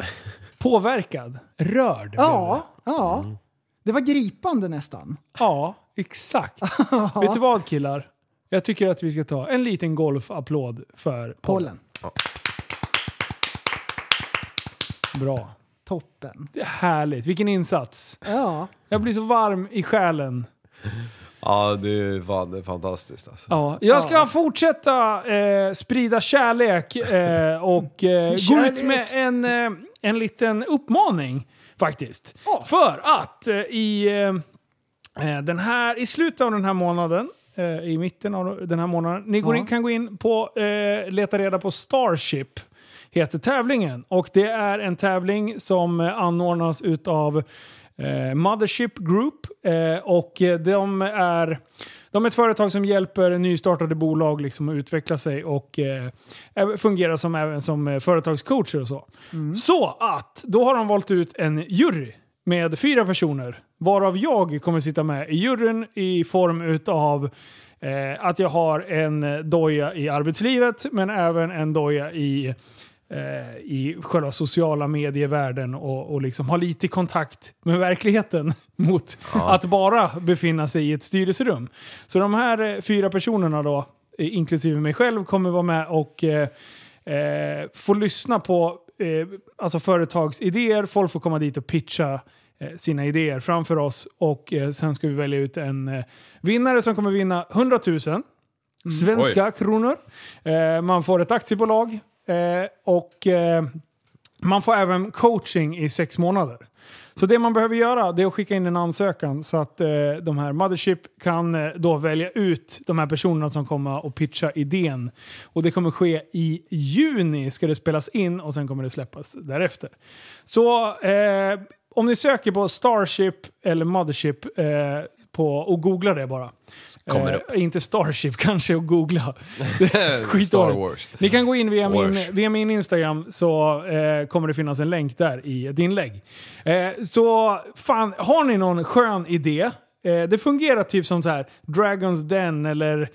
B: Påverkad. Rörd. blev
C: Ja, ja. Mm. Det var gripande nästan.
B: Ja, exakt. Vet du vad killar? Jag tycker att vi ska ta en liten golfapplåd för pollen.
C: Pollen.
B: Bra.
C: Toppen.
B: Det är härligt. Vilken insats.
C: Ja.
B: Jag blir så varm i själen.
D: Ja, det är, fan, det är fantastiskt alltså.
B: Ja, jag ska fortsätta eh, sprida kärlek eh, och eh, gå
C: Kärlek.
B: ut med en, eh, en liten uppmaning faktiskt. För att eh, i, eh, den här, i slutet av den här månaden eh, i mitten av den här månaden. Ni går in, kan gå in på eh, leta reda på Starship heter tävlingen och det är en tävling som eh, anordnas utav eh, Mothership Group eh, och eh, de är de är ett företag som hjälper nystartade bolag liksom att utveckla sig och eh, även- fungerar som, även som eh, företagscoacher och så. Så att, då har de valt ut en jury med fyra personer. Varav jag kommer sitta med i juryn i form utav eh, att jag har en doja i arbetslivet men även en doja i, eh, i själva sociala medievärlden och, och liksom ha lite kontakt med verkligheten mot att bara befinna sig i ett styrelserum. Så de här eh, fyra personerna då, eh, inklusive mig själv, kommer vara med och eh, eh, få lyssna på eh, alltså företagsidéer. Folk får komma dit och pitcha eh, sina idéer framför oss. Och eh, sen ska vi välja ut en eh, vinnare som kommer vinna 100 000 svenska kronor. Eh, man får ett aktiebolag eh, och eh, man får även coaching i sex månader. Så det man behöver göra det är att skicka in en ansökan så att eh, de här Mothership kan eh, då välja ut de här personerna som kommer och pitcha idén. Och det kommer ske i juni ska det spelas in och sen kommer det släppas därefter. Så eh, om ni söker på Starship eller Mothership eh, på, och googlar det bara.
D: kommer det
B: eh, inte Starship kanske och googla. Skitdåligt.
D: Star Wars.
B: Ni kan gå in via min,
D: Wars.
B: via min Instagram så eh, kommer det finnas en länk där i ett inlägg. Eh, så fan, har ni någon skön idé? Eh, det fungerar typ som så här Dragons Den eller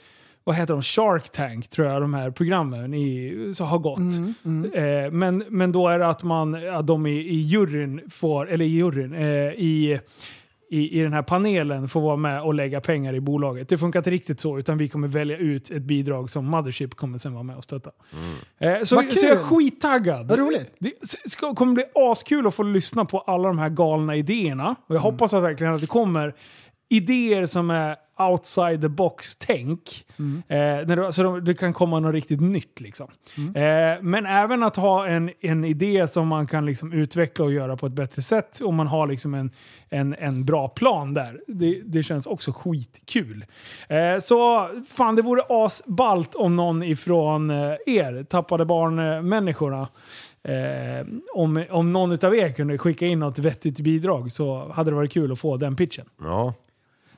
B: vad heter de? Shark Tank tror jag de här programmen i, så har gått. Eh, men, men då är det att, man, att de i, i juryn får, eller i juryn, eh, i i, i den här panelen får vara med och lägga pengar i bolaget. Det funkar inte riktigt så, utan vi kommer välja ut ett bidrag som Mothership kommer sen vara med och stötta. Eh, så,
C: Mm. Vad kul!
B: så jag är skittaggad.
C: Vad roligt.
B: Det s- ska, kommer bli askul att få lyssna på alla de här galna idéerna. Och jag hoppas att verkligen att det kommer idéer som är outside the box-tänk. Eh, när du, så de, det kan komma något riktigt nytt. Liksom. Eh, men även att ha en, en idé som man kan liksom utveckla och göra på ett bättre sätt. Och man har liksom en, en, en bra plan där. Det, det känns också skitkul. Eh, så fan, det vore asballt om någon ifrån eh, er, tappade barn-människorna, Eh, om, om någon utav er kunde skicka in något vettigt bidrag så hade det varit kul att få den pitchen.
D: Ja.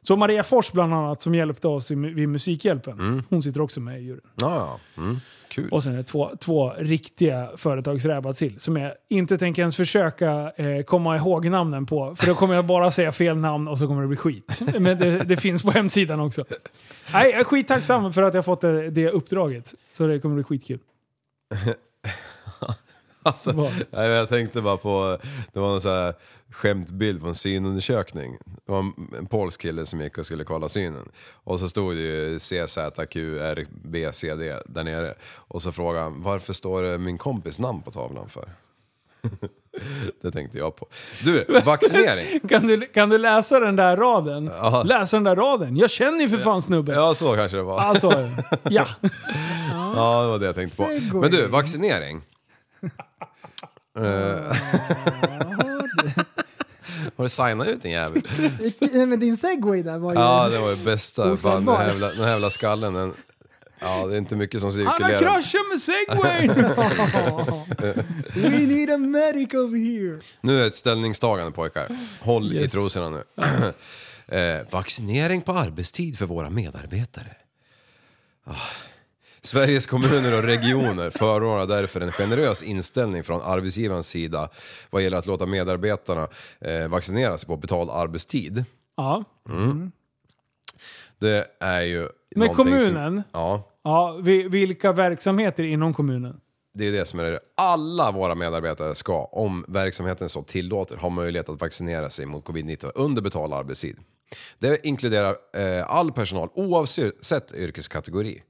B: Så Maria Fors bland annat som hjälpte oss i, vid Musikhjälpen, hon sitter också med i juryn.
D: Ja, ja. Mm. Kul.
B: Och sen är det två, två riktiga företagsrävar till som jag inte tänker ens försöka eh, komma ihåg namnen på. För då kommer jag bara säga fel namn och så kommer det bli skit. Men det, det finns på hemsidan också. Nej, jag är skittacksam för att jag fått det, det uppdraget. Så det kommer bli skitkul.
D: Alltså, nej, men jag tänkte bara på, det var en så här skämtbild på en synundersökning. Det var en, en polsk kille som gick och skulle kolla synen. Och så stod det ju CZQRBCD där nere. Och så frågade han, varför står det min kompis namn på tavlan för? det tänkte jag på. Du, vaccinering.
B: Kan du, kan du läsa den där raden?
D: Ja.
B: Läsa den där raden. Jag känner ju för fan snubben.
D: Ja, så kanske det var.
B: Alltså, ja.
D: Ja, det var det jag tänkte på. Men du, vaccinering. Eh, Har du signat ut din jävel?
C: Nej, eh, Men din segway där var ju...
D: Ja, det var ju bästa. Fan, den,
C: Oslagbar.
D: här jävla, den här jävla skallen. Den, ja, det är inte mycket som
B: Han har
D: cirkulerar.
B: kraschat med segwayn!
C: We need a medic over here.
D: nu är det ett ställningstagande pojkar. Håll i
C: Yes.
D: trosorna nu. eh, vaccinering på arbetstid för våra medarbetare. Ah. Sveriges kommuner och regioner förordar därför en generös inställning från arbetsgivarens sida vad gäller att låta medarbetarna eh, vaccineras på betald arbetstid.
B: ja.
D: Mm. Det är ju...
B: Men
D: någonting
B: kommunen?
D: Som, ja,
B: ja, vi- vilka verksamheter inom kommunen?
D: det är ju det som är det. Alla våra medarbetare ska, om verksamheten så tillåter, ha möjlighet att vaccinera sig mot covid-19 under betald arbetstid. Det inkluderar eh, all personal oavsett yrkeskategori.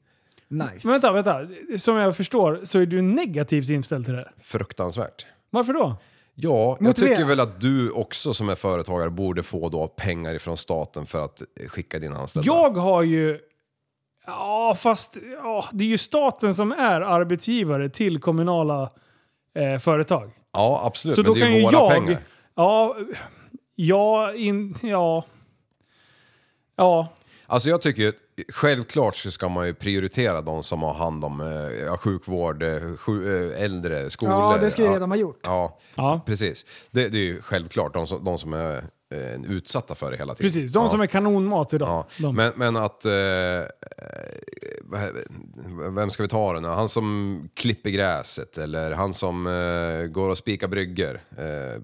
C: Nice.
B: Men vänta, vänta. Som jag förstår så är du negativt inställd till det här.
D: Fruktansvärt.
B: Varför då?
D: Ja, jag
B: Motivera.
D: tycker väl att du också som är företagare borde få då pengar ifrån staten för att eh, skicka dina anställda.
B: Jag har ju... Ja, fast ja, det är ju staten som är arbetsgivare till kommunala eh, företag.
D: Ja, absolut.
B: Så
D: Typ, men
B: då
D: det är
B: kan
D: ju
B: ju
D: våra
B: jag...
D: pengar.
B: Ja, ja, in, ja... Ja,
D: Alltså jag tycker ju, självklart så ska man ju prioritera de som har hand om eh, ja, sjukvård, eh, sju, eh, äldre, skolor.
C: Ja, det ska ju redan ha gjort.
D: Ja, precis. Det, det är ju självklart, de som, de som är eh, utsatta för det hela tiden.
B: precis. De
D: ja.
B: som är kanonmat idag. de.
D: Men, men att... Eh, eh, vad- vem ska vi ta den? Han som klipper gräset eller han som eh, går och spikar bryggor. Eh,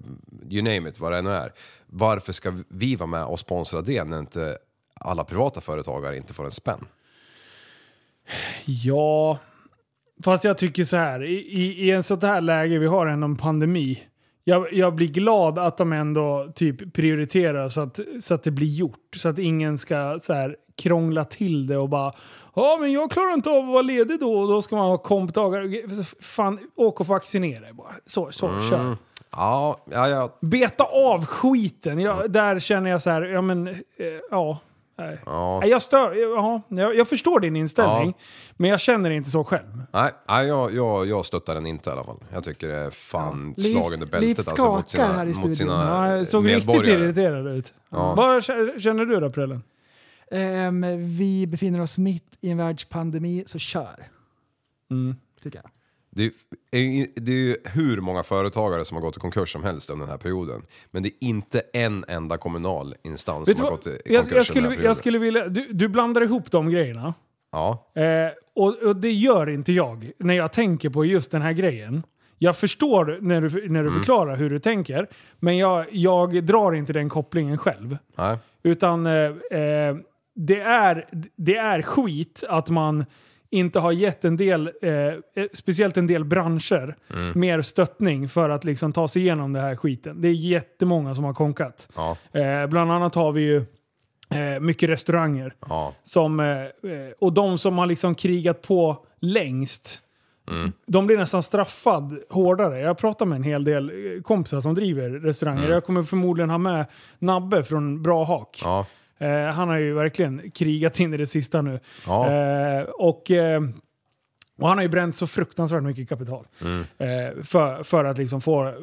D: you name it, vad det än är. Varför ska vi vara med och sponsra det när inte alla privata företagare inte får en spänn?
B: Ja, fast jag tycker så här. I, i, i en sånt här läge, vi har ändå en pandemi. Jag, jag blir glad att de ändå typ prioriterar så att, så att det blir gjort. Så att ingen ska så här krångla till det och bara Ja men jag klarar inte av att vara ledig då och då ska man ha kompdagar. Fan, åk och vaccinera dig bara. Så, så,
D: Mm.
B: kör.
D: Ja, ja, ja.
B: Beta av skiten. Jag, Där känner jag så här, ja men, eh, ja. Nej.
D: ja.
B: Nej, Jag, stör, ja, jag, jag förstår din inställning, men jag känner inte så själv.
D: Nej, nej jag, jag, jag stöttar den inte i alla fall. Jag tycker det är fan
B: Ja.
D: slag under
B: Liv- liv
D: bältet alltså, mot
B: skakar
D: sina,
B: här i
D: mot
B: studion.
D: sina
B: Ja, jag såg riktigt
D: medborgare.
B: irriterad ut.
D: Ja.
B: Vad k- känner du då Prellen?
C: Ehm, vi befinner oss mitt i en världspandemi, så kör. Tycker jag.
D: Det är, ju- det är ju hur många företagare som har gått i konkurs som helst under den här perioden. Men det är inte en enda kommunal instans
B: Vet du
D: som har
B: vad?
D: gått i konkurs
B: Jag, jag,
D: under den här
B: skulle,
D: perioden.
B: jag skulle vilja... Du, du blandar ihop de grejerna.
D: Ja,
B: Eh, och, och det gör inte jag när jag tänker på just den här grejen. Jag förstår när du, när du
D: Mm.
B: förklarar hur du tänker, men jag, jag drar inte den kopplingen själv.
D: nej.
B: Utan eh, eh, det, är, det är skit att man inte har gett en del, eh, eh, speciellt en del branscher,
K: Mm.
B: mer stöttning för att liksom ta sig igenom den här skiten. Det är jättemånga som har konkat.
D: Ja.
B: Eh, bland annat har vi ju eh, mycket restauranger. Som, eh, eh, och de som har liksom krigat på längst,
D: Mm.
B: de blir nästan straffad hårdare. Jag pratar med en hel del eh, kompisar som driver restauranger.
D: Mm.
B: Jag kommer förmodligen ha med Nabbe från Bra Hak.
D: Ja.
B: Eh, han har ju verkligen krigat in i det sista nu.
D: Ja.
B: Eh, och, eh, och han har ju bränt så fruktansvärt mycket kapital.
D: Mm.
B: Eh, för, för att liksom få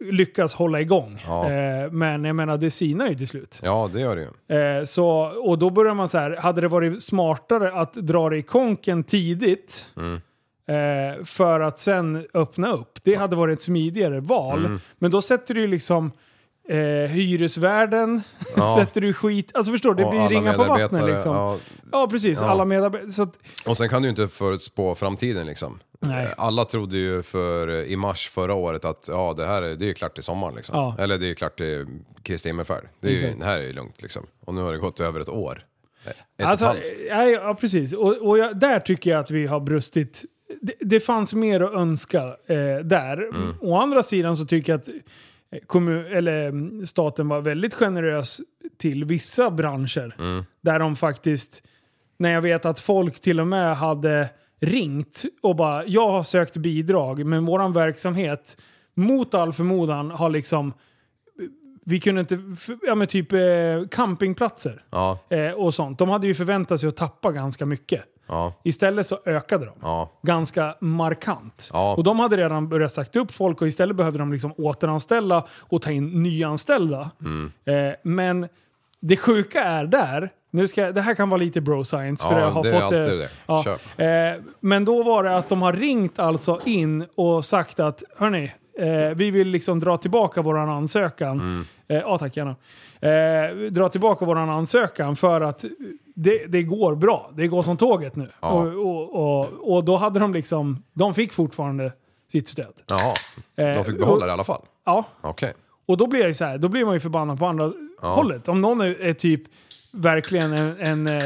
B: lyckas hålla igång.
D: Ja.
B: Eh, men jag menar, det sinar ju till slut.
D: ja, det gör det ju.
B: Eh, så, och då börjar man så här, hade det varit smartare att dra det i konken tidigt
D: Mm.
B: eh, för att sen öppna upp? Det hade varit ett smidigare val.
D: Mm.
B: Men då sätter du ju liksom eh, hyresvärden,
D: Ja.
B: sätter du skit, alltså förstår du, det
D: Och
B: blir
D: alla
B: ringar på vattnet
D: medarbetare,
B: liksom. Ja,
D: ja.
B: precis,
D: Ja.
B: alla medarbetare. Så att,
D: Och sen kan du ju inte förutspå framtiden liksom.
B: Nej.
D: Eh, Alla trodde ju för, eh, i mars förra året att ja, det här är, det är klart till sommaren. Liksom.
B: Ja.
D: Eller det är klart till Kristi himmelsfärd. Det, är ju-
B: Exakt.
D: det här är ju lugnt liksom. Och nu har det gått över ett år. Eh, Ett
B: Alltså,
D: och ett halvt.
B: nej, ja, precis. Och, och jag, där tycker jag att vi har brustit. Det, det fanns mer att önska eh, där.
D: Mm.
B: Å andra sidan så tycker jag att eh, kommun, eller, mm, staten var väldigt generös till vissa branscher.
K: Mm.
B: Där de faktiskt, när jag vet att folk till och med hade ringt och bara “jag har sökt bidrag, men våran verksamhet mot all förmodan har liksom, vi kunde inte, f- ja men typ eh, campingplatser
D: Ja.
B: eh, och sånt. De hade ju förväntat sig att tappa ganska mycket.
D: Ja.
B: Istället så ökade de.
D: Ja.
B: Ganska markant.
D: Ja.
B: Och de hade redan börjat sagt upp folk och istället behövde de liksom återanställa och ta in nyanställda.
D: Mm.
B: Eh, men det sjuka är där, nu ska, det här kan vara lite bro science för
D: Ja,
B: jag har
D: det är
B: fått...
D: alltid
B: eh,
D: det.
B: Ja,
D: Kör.
B: Eh, men då var det att de har ringt alltså in och sagt att hörni, eh, vi vill liksom dra tillbaka våran ansökan.
D: Mm.
B: Eh, ja tack, gärna. Eh, dra tillbaka våran ansökan för att det, det går bra. Det går som tåget nu.
D: Ja.
B: Och, och, och, och då hade de liksom, de fick fortfarande sitt stöd. Eh,
D: Jaha. De fick behålla det i alla fall?
B: Ja.
D: Okej.
B: Och då blir, jag ju så här, då blir man ju förbannad på andra
D: Ja.
B: hållet. Om någon är, är typ verkligen en, en eh,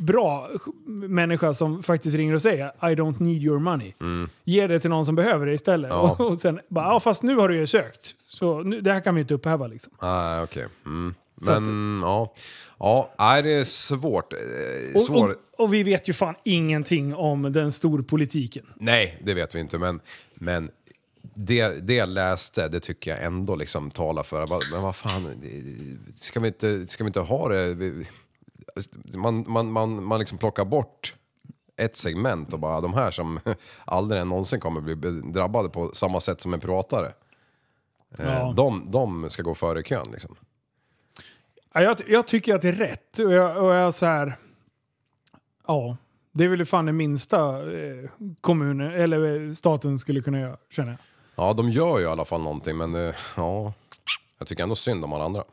B: bra människa som faktiskt ringer och säger I don't need your money.
D: Mm.
B: Ge det till någon som behöver det istället.
D: Ja.
B: Och, sen bara, ja fast nu har du ju sökt. Så nu, det här kan vi ju inte upphäva liksom.
D: Nej, okej. Mm.
B: Så att-
D: Men ja. Ja, nej, det är svårt. Eh,
B: Och,
D: svår.
B: och, och vi vet ju fan ingenting om den storpolitiken.
D: Nej, det vet vi inte. Men, men det, det jag läste, det tycker jag ändå liksom talar för. Jag bara, Men vad fan, det- ska vi inte, ska vi inte ha det? Vi- Man, man, man, man liksom plockar bort ett segment och bara de här som aldrig någonsin kommer bli drabbade på samma sätt som en pratare. Eh,
B: Ja.
D: De, de ska gå före kön liksom.
B: Ja, jag, jag tycker att det är rätt. Och jag, och jag så här, ja, det är väl fan den minsta eh, kommunen, eller eh, staten skulle kunna göra, känner jag.
D: Ja, de gör ju i alla fall någonting, men eh, ja, jag tycker ändå synd om alla andra.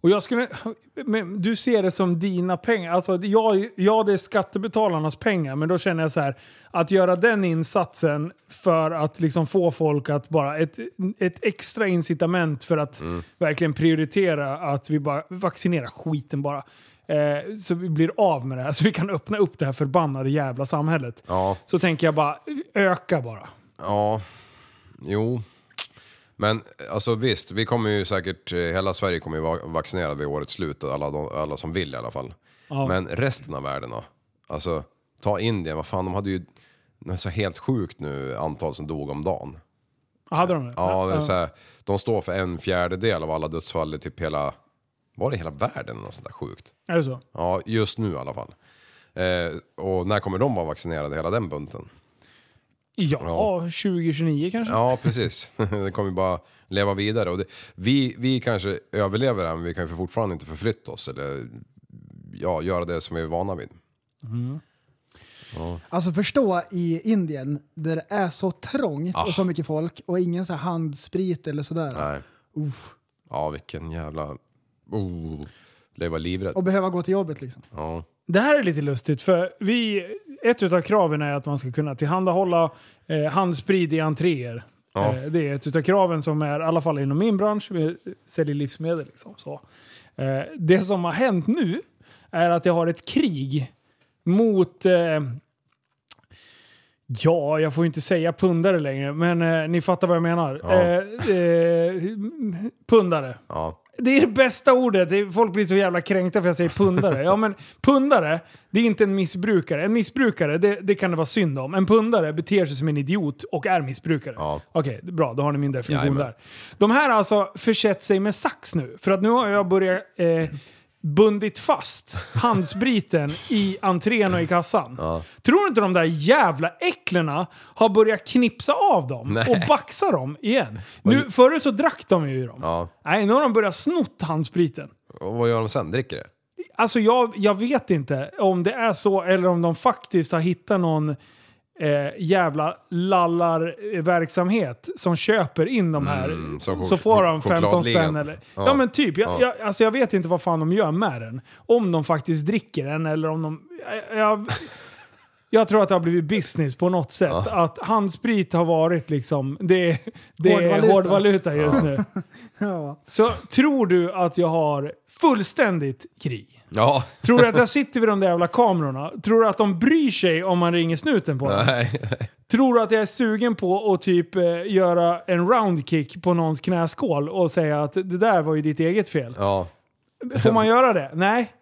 B: Och jag skulle, men du ser det som dina pengar. Alltså, jag, ja, det är skattebetalarnas pengar, men då känner jag så här. Att göra den insatsen för att liksom få folk att bara... Ett, ett extra incitament för att
D: Mm.
B: verkligen prioritera att vi bara vaccinerar skiten bara. Eh, så vi blir av med det här, så vi kan öppna upp det här förbannade jävla samhället.
D: Ja,
B: Så tänker jag bara, öka bara.
D: ja, jo. Men alltså visst, vi kommer ju säkert, eh, hela Sverige kommer ju vara vaccinerad vid årets slut, och alla, de, alla som vill i alla fall.
B: Ja.
D: Men resten av världen då? Alltså, ta Indien, vad fan, de hade ju det är så helt sjukt nu antal som dog om dagen.
B: Hade de det?
D: Ja, det är så här, de står för en fjärdedel av alla dödsfall i typ hela, var det hela världen? Något sånt där sjukt.
B: Är det så?
D: Ja, just nu i alla fall. Eh, och när kommer de vara vaccinerade, hela den bunten?
B: Ja,
D: Ja.
B: 2029 kanske?
D: Ja, precis. det kommer ju bara leva vidare. Och det, vi, vi kanske överlever det här, men vi kan ju fortfarande inte förflytta oss eller ja, göra det som vi är vana vid.
C: Mm.
D: Ja.
C: Alltså förstå i Indien där det är så trångt
D: Ah.
C: och så mycket folk och ingen så här handsprit eller sådär.
D: Nej. Ja, vilken jävla... Oh, leva livrädd.
C: Och behöva gå till jobbet liksom.
D: Ja.
B: Det här är lite lustigt för vi, ett utav kraven är att man ska kunna tillhandahålla eh, handsprid i entréer.
D: Ja.
B: Eh, det är ett utav kraven som är, i alla fall inom min bransch, vi säljer livsmedel. Liksom, så. Eh, det som har hänt nu är att jag har ett krig mot eh, Ja, jag får ju inte säga pundare längre, men eh, ni fattar vad jag menar.
D: Ja.
B: Eh, eh, pundare.
D: Ja.
B: Det är det bästa ordet. Det är- Folk blir så jävla kränkta för jag säger pundare. Ja, men pundare, det är inte en missbrukare. En missbrukare, det, det kan det vara synd om. En pundare beter sig som en idiot och är missbrukare. Okej, bra. Då har ni min definition
L: Jajamän.
B: där. De här har alltså försett sig med sax nu. För att nu har jag börjat eh, bundit fast handspriten i entrén och i kassan. Tror du inte de där jävla äcklena har börjat knipsa av dem
L: Nej.
B: och baxa dem igen? Nu, förut så drack de ju dem.
D: Ja.
B: Nej, nu har de börjat snott handspriten.
D: Och vad gör de sen? Dricker det?
B: Alltså jag, jag vet inte om det är så eller om de faktiskt har hittat någon eh, jävla lallarverksamhet som köper in de här.
D: Mm, som
B: så
D: chok-
B: får de 15
D: chokladligan.
B: spänn eller... Ja,
D: Ja.
B: men typ. Jag,
D: Ja.
B: jag, alltså jag vet inte vad fan de gör med den. Om de faktiskt dricker den eller om de... Jag, jag, jag tror att det har blivit business på något sätt. Att handsprit har varit liksom... Det, det är
C: Hårdvaluta.
B: hårdvaluta just nu.
C: Ja.
B: Så tror du att jag har fullständigt krig?
D: Ja.
B: Tror du att jag sitter vid de där jävla kamerorna? Tror du att de bryr sig om man ringer snuten på dem?
D: Nej.
B: Tror du att jag är sugen på att typ eh, göra en roundkick på någons knäskål och säga att det där var ju ditt eget fel?
D: Ja.
B: Får man göra det? Nej.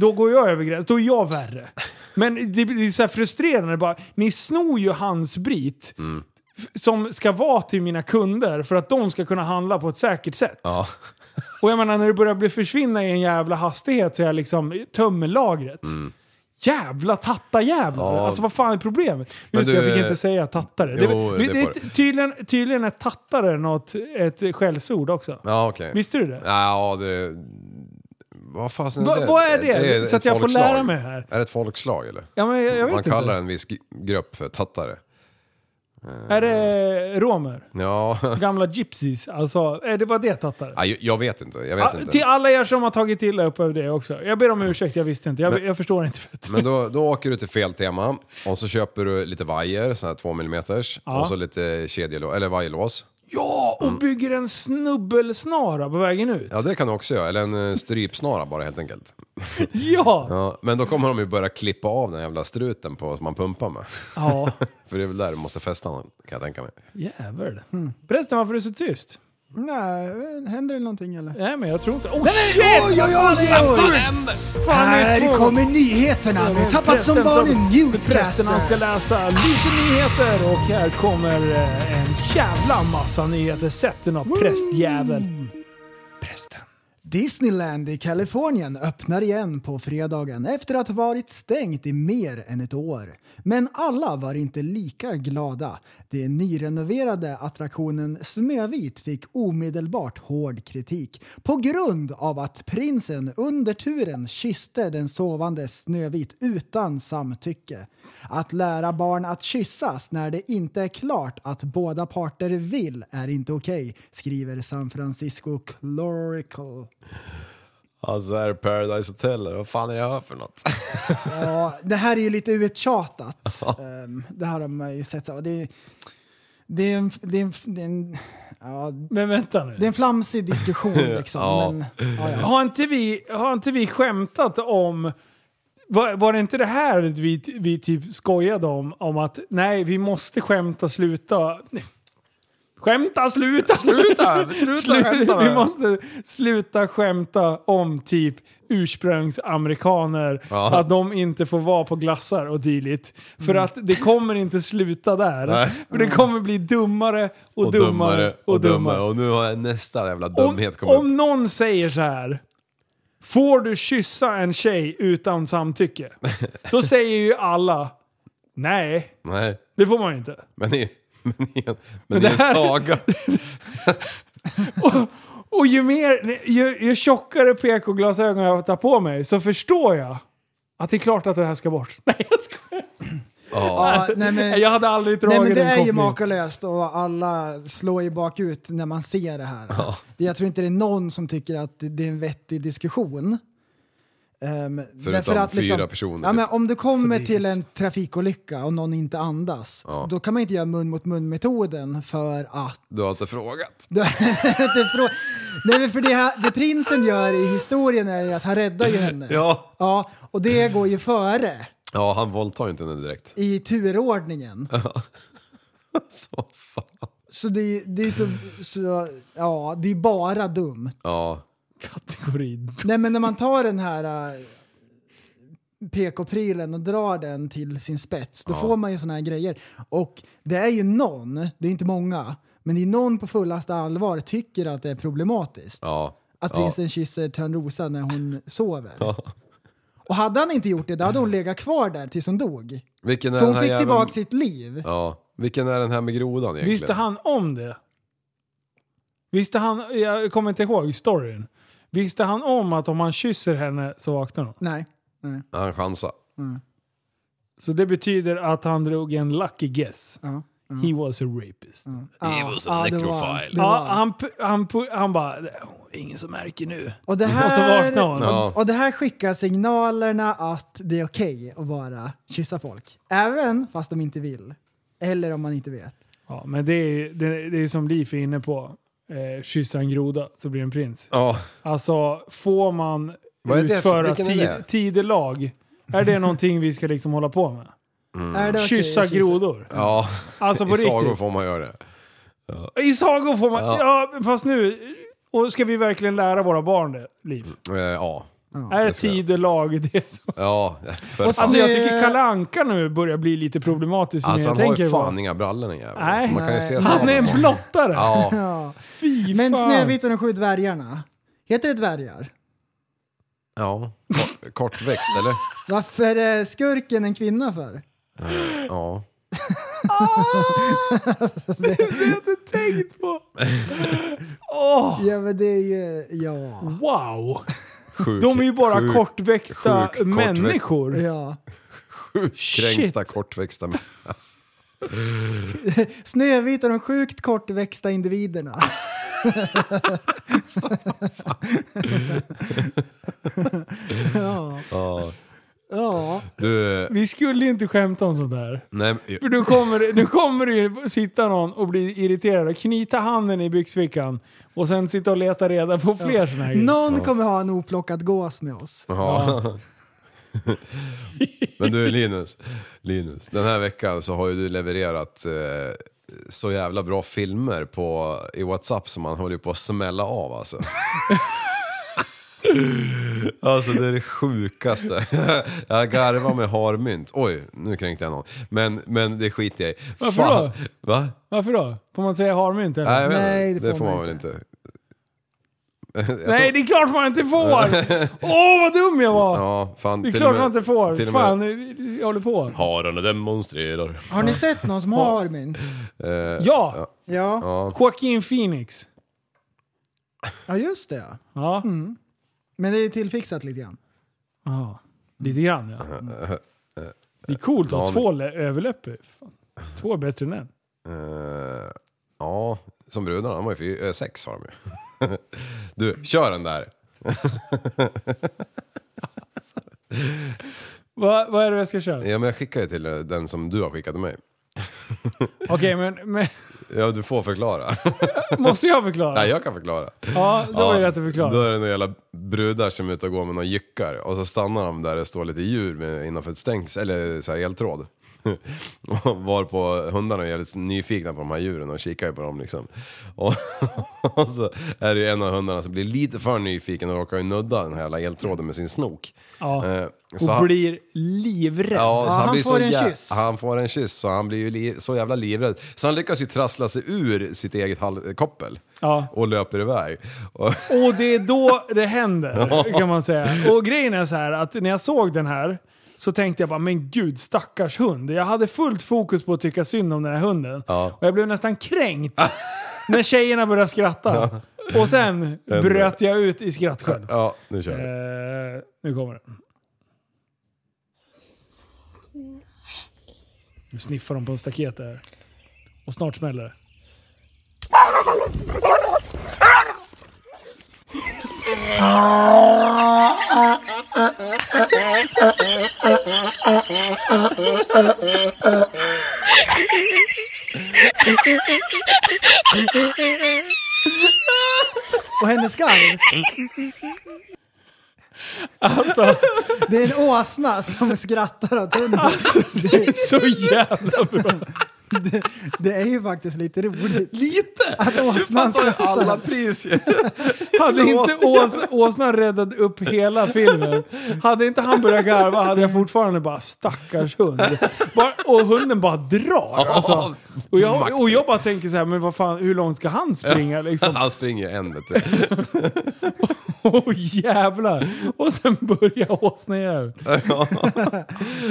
B: Då går jag över gränsen. Då är jag värre. Men det blir så här frustrerande bara. Ni snor ju handsprit
D: Mm.
B: f- som ska vara till mina kunder för att de ska kunna handla på ett säkert sätt.
D: Ja.
B: Och jag menar när det börjar bli försvinna i en jävla hastighet så är jag liksom tömmer lagret.
D: Mm.
B: Jävla tattajävlar!
D: Ja.
B: Alltså vad fan är problemet?
D: Men
B: Just det, jag
D: du,
B: fick
D: eh,
B: inte säga tattare.
D: jo,
B: det,
D: det
B: det,
D: får du.
B: tydligen, tydligen är tattare något, ett skällsord också.
D: Ja, okej.
B: Visste du det?
D: Ja, det... Vad fasen
B: Va-
D: det?
B: vad är det?
D: ett
B: Så att jag får
D: folkslag.
B: lära mig det här.
D: Är det ett folkslag eller?
B: Ja, men jag, jag vet
D: Man
B: inte.
D: kallar en viss g- grupp för tattare.
B: Är det romer?
D: Ja,
B: Gamla gypsies? Alltså, är det var det tattare?
D: ja Ah, jag- jag vet inte. Jag vet
B: Ah,
D: inte.
B: Till alla er som har tagit illa upp över det också. Jag ber om ursäkt, jag visste inte. Jag,
D: Men-
B: jag förstår inte.
C: Mm.
B: bättre.
D: Men då, då åker du till fel tema och så köper du lite vajer, sådana här 2 mm
B: Ja.
D: och så lite kedjelås, eller vajerlås.
B: Ja,
C: Mm.
B: och bygger en snubbelsnara på vägen ut.
D: Ja, det kan du också göra. Eller en eh, strypsnara bara helt enkelt.
B: Ja!
D: Ja, men då kommer de ju börja klippa av den jävla struten på, som man pumpar med.
B: Ja,
D: För det är väl där du måste fästa den, kan jag tänka mig.
B: jävel. Mm. Prästen, varför är du så tyst?
C: Nej, eh, händer det någonting eller?
B: Nej, men jag tror inte... Oh
C: Nej, nej,
B: shit!
C: oj, oj,
B: Vad fan
C: oj,
B: är
C: oj.
B: det?
C: Vad händer? Här kommer nyheterna med Tappat som
B: Prästen
C: barn i
B: Prästen han ska
C: newscasten.
B: läsa lite nyheter och här kommer eh, en jävla massa nyheter. Sätt dig någon prästjävel. Prästen.
C: Disneyland i Kalifornien öppnar igen på fredagen efter att ha varit stängt i mer än ett år. Men alla var inte lika glada. Den nyrenoverade attraktionen Snövit fick omedelbart hård kritik på grund av att prinsen under turen kysste den sovande Snövit utan samtycke. Att lära barn att kyssas när det inte är klart att båda parter vill är inte okej, skriver San Francisco Clorical.
F: Alltså är det Paradise Hotel eller vad fan är det här för något?
C: Ja, det här är ju lite uttjatat. Ehm, det här har man ju sett. så- Det är, det är en... Det är en, det är en ja,
B: Men vänta nu.
C: det är en flamsig diskussion liksom.
B: Ja.
C: Men, ja, ja.
B: Har inte vi, har inte vi skämtat om... Var, var det inte det här vi, vi typ skojade om? Om att nej, vi måste skämta, sluta... Nej. Skämta, sluta!
F: Sluta, sluta
B: Slu-
F: skämta med.
B: Vi måste sluta skämta om typ ursprungsamerikaner.
F: Ja.
B: Att de inte får vara på glassar och dylikt. För
F: Mm.
B: att det kommer inte sluta där.
F: Nej.
B: Men det kommer bli dummare och, dummare och dummare.
F: Och nu har jag nästa jävla
B: Om,
F: dumhet kommit upp.
B: om någon säger så här. Får du kyssa en tjej utan samtycke? Då säger ju alla nej,
D: Nej,
B: det får man ju inte.
D: men i, men i, en,
B: Men
D: men
B: det
D: i en
B: här-
D: saga.
B: Och ju, mer, ju, ju tjockare PK-glasögon jag tar på mig så förstår jag att det är klart att det här ska bort. Nej,
C: Ja, nej, men,
B: jag hade aldrig dragit
C: nej, men det
B: den
C: är ju
B: kopplingen.
C: makalöst och alla slår ju bakut när man ser det här.
B: Ja.
C: Jag tror inte det är någon som tycker att det är en vettig diskussion. Ehm,
D: Förutom fyra
C: Ja,
D: personer, typ.
C: men om du
D: Så
C: kommer
D: det är
C: till
D: ett-
C: en trafikolycka och någon inte andas,
D: Ja.
C: då kan man inte göra mun mot mun-metoden för att
D: Du har inte frågat.
C: Du- det är frå- Nej men för det, här, det prinsen gör i historien är ju att han räddar ju henne.
D: Ja.
C: Ja, och det går ju före
D: Ja, han våldtar ju inte henne direkt.
C: i turordningen.
D: Så
C: fan. Så det, det är så, så, ja det är bara dumt.
D: Ja.
B: Kategori.
C: Nej men när man tar den här äh, PK-prylen och drar den till sin spets, då
D: Ja.
C: får man ju såna här grejer. Och det är ju någon, det är inte många, men det är någon på fullaste allvar tycker att det är problematiskt.
D: Ja.
C: Att
D: ja.
C: prinsen kysser Törnrosa när hon sover.
D: Ja.
C: Och hade han inte gjort det, då hade hon legat kvar där tills hon dog.
D: Vilken är
C: Så hon
D: den här
C: fick
D: jäveln-
C: tillbaka sitt liv.
D: Ja. Vilken är den här med grodan egentligen?
B: Visste han om det? Visste han, jag kommer inte ihåg storyn. Visste han om att om han kysser henne så vaknar hon?
C: Nej. Nej.
D: Han chansade.
B: Mm. Så det betyder att han drog en lucky guess. He was a rapist.
C: He was a Ja, det var han. necrophile. Det var
B: Ja,
C: han.
B: han, pu- han, pu- han bara, ingen som märker nu.
C: Och det,
B: Och så
C: här,
B: vaknar hon.
C: och, och det här skickar signalerna att det är okej att bara kyssa folk. Även fast de inte vill. Eller om man inte vet.
B: Ja, men det är, det, det är som Leif är inne på. Eh, kyssa en groda så blir det en prins.
D: Ja.
B: Alltså, får man
D: Vad är det för-
B: utföra
D: vilken är
B: tid,
D: det?
B: tidelag? Är det någonting vi ska liksom hålla på med?
D: Mm.
B: Är det okej Kyssa att kyssa? grodor?
D: Ja,
B: Alltså, på
D: i sagor
B: riktigt.
D: får man göra det. Ja.
B: I sagor får man... Ja.
D: Ja.
B: fast nu... Och ska vi verkligen lära våra barn det, Liv?
D: Eh, ja.
B: Är
D: Det ska jag.
B: tidelag det som...
D: Ja, för fan.
B: Alltså jag tycker Kalle Anka nu börjar bli lite problematisk.
D: Alltså
B: när jag
D: han har
B: tänker
D: ju
B: på-
D: fan inga brallor den jäveln.
B: Nej.
D: Så man kan ju
B: Nej.
D: se
B: Han är en
D: staden.
B: blottare.
D: Ja.
C: Ja.
B: Fy
C: Men
B: fan.
C: Snövit och de sju dvärgarna. Heter det dvärgar?
D: Ja, kort, kortväxt eller?
C: Varför är skurken en kvinna för?
D: Eh, Ja.
C: det
B: har jag inte tänkt på!
C: Ja men det är ju, ja.
B: Wow! De är ju bara
D: sjuk-
B: kortväxta
D: sjuk kortväxt-
B: människor.
C: Ja.
D: Kränkta kortväxta män. Alltså.
C: Snövit är de sjukt kortväxta individerna. ja.
D: Ja.
C: ja.
D: Du,
B: Vi skulle inte skämta om sånt här.
D: nej, men-
B: För nu kommer, det- nu kommer det ju sitta någon och bli irriterad och knyta handen i byxfickan och sen sitta och leta reda på fler ja. såna här grejer.
C: Någon kommer ha en oplockad gås med oss.
D: Ja. Men du Linus, Linus, den här veckan så har ju du levererat eh, så jävla bra filmer på, i Whatsapp som man håller på att smälla av alltså. Alltså det är det sjukaste. Jag garvar med harmynt. Oj, nu kränkte jag någon. Men, men det skiter jag i.
B: Varför
D: Fan. Va?
B: Varför då? Får man säga harmynt eller?
D: Nej, jag vet inte. det får man väl inte. Jag
B: Nej,
D: tror-
B: det är klart man inte får! Åh, vad dum jag var!
D: Ja, fan,
B: det är
D: till
B: klart
D: och med-
B: man inte får.
D: till och med-
B: Fan, jag håller på.
D: Hararna demonstrerar.
C: Har ni sett någon som har min?
D: Eh,
B: Ja!
C: Ja.
D: ja.
B: Joaquin Phoenix.
C: Ja just det ja.
B: Ja.
C: Mm. Men det är tillfixat lite grann.
B: Ja, lite grann ja. Det är coolt
D: Dan-
B: om två lä- överläppar. Fan. Två är bättre än en.
D: Eh, ja, som brudarna, de har ju fy- eh, sex har de ju. Du, kör den där.
B: Va, vad är det jag ska köra?
D: Ja, men jag skickar ju till eh, den som du har skickat till mig.
B: Okej, men, men
D: Ja, du får förklara.
B: måste jag förklara?
D: Nej, jag kan förklara.
B: Ja, då är det att du förklarar.
D: Då är det några jävla brudar som är ute och går med några jyckar och så stannar de där det står lite djur med, innanför ett stängs eller så här eltråd. Och Varpå hundarna är jävligt nyfikna på de här djuren och kikar ju på dem liksom. Och, och så är det ju en av hundarna som blir lite för nyfiken och råkar ju nudda den här jävla eltråden med sin snok.
B: Ja.
D: Eh, så
B: Och
D: han-
B: blir livrädd.
D: Ja, så han,
C: han
D: blir
C: får
D: så
C: en
D: jä-
C: kyss.
D: Han får en kyss så han blir ju li- så jävla livrädd. Så han lyckas ju trassla sig ur sitt eget hal- koppel
B: Ja.
D: och löper iväg. Och,
B: Och det är då det händer, kan man säga. Och grejen är så här att när jag såg den här så tänkte jag bara, men gud stackars hund. Jag hade fullt fokus på att tycka synd om den här hunden.
D: ja.
B: Och jag blev nästan kränkt när tjejerna började skratta. Och sen bröt jag ut i skratt själv.
D: ja, nu kör vi.
B: Eh, nu kommer den. Nu sniffar de på en staket där. Och snart smäller det.
C: Och hennes skarv.
B: Alltså,
C: Det är en åsna som skrattar åt hunden.
B: så jävla bra.
C: Det, det är ju faktiskt lite roligt.
D: Lite!
C: Att åsnan
D: Alltså,
C: skrattar.
D: alla pris ju.
B: Hade inte Ås, Åsnan räddat upp hela filmen, hade inte han börjat garva hade jag fortfarande bara stackars hund. Bara, och hunden bara drar. Alltså. Och, jag, och jag bara tänker så här, men vad fan, hur långt ska han springa liksom?
D: Han springer en vet du.
B: Åh jävlar! Och sen börjar åsnan igen.
D: Ja.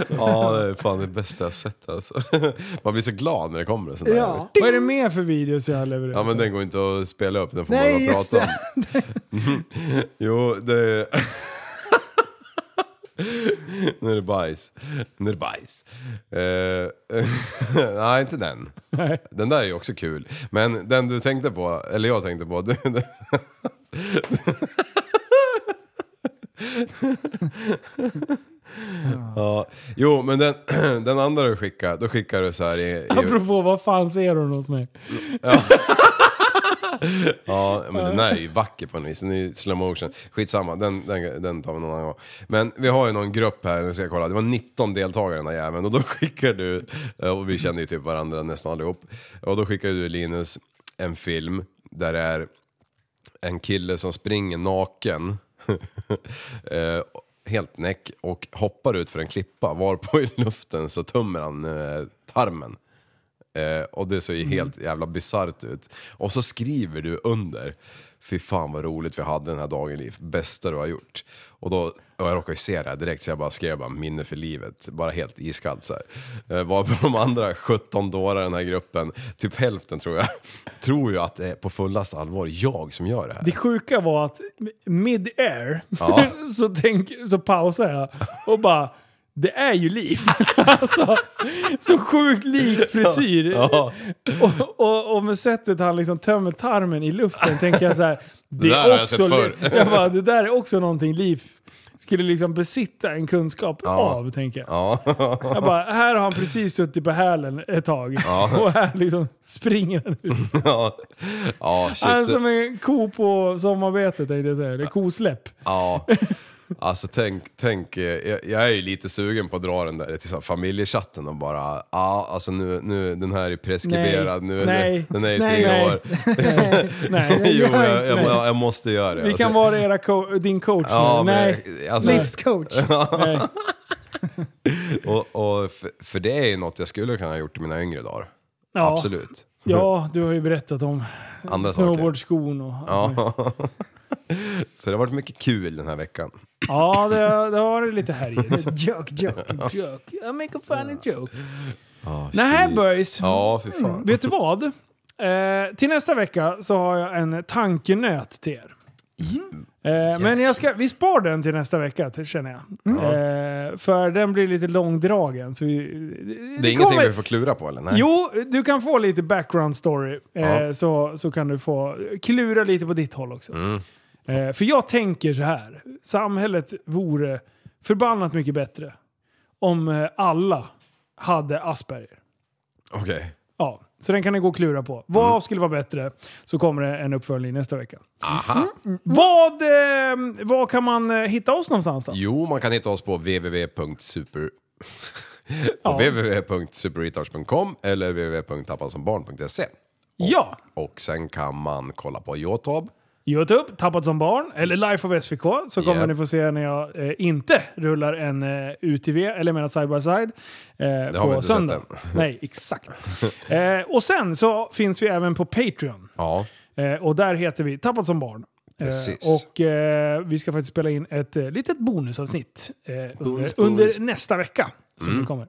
D: ja, det är fan det bästa jag sett alltså. Man blir så glad när det kommer en sån där.
C: Ja.
B: Vad är det mer för videos jag har levererat?
D: Ja men den går inte att spela upp, den får
C: Nej,
D: man bara
C: just
D: prata om. jo, det... nu är det bajs. Nu är det bajs. Eh, nej, inte den.
B: Nej.
D: Den där är ju också kul. Men den du tänkte på, eller jag tänkte på. det- det- ja. Jo, men den, den andra du skickade, då skickade du så här i... i
B: Apropå vad fan ser hon hos mig?
D: Ja, men den är ju vacker på något vis. Den är ju slow motion. Skitsamma, den, den, den tar vi någon annan gång. Men vi har ju någon grupp här, nu ska jag kolla. Det var 19 deltagare den där jäveln. Och då skickar du, och vi känner ju typ varandra nästan allihop. Och då skickar du Linus en film där det är en kille som springer naken. eh, helt näck och hoppar ut för en klippa. Varpå i luften så tömmer han eh, tarmen. Eh, och det ser ju helt jävla bisarrt ut. Och så skriver du under. fy fan vad roligt vi hade den här dagen Liv, bästa du har gjort. Och då, och jag råkade ju se det här direkt så jag bara skrev bara minne för livet, bara helt iskallt så här. Eh, Var på de andra 17 dårar i den här gruppen, typ hälften tror jag, tror ju att det är på fullast allvar jag som gör det här.
B: Det sjuka var att mid-air
D: Ja.
B: så, tänk, så pausar jag och bara det är ju liv. alltså, så sjukt lik frisyr.
D: Ja.
B: Och, och, och med sättet han liksom tömmer tarmen i luften tänker jag så här. Det,
D: Det där
B: är
D: har jag
B: också
D: sett
B: li-
D: förr.
B: jag bara, det där är också någonting liv skulle liksom besitta en kunskap av, tänker jag. Jag bara, här har han precis suttit på hälen ett tag.
D: Ja.
B: Och här liksom springer han ut.
D: ja. ja, shit.
B: Han är som en ko på sommarbetet tänkte jag säga. Det är kosläpp.
D: Ja. Alltså tänk, tänk eh, jag, jag är ju lite sugen på att dra den där till så här familjechatten och bara, ja ah, alltså nu, nu, den här är preskriberad nu,
B: Nej.
D: den är i
B: Nej.
D: tio år.
B: Nej, det
D: jo,
B: gör jag
D: jag,
B: inte.
D: jag, jag, jag måste göra det. Alltså,
B: Vi kan vara era co- din coach
D: Ja,
B: nu.
D: men-
B: Nej.
D: alltså-
C: Livscoach.
B: Nej.
D: och, och för, för det är ju något jag skulle kunna ha gjort i mina yngre dagar.
B: Ja.
D: Absolut.
B: Ja, du har ju berättat om
D: Andra saker.
B: snowboardskon och...
D: Ja. så det har varit mycket kul den här veckan.
B: Ja, det, det har varit lite härjigt.
C: joke, joke,
B: joke. I make a funny joke.
D: Ah,
B: Nähä
D: shit.
B: boys.
D: Ja, för fan.
B: Mm, Vet du vad?
D: Alltså-
B: Eh, till nästa vecka så har jag en tankenöt till er.
D: Mm.
B: Eh, men jag ska, vi spar den till nästa vecka t- känner jag.
D: Mm.
B: Eh, för den blir lite långdragen. Så vi,
D: Det är ingenting vi får klura på eller? Nej.
B: Jo, du kan få lite background story. Eh,
D: Ja.
B: så, så kan du få klura lite på ditt håll också.
D: Mm.
B: Eh, för jag tänker så här. Samhället vore förbannat mycket bättre om eh, alla hade Asperger.
D: Okej.
B: Ja, så den kan ni gå och klura på.
D: Mm.
B: Vad skulle vara bättre? Så kommer det en uppföljning nästa vecka. Mm.
D: Aha.
B: Vad, eh, vad kan man eh, hitta oss någonstans då?
D: Jo, man kan hitta oss på www.super... på
B: Ja.
D: www.superretards.com eller www.tappasombarn.se.
B: Ja,
D: Och sen kan man kolla på Youtube.
B: Youtube, Tappat som barn, eller Life of SVK, så kommer
D: Japp.
B: ni få se när jag eh, inte rullar en eh, UTV, eller jag menar side by side, eh,
D: Det
B: på
D: har vi inte
B: söndag.
D: sett
B: Nej, exakt. eh, och sen så finns vi även på Patreon.
D: Ja.
B: Eh, och där heter vi Tappat som barn. Eh,
D: Precis.
B: och eh, vi ska faktiskt spela in ett eh, litet bonusavsnitt eh, under,
D: Bonus, bonus.
B: under nästa vecka. Som
D: Mm.
B: det kommer.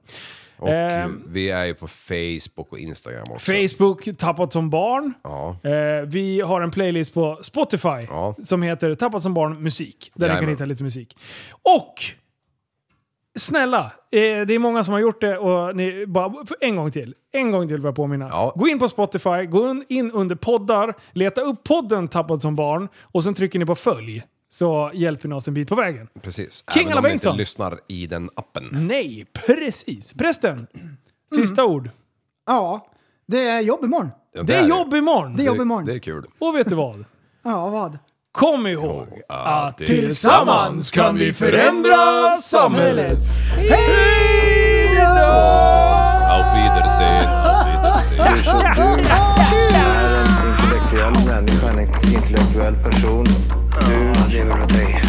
D: Och eh,
B: Ehm.
D: vi är ju på Facebook och Instagram också.
B: Facebook, Tappat som barn.
D: Ja.
B: Eh, vi har en playlist på Spotify som heter Tappat som barn musik. Där ni kan
D: Jajamän.
B: hitta lite musik. Och snälla, eh, det är många som har gjort det och ni bara, för en gång till. En gång till vill jag påminna. Gå in på Spotify, gå un- in under poddar, leta upp podden Tappat som barn och sen trycker ni på följ. Så hjälper ni oss en bit på vägen.
D: Precis.
B: King
D: Även
B: alla
D: om ni inte
B: Bengtsson.
D: lyssnar i den appen.
B: Nej, precis. Prästen, sista ord.
C: Ja, det är jobb imorgon.
D: Ja,
B: det är jobb imorgon.
C: Det är jobb imorgon.
D: Det är kul.
B: Och vet du vad?
C: Ja, vad?
B: Kom ihåg att
C: tillsammans
B: kan vi
C: förändra samhället.
B: Hej då!
D: Auf Wiedersehen. Auf Wiedersehen.
M: intellektuell människa, en intellektuell person. Du lever av dig.